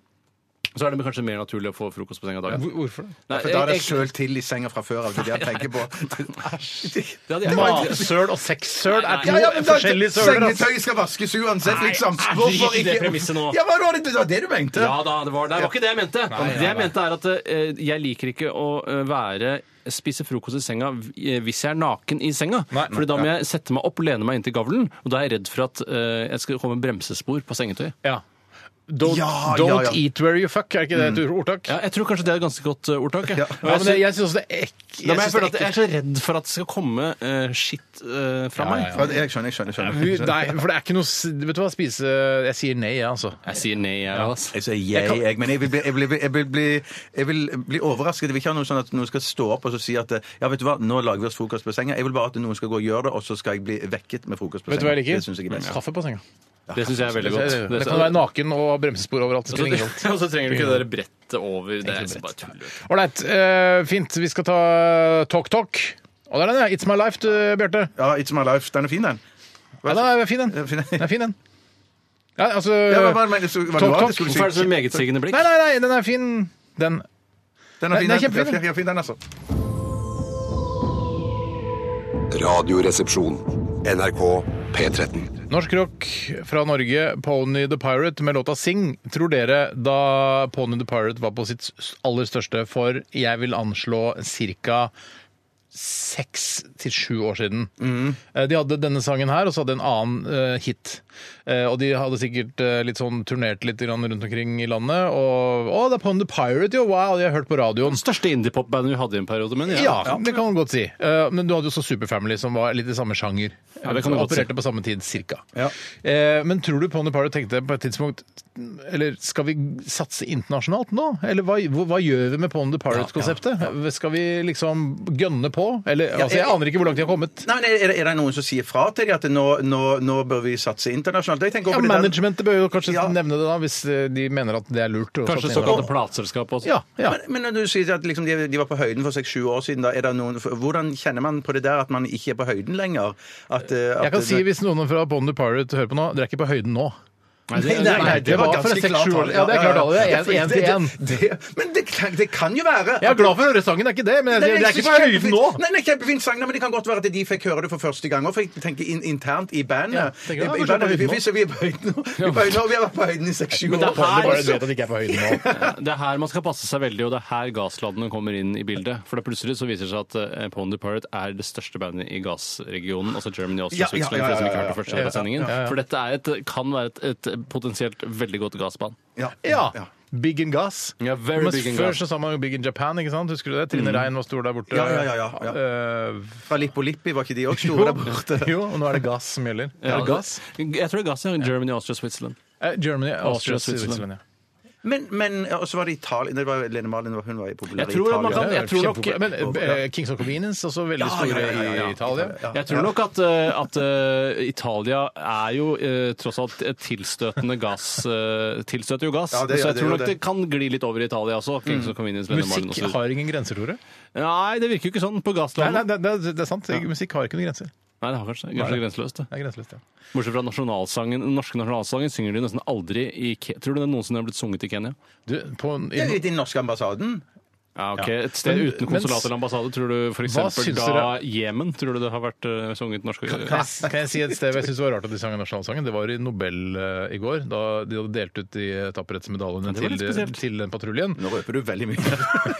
S3: Så er det kanskje mer naturlig å få frokost på senga dagen.
S1: Hvor- Hvorfor det?
S3: Nei,
S2: For da er det
S3: jeg-
S2: søl til i senga fra før av. Det er det jeg tenker på.
S3: det hadde jeg aldri-
S1: Matsøl og sexsøl er to
S2: Ja, ja, men da,
S1: forskjellige søler. altså.
S2: sengetøyet skal vaskes uansett, liksom.
S3: er det
S2: Hvorfor
S3: ikke det
S2: ikke
S3: premisset nå?
S2: Ja, hva var det, det var det du mente?
S3: Ja da, det var, det var ikke det jeg mente. det jeg mente er at eh, jeg liker ikke å eh, være spise frokost i senga eh, hvis jeg er naken i senga.
S1: Nei,
S3: Fordi da må jeg sette meg opp, lene meg inntil gavlen, og da er jeg redd for at eh, jeg skal komme bremsespor på sengetøy.
S1: Ja. Don't,
S2: Ja, ja,
S1: don't
S2: ja. Mm.
S1: eat where you fuck, er ikke det et ordtak?
S3: Ja, jeg tror kanskje det er et ganske godt eh, ordtak. jeg. Og
S1: Ja, men
S3: jeg synes-
S1: det- jeg syns også det er ek-
S3: Da må
S1: jeg
S3: jeg
S1: synes
S3: føle
S1: det
S3: at
S1: er
S3: jeg er så redd for at det skal komme eh, skitt eh, fra
S1: Ja, ja,
S3: meg.
S2: Ja, Jeg skjønner, jeg skjønner. jeg skjønner.
S1: ekkelt. Nei, for det er ikke noe s- Vet du hva, spise Jeg sier nei, jeg, altså.
S3: Jeg sier nei, jeg altså.
S2: Jeg sier jeg, jeg, men jeg vil bli, jeg vil bli, jeg vil bli, jeg vil bli overrasket. Jeg vil ikke ha noe sånn at noen skal stå opp og så si at ja, vet du hva, nå lager vi oss frokost på senga. Jeg vil bare at noen skal gå og gjøre det, og så skal jeg bli vekket med frokost på
S1: Vet du
S2: senga.
S1: hva jeg liker?
S2: Det synes jeg er best.
S1: Kaffe på senga.
S3: Det syns jeg er veldig
S1: Det,
S3: godt.
S1: det kan være naken og ha bremsespor overalt. Det
S3: Og så-
S1: spiller ingen rolle.
S3: Og så trenger du ikke det der brettet over. Det er
S1: Egentlig
S3: bare tull. vet du.
S1: Ålreit, eh, fint. Vi skal ta Talk Talk. Og der er den, ja. It's My Life, du, Bjarte.
S2: Ja, It's My Life. Den er fin, den.
S1: Ja, den er fin, den.
S2: Den er fin, den.
S1: Den er fin, den. Ja, altså
S2: Ja, hva, hva, men, så, hva,
S1: Talk,
S2: det var,
S1: talk.
S2: det skulle si.
S3: Hvorfor er det så megetsigende blikk?
S1: Nei, nei, nei, den er fin, den.
S2: Den er
S1: Nei,
S2: fin,
S1: den er
S2: den.
S1: kjempefin, den.
S2: Ja, fin, den, altså.
S9: Radioresepsjon. NRK P13.
S1: Norsk rock fra Norge, Pony the Pirate med låta Sing. Tror dere da Pony the Pirate var på sitt aller største for jeg vil anslå ca. seks til sju år siden. Eh, De hadde denne sangen her, og så hadde de en annen eh, hit. Eh, og de hadde sikkert eh, litt sånn turnert litt grann rundt omkring i landet, og Å, det er Pony the Pirate, jo! Wow, de har hørt på radioen.
S3: Største indiepop-bandet vi hadde i en periode, men ja.
S1: Ja, det kan man godt si. Eh, Men du hadde jo også Superfamily, som var litt i samme sjanger.
S3: Ja, det kan man
S1: Som
S3: godt si.
S1: Opererte på samme tid, cirka. Eh, Men tror du Pony Pirate tenkte på et tidspunkt Eller skal vi satse internasjonalt nå? Eller hva, hva hva gjør vi med Pony Pirate-konseptet? Skal vi liksom gønne på? Eller, altså, jeg
S2: jeg-
S1: aner ikke hvor langt de har kommet.
S2: Nei, men er, det- er det noen som sier fra til dem at nå, nå, nå bør vi satse internasjonalt? Jeg tenker
S1: Ja,
S2: over det der-
S1: managementet bør jo kanskje
S2: Ja.
S1: nevne det, da, hvis eh, de mener at det er lurt. å
S3: Kanskje
S1: satse
S3: såkalte
S1: internasjonalt.
S3: plateselskap også.
S1: Ja, ja.
S2: Men, men når du sier at liksom de, de var på høyden for seks-sju år siden, da, er det noen, hvordan kjenner man på det der at man ikke er på høyden lenger? At, eh, at
S1: Jeg kan si,
S2: det,
S1: hvis noen fra Pony Pirate hører på nå, dere er ikke på høyden nå.
S3: Nei, det-
S2: Nei, nei, nei, det var
S1: for
S2: ganske
S1: seks,
S2: klart.
S1: sju år- Ja, det er klart, alle. Det er en- en til en.
S2: Det- det- Men det kan, det kan jo være
S1: Jeg er glad for å høre sangen, det er ikke det, men jeg, jeg, jeg er ikke på høyden nå!
S2: Nei, nei, kjempefin sang, nei, men Det kan godt være at de fikk høre det for første gang òg. For jeg tenker in, internt i
S1: Ja,
S2: bandet
S1: tenker jeg,
S2: I-
S1: ja,
S2: i
S1: kanskje på
S2: bandet,
S1: høyden
S2: vi-
S1: nå.
S2: vi- så Vi er på høyden nå. Vi er på høyden nå, og vi har vært på høyden i seks-sju
S3: Men det
S2: år.
S3: er her-
S1: Bare du vet at de ikke er på høyden nå.
S3: Det er her man skal passe seg veldig, og det er her gasladdene kommer inn i bildet. For da plutselig så viser det seg at eh, Pony Pirate er det største bandet i gassregionen, altså Germany, Austria,
S2: Ja, ja,
S3: Switzerland,
S2: ja,
S3: for de
S2: ja, ja,
S3: som ikke har hørt det første
S1: ja,
S3: del
S1: ja,
S3: av sendingen. For dette er et, kan være et, et potensielt veldig godt gassband.
S2: Ja.
S1: Ja.
S2: Ja.
S1: Big in Gas.
S3: Ja, very
S1: Men
S3: big in
S1: før
S3: gas.
S1: så sa man jo Big in Japan, ikke sant? Husker du det? Trine Rein var stor der borte.
S2: Mm. Ja, ja, ja, ja, ja.
S1: Eh,
S2: Fra Lippo Lippi, var ikke de òg
S1: jo,
S2: store der borte?
S1: jo, og nå er det gass som gjelder. Er det gass?
S3: Jeg tror det er gass, ja. Germany, Austria, Switzerland.
S1: Eh, Germany, Austria,
S3: Austria, Switzerland.
S1: Switzerland. ja.
S2: Men, men og så var det Italia Det var Lene Marlin, hun var populær
S3: Jeg
S2: i
S3: tror at
S2: Italia.
S3: man kan-
S1: Det er
S3: jeg tror nok-
S1: kjempepopulær. Men eh, Kings of Convenience, også veldig
S2: Ja,
S1: store
S2: ja, ja, ja, ja.
S1: i Italia.
S3: Jeg tror nok at, eh, at eh, Italia er jo eh, tross alt et tilstøtende gass eh, Tilstøter jo gass.
S2: Ja, det gjør-
S3: så jeg
S2: det Mm.
S3: tror
S2: gjør
S3: nok det.
S2: det.
S3: kan gli litt over i Italia også. Kings of Convenience, Lennon Marlin
S1: Musikk
S3: og så videre.
S1: har ingen grenser, Tore.
S3: Nei, det virker jo ikke sånn
S1: Nei,
S3: på
S1: nei,
S3: gasslandet. Nei,
S1: det, det, det er sant. Musikk har ikke noen grenser.
S3: det har kanskje, kanskje grenseløst. Det.
S1: Det er grenseløst, ja.
S3: Bortsett fra nasjonalsangen, den norske nasjonalsangen synger de nesten aldri i Ke Tror du det noensinne har blitt sunget i Kenya?
S1: Du, på, en-
S2: Det er jo i den norske ambassaden.
S3: Ja, ok.
S1: Ja.
S3: Et sted
S1: Men-
S3: uten
S1: mens-
S3: konsulat eller ambassade, tror du f.eks.
S1: Hva syns
S3: da
S1: dere-
S3: Jemen tror du det har vært eh, sunget norsk
S1: Kan jeg, kan jeg si et sted hvor jeg syns det var rart at de sang nasjonalsangen? Det var i Nobel eh, i går, da de hadde delt ut de tapperhetsmedaljene
S3: det
S1: til,
S3: var
S1: eh,
S3: litt spesielt.
S1: til den patruljen.
S2: Nå røper du veldig mye.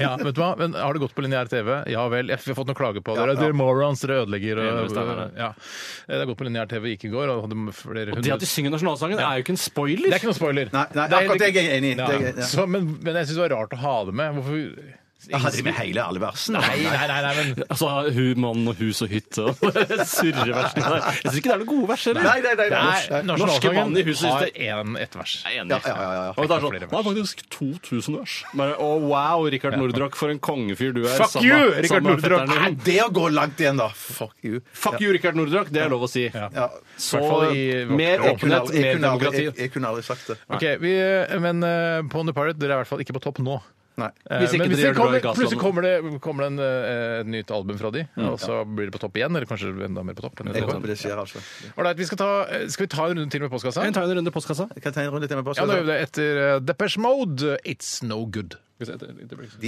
S1: Ja, vet du hva? Men har det gått på lineær TV? Ja vel. Jeg- Vi har fått noen klager på dere. Dere er morons, dere ødelegger
S3: Jeg er
S1: og
S3: enig med Steinar
S1: ja. Eh, Det har gått på lineær TV gikk i går, og hadde flere
S3: Det
S1: hundre
S3: at de synger nasjonalsangen, er jo ikke
S1: Det
S3: en spoiler!
S1: er ikke noe spoiler.
S2: Nei, nei akkurat det er jeg enig i. Det
S1: Ja.
S2: er jeg- ja.
S1: Så, men, men jeg syns det var rart å ha det med. Hvorfor
S2: Hadde de med hele alle versene?
S1: Nei, nei, nei, nei, men
S3: Altså hu, mann og hus og hytte og surreversene der. Jeg syns ikke det er noen gode vers, eller?
S2: Nei, nei, nei, nei.
S1: Nei,
S3: Norske mann i huset
S1: har
S3: sitter
S1: én ett vers.
S3: Jeg er enig.
S2: ja, ja, ja.
S3: Og det er sånn, det er faktisk 2000 vers. Bare, å, wow, Rikard Nordrock, for en kongefyr du er.
S1: Fuck
S3: Samme-
S1: you, Rikard
S3: samme
S1: Nordrock.
S3: fetteren din.
S2: Nei, Det å gå langt igjen, da. Fuck you.
S3: Fuck you, Rikard Nordrock, det er lov å si.
S2: Ja.
S3: Så
S1: hvert fall i vårt
S3: mer
S2: Jeg kunne
S3: åpenhet,
S2: aldri- jeg
S3: mer
S2: kunne aldri-
S3: demokrati.
S2: jeg- Jeg kunne aldri sagt det.
S1: Ok, vi, Men eh, Pony Pirate, dere er i hvert fall ikke på topp nå.
S2: Nei.
S1: Eh,
S3: Hvis ikke
S1: men
S3: dere gjør
S1: det
S3: det
S1: kommer,
S3: bra i Gasland.
S1: plutselig kommer det, kommer det en, eh, et nytt album fra de,
S3: Mm.
S1: og så blir det på topp igjen. Eller kanskje enda mer på topp.
S2: Jeg håper det skjer, altså.
S1: Alright, vi skal, ta, eh, skal vi ta en runde til med postkassa?
S3: Kan vi ta en runde i postkassa?
S2: Kan jeg ta en runde til med
S1: Ja,
S2: påståelser?
S1: nå gjør vi det etter eh, Depeche Mode, It's No Good.
S2: De er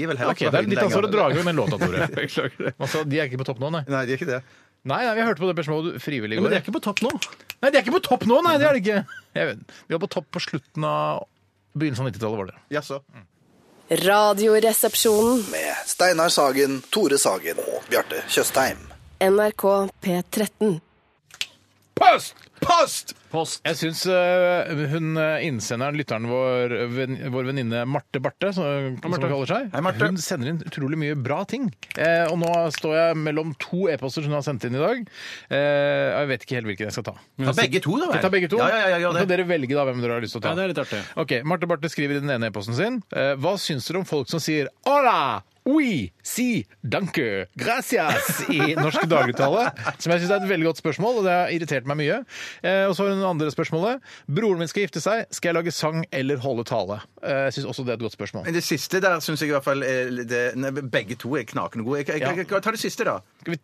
S2: vel heller
S1: Ok, Det er ditt ansvar å dra i gang den låta, Tore. Altså, de er ikke på topp nå, nei.
S2: Nei, de er ikke det.
S1: Nei, nei, Vi hørte på Depeche Mode frivillig i
S3: Men
S1: går.
S3: det er ikke på topp nå.
S1: Nei, de er ikke på topp nå, nei! det er de ikke. Jeg vet. De var på topp på slutten av begynnelsen av 90-tallet, var det.
S2: Jaså.
S5: Radioresepsjonen.
S6: Med Steinar Sagen, Tore Sagen og Bjarte Tjøstheim.
S5: NRK P13.
S1: Post! Post!
S3: Post.
S1: Jeg syns eh, hun eh, innsenderen, lytteren vår, ven, vår venninne Marte Barthe, som, som hun kaller seg,
S2: Hei, Marte.
S1: hun sender inn utrolig mye bra ting. Eh, og nå står jeg mellom to e-poster som hun har sendt inn i dag. Eh, jeg vet ikke helt hvilken jeg skal ta.
S2: Ta begge to, da. vel?
S1: Skal jeg ta begge to?
S2: Ja, ja, ja, gjør
S1: Så kan
S2: det.
S1: dere velge da hvem dere har lyst til å ta.
S3: Ja, det er litt artig.
S1: Ok, Marte Barthe skriver i den ene e-posten sin eh, Hva syns dere om folk som sier Hola! Oui, si, danke, gracias i norsk dagligtale. Som jeg syns er et veldig godt spørsmål, og det har irritert meg mye. Eh, og så har hun det andre spørsmålet. Broren min skal gifte seg. Skal jeg lage sang eller holde tale? Eh, jeg syns også det er et godt spørsmål.
S2: Men det siste der syns jeg i hvert fall er det, nei, Begge to er knakende gode. Jeg, jeg, jeg, jeg, ta det siste, da.
S1: Skal vi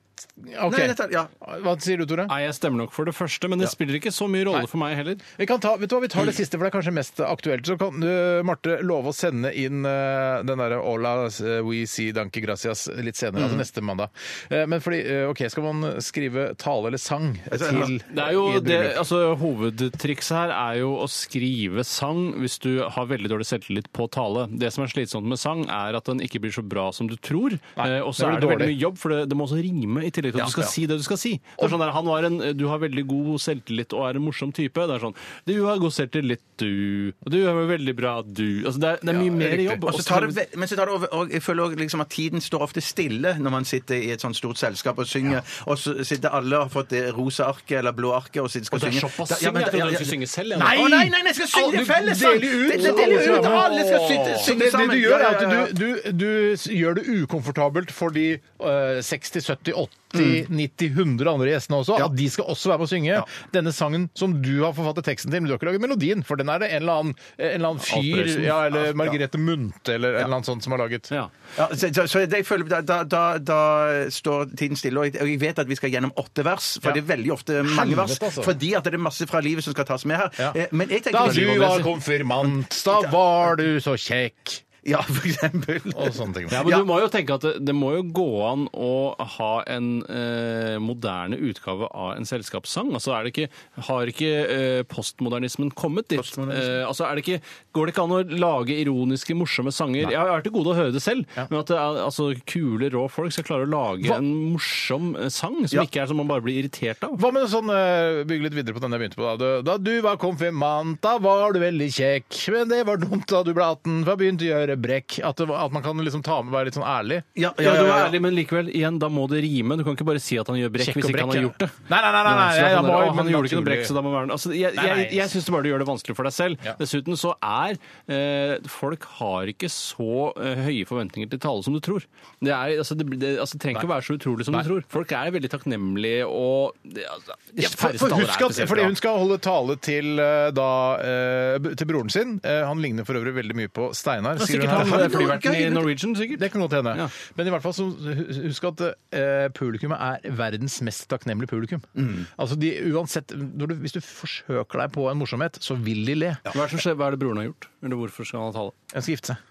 S1: OK.
S2: Nei, dette- ja.
S1: Hva sier du, Tore?
S3: Nei, jeg stemmer nok for det første, men det spiller ikke så mye rolle for meg heller.
S1: Vi, kan ta, vet du hva, vi tar det siste, for det er kanskje mest aktuelt. Så kan du, Marte, love å sende inn eh, den derre 'Hola, eh, we see danke gracias' litt senere, altså neste mandag. Eh, men fordi, eh, OK, skal man skrive tale eller sang til
S3: Det er jo
S1: i et
S3: det,
S1: bryllup?
S3: altså, hovedtrikset her er jo å skrive sang hvis du har veldig dårlig selvtillit på tale. Det som er slitsomt med sang, er at den ikke blir så bra som du tror. Eh, og så
S1: det blir
S3: er det veldig
S1: dårlig.
S3: mye jobb, for det, det må også rime i tillegg til at du skal si det du skal si. Det er sånn der, han var en, du har veldig god selvtillit og er en morsom type. Det er sånn Du har god selvtillit, du. Og du er veldig bra, du. Altså, det er, det er mye mer jobb.
S2: Og så tar det, ve- men så tar det over, og jeg føler også liksom at tiden står ofte stille når man sitter i et sånt stort selskap og synger, og så sitter alle og har fått det rosa arket eller blå arket og sitter skal
S3: det er
S2: synge.
S3: såpass
S2: Da-
S3: syng, jeg
S2: da-
S3: trodde du skulle synge selv, jeg.
S2: Nei!
S3: Nei!
S2: Å, nei, nei, nei, jeg skal synge det felles! sant?
S1: deler ut,
S2: Det-
S1: så
S2: det deler
S1: alle
S2: ut,
S1: skal være med.
S2: alle skal synge,
S1: Så
S2: synge
S1: det, det
S2: sammen.
S1: du gjør,
S2: Ja,
S1: er
S2: ja, ja, ja.
S1: at du, du, du s- gjør det ukomfortabelt for de eh, 60, 70, 80, 90, 100 andre gjestene også. At de skal også være med å synge denne sangen som du har forfattet teksten til, men du har ikke laget melodien, for den er det en eller annen, en eller annen fyr,
S3: Alf Prøysen.
S1: ja, eller Margrethe Munthe eller en eller annen sånn som har laget.
S3: Ja.
S2: Ja, så, så, så jeg føler, da, da, da, da står tiden stille, og jeg, og jeg vet at vi skal gjennom åtte vers, for
S1: Ja.
S2: det er veldig ofte mange vers,
S1: Helvete, altså.
S2: fordi at det er masse fra livet som skal tas med her.
S1: Ja.
S2: Eh, Men jeg
S1: Da
S2: tenker
S1: du var konfirmant, da var du så kjekk,
S2: Ja, for eksempel.
S1: og sånne ting.
S3: Ja, men du må jo tenke at det, det må jo gå an å ha en eh, moderne utgave av en selskapssang. Altså er det ikke, har ikke eh, postmodernismen kommet dit? Eh, altså er det ikke, går det ikke an å lage ironiske, morsomme sanger? Jeg har vært til gode å høre det selv, men at det er, altså, kule, rå folk skal klare å lage en morsom eh, sang som ikke er som man bare blir irritert av.
S1: Hva med sånn, eh, bygge litt videre på den jeg begynte på da. Du, da du var konfirmant, da var du veldig kjekk. Men det var dumt da du ble 18, for jeg begynte å gjøre brekk. At, det, var- at man kan liksom ta med være litt sånn ærlig.
S2: Ja,
S3: Ja, du er ærlig, men likevel, igjen, da må det rime. Du kan ikke bare si at han gjør brekk
S1: Kjekk
S3: hvis
S1: og
S3: ikke han
S1: brekk,
S3: har
S1: ja.
S3: gjort det.
S1: Nei, nei, nei, nei, nei,
S3: Så det er
S1: jeg
S3: sånn der,
S1: var-
S3: «Å, han
S1: men
S3: gjorde ikke noe
S1: naturlig».
S3: brekk, så da må være altså, Jeg,
S1: Nei,
S3: jeg,
S1: nei.
S3: jeg, syns du bare du gjør det vanskelig for deg selv.
S1: Ja.
S3: Dessuten så er eh, folk har ikke så eh, høye forventninger til tale som du tror. Det, er, altså, det, det altså, det trenger ikke å være så utrolig som du tror. Folk er veldig takknemlige og det, altså, de
S1: For,
S3: færreste
S1: for
S3: talere er
S1: husk at,
S3: spesielt
S1: fordi
S3: bra.
S1: hun skal holde tale til, eh, da, eh, b- til broren sin. Eh, han ligner for øvrig veldig mye på Steinar.
S3: Det er
S1: sier hun
S3: Sikkert
S1: her.
S3: han flyverten i Norwegian, sikkert.
S1: Det kan godt hende.
S3: Ja.
S1: Men i hvert fall så hu- husk at eh, publikummet er verdens mest takknemlige publikum.
S3: Mm.
S1: Altså de, uansett, når du, Hvis du forsøker deg på en morsomhet, så vil de le.
S3: Hva er det som skjer? Hva er det broren har gjort? Eller hvorfor skal han tale?
S1: Han skal gifte seg.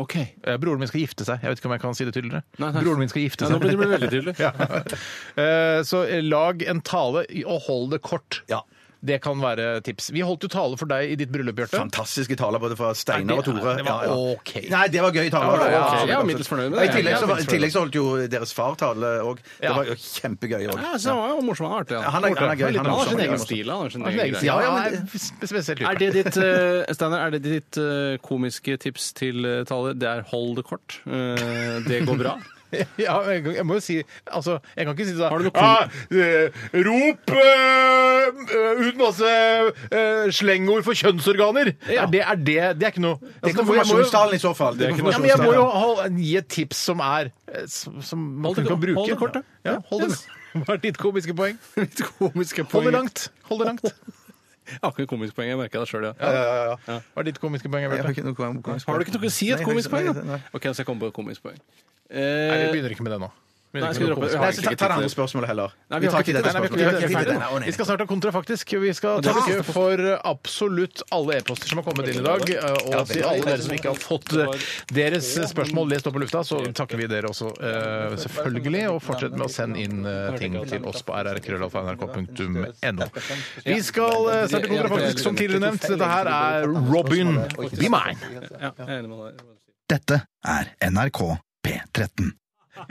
S3: Ok.
S1: Eh, Broren min skal gifte seg. Jeg vet ikke om jeg kan si det tydeligere.
S3: Nei, nei.
S1: Broren min skal gifte
S3: Ja,
S1: seg.
S3: nå blir det veldig tydelig.
S1: Ja. Eh, Så eh, lag en tale i- og hold det kort. Det kan være tips. Vi holdt jo tale for deg i ditt bryllup, Bjarte.
S2: Fantastiske taler både fra Steinar og Tore.
S1: Det var
S2: Ja, ja.
S1: OK.
S2: Nei, det var gøy tale.
S1: Ja, det var
S2: Ja,
S1: ok.
S2: absolutt,
S3: Jeg var
S2: absolutt.
S3: middels fornøyd med
S2: Og I
S3: det.
S2: tillegg så,
S1: Jeg er middels
S2: I tillegg så holdt jo deres far tale òg. Det
S1: Ja.
S2: var jo kjempegøy òg.
S3: Ja, så han var jo morsom og artig.
S2: Han er- han er gøy, han er
S3: Han har sin
S2: morsom.
S3: egen stil. Han har sin
S1: Ja,
S3: egen greie.
S1: ja,
S2: Ja,
S1: men
S2: men-
S1: det- spesielt
S3: Er det ditt, eh, Steiner, er det ditt eh, komiske tips til eh, taler? Det er hold det kort. Eh, det går bra.
S1: Ja, jeg, kan- jeg må jo si altså, Jeg kan ikke si sånn
S3: Har du noe kon-
S1: ah, eh, Rop eh, eh, ut masse eh, slengord for kjønnsorganer!
S3: Ja.
S1: Er det, er det, det er ikke noe
S2: Det er
S1: Altså, må- jeg må jo-
S2: konfirmasjonstalen i så fall. Det er
S1: Ja, men jeg må
S2: konfirmasjonstalen.
S1: jo holde, gi et tips som er eh, Som som man
S3: Hold det-
S1: kan bruke.
S3: hold det kort, da.
S1: Ja, hold det. Hva er ditt komiske poeng?
S3: Mitt komiske
S1: Hold det
S3: poeng-
S1: langt. Hold det langt.
S3: Jeg har ikke noe komisk poeng, jeg merker det sjøl, ja.
S1: Hva er ditt komiske poeng?
S2: Jeg
S1: Bjarte?
S2: har ikke noe kom- komisk
S3: Har du ikke noe å si et
S2: Nei,
S3: komisk poeng?
S2: nei,
S3: da?
S2: nei.
S3: OK, så jeg kommer på et komisk poeng.
S1: Nei, vi
S3: Eh,
S1: begynner ikke med det nå. Vi
S3: Nei,
S1: begynner
S3: skal vi
S1: ikke
S3: droppe
S1: med noe
S2: Nei, så
S3: vi har egentlig
S2: ta, ta det andre spørsmålet heller.
S3: Nei, vi
S2: vi
S3: har
S2: tar ikke
S3: ikke
S1: Nei, vi er ikke ferdig.
S2: dette spørsmålet. Vi tar ikke det. Nei,
S3: tid til det.
S1: Vi
S2: ordentlig.
S1: skal snart ha kontra, faktisk. Vi skal takke for absolutt alle e-poster som har kommet inn i dag. eh, Og til alle dere som ikke har fått eh, deres spørsmål lest opp på lufta, så takker vi dere også, eh, selvfølgelig. Og fortsett med å sende inn eh, ting til oss på rrkrøllalfa.nrk.no. Vi skal eh, starte kontra, faktisk, som tidligere nevnt. Dette her er Robin Be Mine.
S3: ja, jeg er enig med deg.
S4: Dette er NRK P13.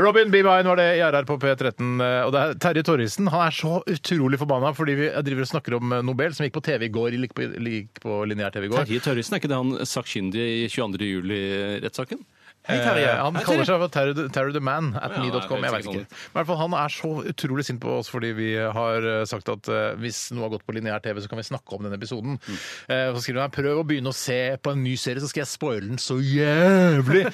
S1: Robin Be Mine var det i RR på P13. eh, Og det er Terje Torrisen han er så utrolig forbanna fordi vi driver og snakker om eh, Nobel, som gikk på TV i går. Gikk på, gikk på lineær-TV i går.
S3: Terje Tørrisen, er ikke det han sakkyndige i 22. juli-rettssaken? Eh,
S1: Hei, Terje. Eh, Han kaller seg for Terry the- Terry the Man at
S3: Ja,
S1: me.com. Jeg
S3: det er
S1: vet
S3: sikkert
S1: ikke. Men i hvert fall, han er så utrolig sint på oss fordi vi har eh, sagt at eh, hvis noe har gått på lineær-TV, så kan vi snakke om den episoden. Eh, Så skriver han prøv å begynne å se på en ny serie, så skal jeg spoile den så jævlig.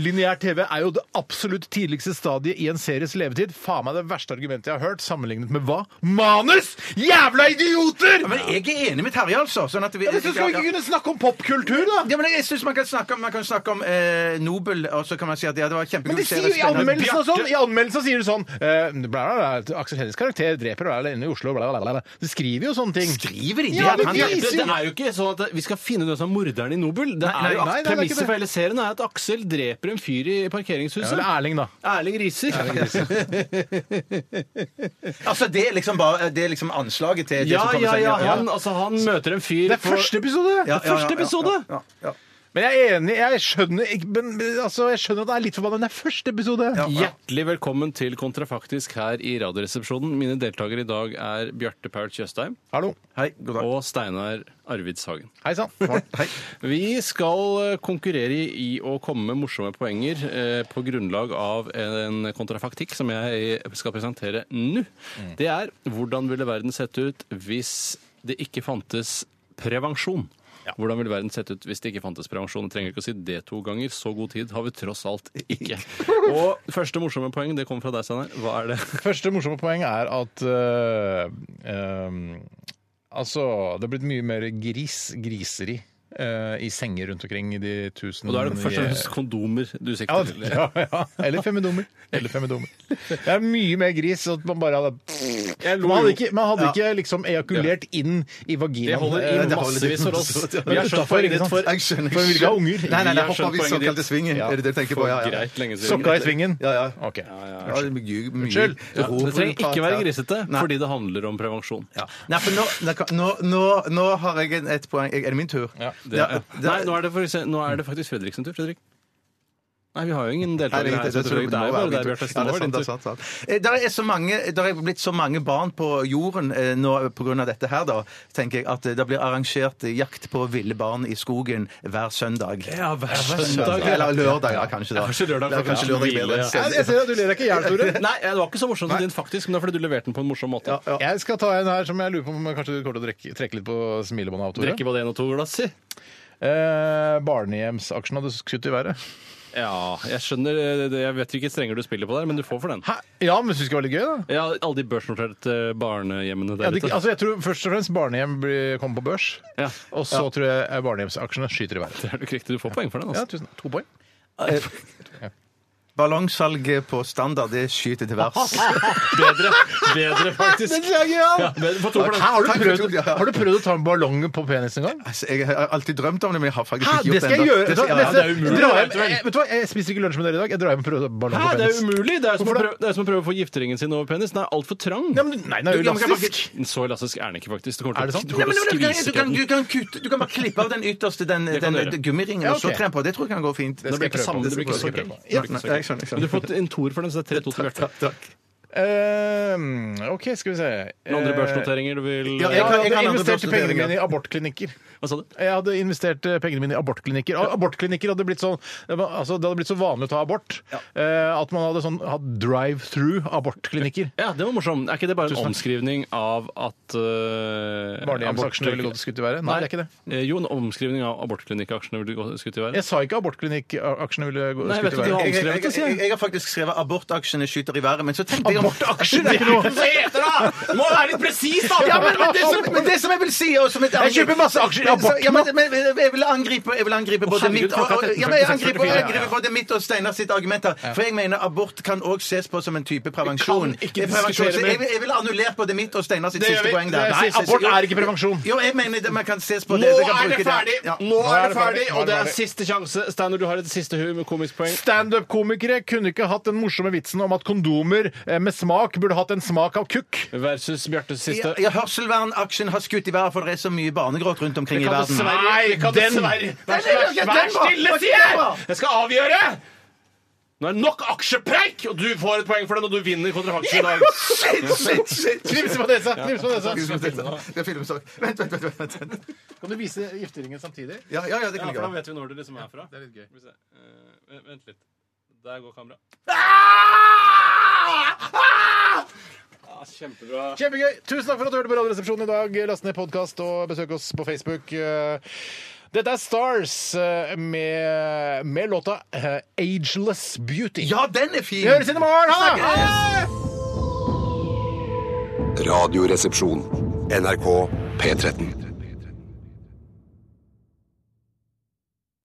S1: Lineær-TV er jo det absolutt tidligste stadiet i en series levetid. Faen meg det verste argumentet jeg har hørt, sammenlignet med hva? Manus! Jævla idioter!
S2: Ja, Men jeg er enig med Terje, altså. Sånn at vi,
S1: Ja, men så skal vi ikke kunne snakke om popkultur, da!
S2: Ja, men jeg synes man kan snakke om, man kan snakke om eh, Nobel, og så kan man si at ja, det var kjempegod
S1: Men det sier jo i anmeldelsen og sånn! I anmeldelsen sier du sånn eh, bla, bla, bla, Aksel Hennies karakter dreper og er inne i Oslo, bla, bla, bla, bla. Du skriver jo sånne ting.
S2: Skriver de det?
S1: Ja,
S2: At
S1: men
S2: han-
S1: de-
S3: Det, det er jo ikke sånn at vi skal finne ut hvem som er morderen i Nobel. Det
S1: nei,
S3: er jo
S1: nei,
S3: at
S1: det er ikke
S3: Premisset
S1: det.
S3: for hele serien er at Aksel dreper en fyr i
S1: Ja,
S3: parkeringshuset.
S1: eller Erling, da.
S3: Erling Riser.
S2: Altså, det er liksom bare det er liksom anslaget til det
S3: Ja,
S2: som kommer
S3: ja,
S2: seg-
S3: ja. Han, altså, han møter en fyr
S1: Det er
S3: på-
S1: første episode!
S2: Ja, ja, ja,
S3: første episode!
S2: Ja, ja, ja.
S1: Men jeg er enig, jeg skjønner ikke- men, altså, jeg skjønner at det er litt forbanna, men det er første episode!
S3: Hjertelig velkommen til Kontrafaktisk her i Radioresepsjonen. Mine deltakere i dag er Bjarte Paul Tjøstheim
S1: Hallo.
S2: Hei, god dag.
S3: og Steinar Arvidshagen.
S1: Hei sann.
S2: Hei.
S3: Vi skal eh, konkurrere i å komme med morsomme poenger eh, på grunnlag av en kontrafaktikk som jeg eh, skal presentere nå.
S1: Mm.
S3: Det er hvordan ville verden sett ut hvis det ikke fantes prevensjon? Hvordan ville verden sett ut hvis det ikke fantes prevensjon? Jeg trenger ikke å si det to ganger. Så god tid har vi tross alt ikke. Og første morsomme poeng, det kommer fra deg, Steinar. Hva er det?
S1: Første morsomme poeng er at øh, øh, Altså, det er blitt mye mer gris, griseri øh, i senger rundt omkring i de tusen
S3: Og da er det først og fremst kondomer du
S1: Mm, Ja,
S3: sikter til.
S1: ja, ja. Eller femmedommer. Eller femmedommer. Det er mye mer gris at man bare hadde Man hadde ikke, man hadde ikke liksom ejakulert inn i vaginaen.
S3: Det holder
S1: Eh,
S3: i
S1: det holder.
S3: massevis for oss. Vi har
S1: utenfor,
S3: skjønt poenget
S1: ikke
S3: ditt
S1: sant?
S3: for
S2: Jeg skjønner.
S1: For vi vil ikke ha unger.
S2: Nei, nei,
S3: Vi
S2: nei,
S3: har
S2: hoppa
S3: skjønt
S2: vi
S3: poenget
S2: såkalte svingen. Er det det du tenker på? Ja, ja.
S3: greit lenge siden.
S1: Sokka i svingen?
S2: Ja, ja.
S1: Ok.
S2: ja. ja det blir mye.
S1: Unnskyld.
S3: Ja, det trenger ikke være
S2: Ja.
S3: grisete, fordi det handler om prevensjon.
S2: Ja. Nei, for nå, nå, nå, nå har jeg en- et poeng. Er det min tur? Ja.
S3: Det, ja. Nei, nå er det, for eksempel, nå er det faktisk Fredriksen tur. Fredrik. Nei, vi har jo ingen deltakere her. så Fredrik, Det er jo bare deg, Bjarte.
S2: Ja, det er sant, det er sant, sant. Eh, der er så mange, der er blitt så mange barn på jorden eh, nå pga. dette her, da, tenker jeg at eh, det blir arrangert eh, jakt på ville barn i skogen hver søndag.
S3: Ja, hver søndag.
S2: Søndag, eller lørdag, ja, kanskje. da.
S3: Ja, kanskje lørdag,
S2: Ja,
S3: for
S2: kanskje
S3: da
S2: lørdag
S3: hvile,
S2: bedre.
S3: ja.
S1: Jeg, jeg ser at du ler deg ikke i hjel, Tore.
S3: Nei, det var ikke så morsomt som din, faktisk, men det er fordi du leverte den på en morsom måte.
S1: Jeg skal ta en her som jeg lurer på om kanskje du kommer til å drekke- trekke litt på smilebåndet av, Tore.
S3: Drikke både én og to glass, si.
S1: Eh, Barnehjemsaksjen hadde skutt i været.
S3: Ja, jeg skjønner eh, det. Jeg vet hvilke strenger du spiller på der, men du får for den.
S1: Hæ? Ja, men syns du ikke det var litt gøy, da?
S3: Ja, alle de børsnoterte eh, barnehjemmene
S1: Ja,
S3: der
S1: det,
S3: ute.
S1: altså jeg tror Først og fremst barnehjem blir- kommer på børs.
S3: Ja.
S1: Og så tror jeg eh, barnehjemsaksjene skyter i været.
S3: altså. Det er nok riktig. Du får poeng for den,
S1: Ja,
S3: altså.
S1: tusen. To poeng.
S2: Eh, Ballongsalget på standard, det skyter til værs.
S3: Bedre, bedre faktisk. Ja, bedre for to
S1: Hæ,
S3: for den.
S1: har, du
S2: Takk,
S1: prøvd,
S2: takk, ja.
S1: har du prøvd å ta en ballong på penisen en gang?
S2: Altså, jeg har alltid drømt om det, men jeg har faktisk
S1: Hæ,
S2: ikke
S1: det
S2: gjort
S1: skal jeg
S2: ennå.
S1: gjøre! Vet du hva,
S2: Ja,
S1: neste-
S2: det er
S1: jeg drar hjem- jeg- Vet du hva, jeg spiser ikke lunsj med dere i dag. Jeg drar hjem og prøver ballong
S3: Hæ,
S1: på
S3: det er
S1: penis.
S3: umulig! Det er som å
S1: Hvorfor
S3: prøve, det er som å prøve å få gifteringen sin over penis. Den er altfor trang.
S1: Nei, men, nei, nei,
S2: Du-
S1: elastisk.
S3: Så elastisk er den ikke, faktisk.
S1: Er
S3: Det
S1: det
S3: kommer til
S1: sant?
S3: å-
S2: Nei, men
S3: kommer
S2: du,
S3: til å
S2: kan,
S3: skvise
S2: du, kan, du, kan kutte, du kan bare klippe av den ytterste den,
S3: kan
S2: den,
S3: du gjøre.
S2: gummiringen
S1: Ja,
S2: og så
S1: ok.
S2: tre på. Det tror jeg kan gå fint.
S3: Det blir ikke
S1: skal jeg prøve
S3: sammen,
S1: på.
S3: det
S1: Det
S3: blir ikke så
S1: skal jeg
S3: gøy.
S1: prøve på.
S3: Det blir
S2: Nei, jeg
S3: ikke så gøy.
S2: skjønner, jeg
S3: Men du
S2: skjønner.
S3: har fått en toer for den, så det er 3-2 til Bjarte.
S1: Eh, OK, skal vi se.
S3: Noen Andre børsnoteringer du vil
S1: Ja, jeg,
S2: jeg
S1: hadde
S2: kan andre
S1: investert pengene
S2: børsnoteringer.
S1: mine i abortklinikker.
S3: Hva sa du?
S1: Jeg hadde investert eh, pengene mine i abortklinikker. Og Abortklinikker hadde blitt sånn det var- altså, Det hadde blitt så vanlig å ta abort eh, at man hadde sånn hatt drive-through abortklinikker.
S3: Ja, det var morsomt. Er ikke det bare en
S1: Tusen takk.
S3: omskrivning av at øh, uh,
S1: Barnehjemsaksjene ville gått skutt i været? Nei, det er ikke det.
S3: Eh, Jo, en omskrivning av abortklinikkaaksjene ville gått skutt i været.
S1: Jeg sa ikke abortklinikkaaksjene ville gå-
S3: Nei, vet
S1: skutt i
S3: du,
S1: været.
S3: du har-
S2: Jeg, jeg,
S3: Omskrevet
S1: altså.
S3: det, sier
S2: jeg,
S3: jeg.
S2: jeg har faktisk skrevet 'abortaksjene skyter i været', men så tenkte jeg om
S1: Abortaksjer det er ikke noe!
S3: Du må være litt presis, da!
S2: Ja, men, men, det som, men det som jeg vil si og som et angrep-
S1: kjøper masse aksjer i
S2: Men- så-
S1: abort
S2: Ja, men, men jeg vil angripe, jeg vil angripe både
S3: herregud,
S2: mitt og,
S3: klokka
S2: og,
S3: er
S2: ja, men jeg
S3: 13.45,
S2: angriper,
S3: ja, ja,
S2: jeg
S3: ja.
S2: angriper både mitt og Steinar sitt argument her. For jeg mener abort kan òg ses på som en type
S1: Vi
S2: prevensjon.
S1: kan ikke
S2: Det er prevensjon,
S1: diskutere
S2: så Jeg, vil- jeg vil annullere både mitt og Steinar sitt
S1: Det gjør
S2: siste
S1: vi.
S2: poeng
S1: Det
S2: der.
S1: er Nei, siste- abort er ikke prevensjon.
S2: Jo, jeg mener det, man kan ses på det. så
S3: Nå
S2: kan
S3: er det
S2: bruke
S3: ferdig!
S2: Ja.
S3: Nå er det ferdig,
S1: Nå er
S3: og det
S1: det
S3: er
S1: ferdig.
S3: siste sjanse. Steinar, du har et siste hu med komisk poeng.
S1: Standup-komikere kunne ikke hatt den morsomme vitsen om at kondomer eh, med smak burde hatt en smak av kukk.
S3: Versus Bjartes siste.
S2: Ja, Hørselvernaksjen har skutt i været, for det er så mye barnegråt rundt omkring i verden.
S3: Nei, den Vær
S2: Nei, den var-
S3: stille,
S2: den
S3: sier jeg!
S2: var-
S3: Jeg skal avgjøre! Nå er det nok aksjepreik, og du får et poeng for den, og du vinner kontrahansen i dag.
S2: Shit, shit, shit!
S1: Knips på nesa! Knips på nesa!
S2: Det er filmsak. Vent, vent, vent. vent, vent.
S1: Kan du vise gifteringen samtidig?
S2: Ja, ja, ja, det kan jeg gjøre.
S3: vet vi når det liksom er fra.
S1: Det er litt gøy.
S3: Eh, Vent litt. Der går kameraet. Ah, Kjempebra.
S1: Kjempegøy! Tusen takk for at du hørte på Radioresepsjonen i dag. Last ned podkast og besøk oss på Facebook. Eh, Dette er Stars eh, med, med låta eh, Ageless Beauty.
S2: Ja, den er fin!
S1: Vi høres inn i morgen! Ha det!
S9: Radioresepsjon. NRK P13.